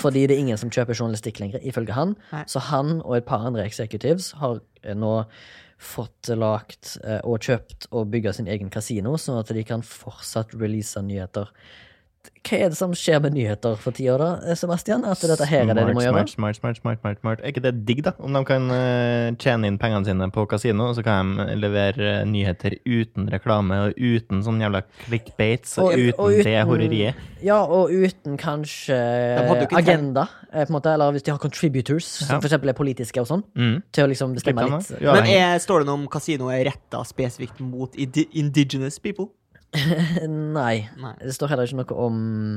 A: Fordi det er ingen som kjøper journalistikk lenger, ifølge han.
B: Nei.
A: Så han og et par andre executives har eh, nå fått lagt eh, og kjøpt og bygga sin egen kasino, sånn at de kan fortsatt release nyheter. Hva er det som skjer med nyheter for tida, da, eh, Sebastian? At dette her er det de må gjøre?
C: Smart, smart, smart, smart, smart, smart. Er ikke det digg, da? Om de kan eh, tjene inn pengene sine på kasino, og så kan de levere eh, nyheter uten reklame og uten sånn jævla clickbaits og,
A: Og-
C: uten,
A: og uten-
C: det horeriet.
A: Ja, og uten kanskje
B: hadde jo ikke
A: agenda, eh, på en måte, eller hvis de har contributors,
C: Ja.
A: som for eksempel er politiske og sånn,
C: Mm.
A: til å liksom bestemme
C: Slipp dem,
A: litt.
C: da. Ja,
B: Men
C: jeg-
B: er, står det noe om kasinoet er retta spesifikt mot indi indigenous people?
A: (laughs) Nei.
B: Nei.
A: Det står heller ikke noe om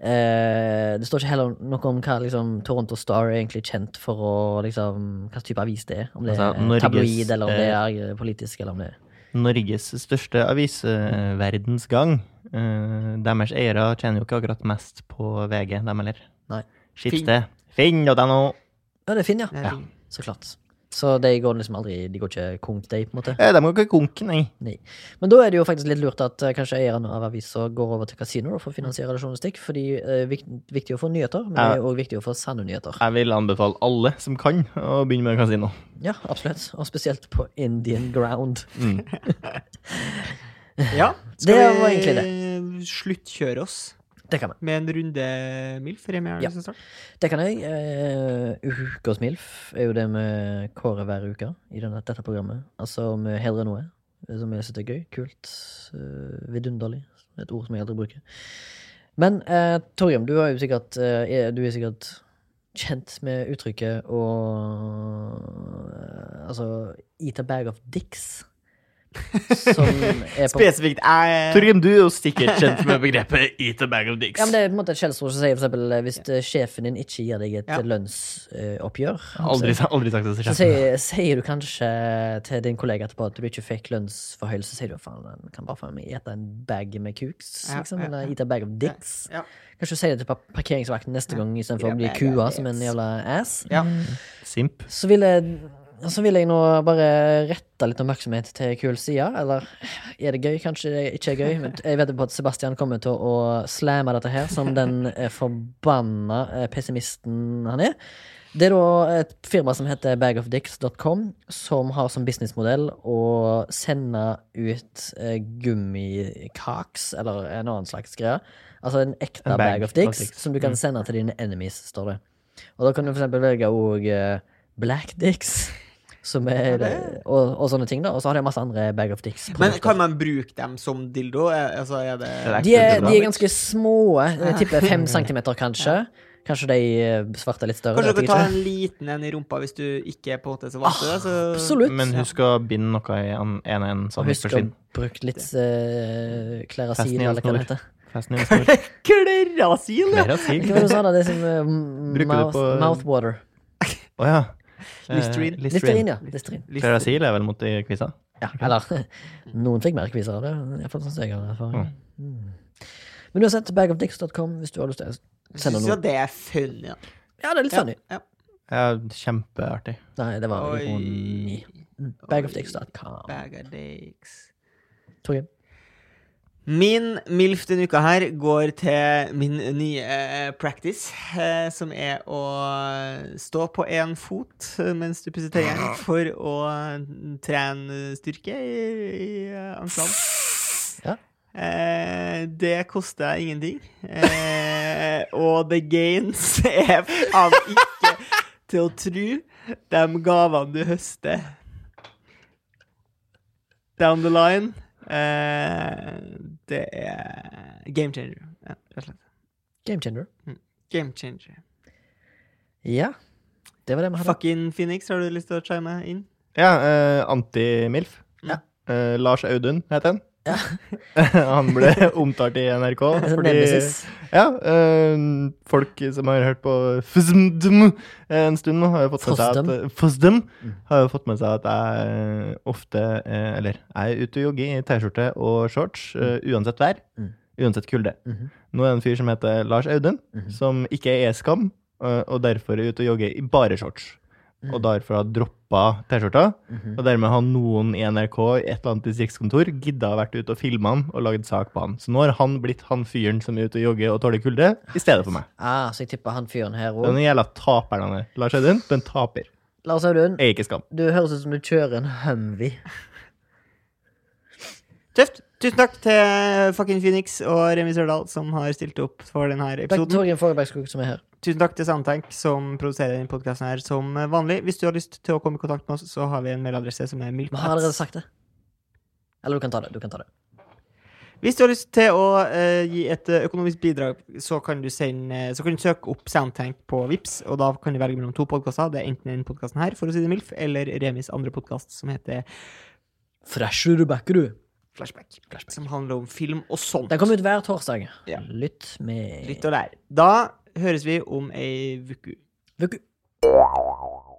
A: eh, Det står ikke heller noe om hva liksom, Toronto Star er egentlig kjent for å liksom, Hva type avis det er. Om det
C: Altså,
A: er
C: Norges,
A: tabloid, eller om det er eh, politisk, eller om det er
C: Norges største avis, eh, Verdens Gang. Eh, deres eiere tjener jo ikke akkurat mest på VG, dem heller.
A: Nei.
C: Skipsted. Finn og deg nå!
A: Ja, det er Finn, ja.
B: Ja.
A: Så klart. Så de går liksom aldri De går ikke konk, de, på en måte.
C: Eh, De går ikke konk, nei.
A: Nei. Men da er det jo faktisk litt lurt at eh, kanskje eierne av avisa går over til kasino da, for å finansiere journalistikk, fordi det er viktig å få nyheter, men det er òg viktig å få sanne nyheter.
C: Jeg vil anbefale alle som kan, å begynne med kasino.
A: Ja, absolutt. Og spesielt på Indian ground.
C: Mm.
B: ja.
A: (laughs) Det var
B: vi
A: egentlig
B: sluttkjøre oss
A: Det kan vi.
B: med en runde MILF? Er det med,
A: Ja.
B: ja. Start?
A: Det kan jeg. Eh, Ukas MILF er jo det vi kårer hver uke i denne, dette programmet. Altså om vi hedrer noe eh, som vi syns er gøy, kult, eh, vidunderlig. Et ord som jeg aldri bruker. Men eh, Torgrim, du, er jo sikkert, eh, er- du er sikkert kjent med uttrykket og eh, Altså eat a bag of dicks. Som er på
B: Spesifikt jeg
C: Torgrim, du er jo sikkert kjent med begrepet 'eat a bag of dicks'.
A: Eh. ja, men Det er på en måte et skjellsord som sier for eksempel eh, hvis eh, sjefen din ikke gir deg et
B: Ja.
A: lønnsoppgjør.
C: aldri, sa- aldri sagt det til
A: Så
C: sjefen.
A: sier, sier du kanskje til din kollega etterpå at du ikke fikk lønnsforhøyelse, så sier du faen, den kan bare faen meg ete en bag med kuks,
B: Ja,
A: liksom.
B: ja,
A: Eller ete en bag of dicks.
B: ja.
A: Kanskje du sier det til par- parkeringsvakten neste gang istedenfor å
B: Ete
A: bli
B: bag of
A: kua som en
B: dicks.
A: jævla ass.
B: Ja.
C: Simp.
A: Så vil jeg, så vil jeg nå bare rette litt oppmerksomhet til kul side. Eller er det gøy? Kanskje det ikke er gøy. Men jeg vet jo på at Sebastian kommer til å slamme dette her som den eh, forbanna eh, pessimisten han er. Det er da et firma som heter bagofdicks.com, som har som businessmodell å sende ut eh, gummikaks, eller en annen slags greie. Altså en ekte
C: En
A: bag,
C: bag
A: of dicks,
C: of dicks. Mm.
A: som du kan sende til dine enemies, står det. Og da kan du for eksempel velge òg black dicks, som er, eh, og, og sånne ting, da. Og så har de masse andre bag of dicks.
B: Men kan man bruke dem som dildo? Er- Altså, er det
C: Det er
A: De altså. er,
C: bra.
A: de er ganske små. eh, Jeg tipper
B: (laughs)
A: fem centimeter, kanskje. Kanskje de eh, svarte er litt større.
B: Kanskje
A: det
B: dere
A: vet
B: tar
A: jeg
B: en liten en i rumpa hvis du ikke er på en måte så vant til det? Så...
A: ikke. Absolutt.
C: Men husk å binde noe i en en, en
A: Og
C: sånn
A: husk å
C: forsvinn.
A: bruke litt uh,
C: Festen
A: klerasil,
C: i en
A: eller hva det
C: snor.
A: heter.
C: Festen i en
A: (laughs)
C: snor.
B: Klerasil, ja!
C: Mer å si.
A: Hva var det du sa da? Det som eh,
C: Bruker du
A: mouth,
C: på-
A: mouthwater.
C: Å ja. Eh,
B: Listerine.
A: Listerin, ja. Listerin.
C: Klerasil er vel mot de kvisa?
A: Ja, eller (laughs) noen fikk mer kviser av det. Iallfall sånn som jeg har erfaring.
C: Mm.
A: Mm. Men uansett, bagofdicks.com hvis du har lyst til å
B: Syns
A: sende
B: jo
A: noe.
B: det er funny, da.
A: Ja, det er litt funny.
B: Ja.
C: Ja, kjempeartig.
A: Nei, det var
B: Oi.
A: ironi. Mm. Bagofdicks.com.
B: Bag of dicks.
A: Torgrim.
B: Min MILF denne uka her går til min nye eh, practice, eh, som er å stå på én fot eh, mens du pusser tennene,
A: (gasps)
B: for å trene styrke i, i eh, anklene.
A: Ja.
B: Eh, det koster ingenting. Eh, og the gains er av ikke til å tru de gavene du høster down the line. Eh, det er game changer. Ja, rett og slett.
A: Game changer.
B: Game changer.
A: Ja. Det var det vi hadde.
B: Fucking Phoenix, har du lyst til å chime inn?
C: Ja, eh, anti-MILF.
B: Ja.
C: Eh, Lars Audun heter han. (laughs) han ble omtalt i
A: (laughs)
C: NRK fordi
A: Nemesis.
C: ja, eh, folk som har hørt på FZMDM en stund nå, har jo fått med seg at, FZDM, har jo fått med seg at jeg eh, ofte eh, Eller jeg er ute og jogger i T-skjorte og shorts eh, uansett vær,
A: Mm.
C: uansett kulde.
A: Mhm.
C: Nå er det en fyr som heter Lars Audun, som ikke er skam, eh, og derfor er ute og jogger i bare shorts. Og derfor har droppa T-skjorta.
A: Mhm.
C: Og dermed har noen i NRK i et eller annet distriktskontor gidda å vært ute og filma han og lagd sak på han. Så nå har han blitt han fyren som er ute og jogger og tåler kulde, i stedet for meg.
A: Ah, så jeg tipper han fyren her
C: Den
A: òg.
C: jævla taperen han er. Lars Audun, du er en taper.
A: Lars Audun,
C: Jeg er ikke skam.
A: du høres ut som du kjører en Humvee.
B: Tøft. Tusen takk til fucking Phoenix og Remi Sørdal, som har stilt opp for denne
A: Takk til
B: episoden.
A: Torgrim Forebergskog som er her.
B: Tusen takk til Soundtank, som produserer denne podkasten her som vanlig. Hvis du har lyst til å komme i kontakt med oss, så har vi en mailadresse som er
A: Vi har allerede
B: milpats.
A: sagt det. Eller du kan ta det. Du kan ta det.
B: Hvis du har lyst til å eh, gi et eh, økonomisk bidrag, så kan, du sende, eh, så kan du søke opp Soundtank på Vips, og da kan du velge mellom to podkaster. Det er enten denne podkasten her, for å si det mildt, eller Remis andre podkast, som heter
A: Fresher du backer, du.
B: Flashback, som handler om film og sånn. sånt.
A: Den kommer ut hver torsdag.
B: Ja.
A: Lytt med
B: Lytt og lær. Da høres vi om ei uke.
A: Vuku.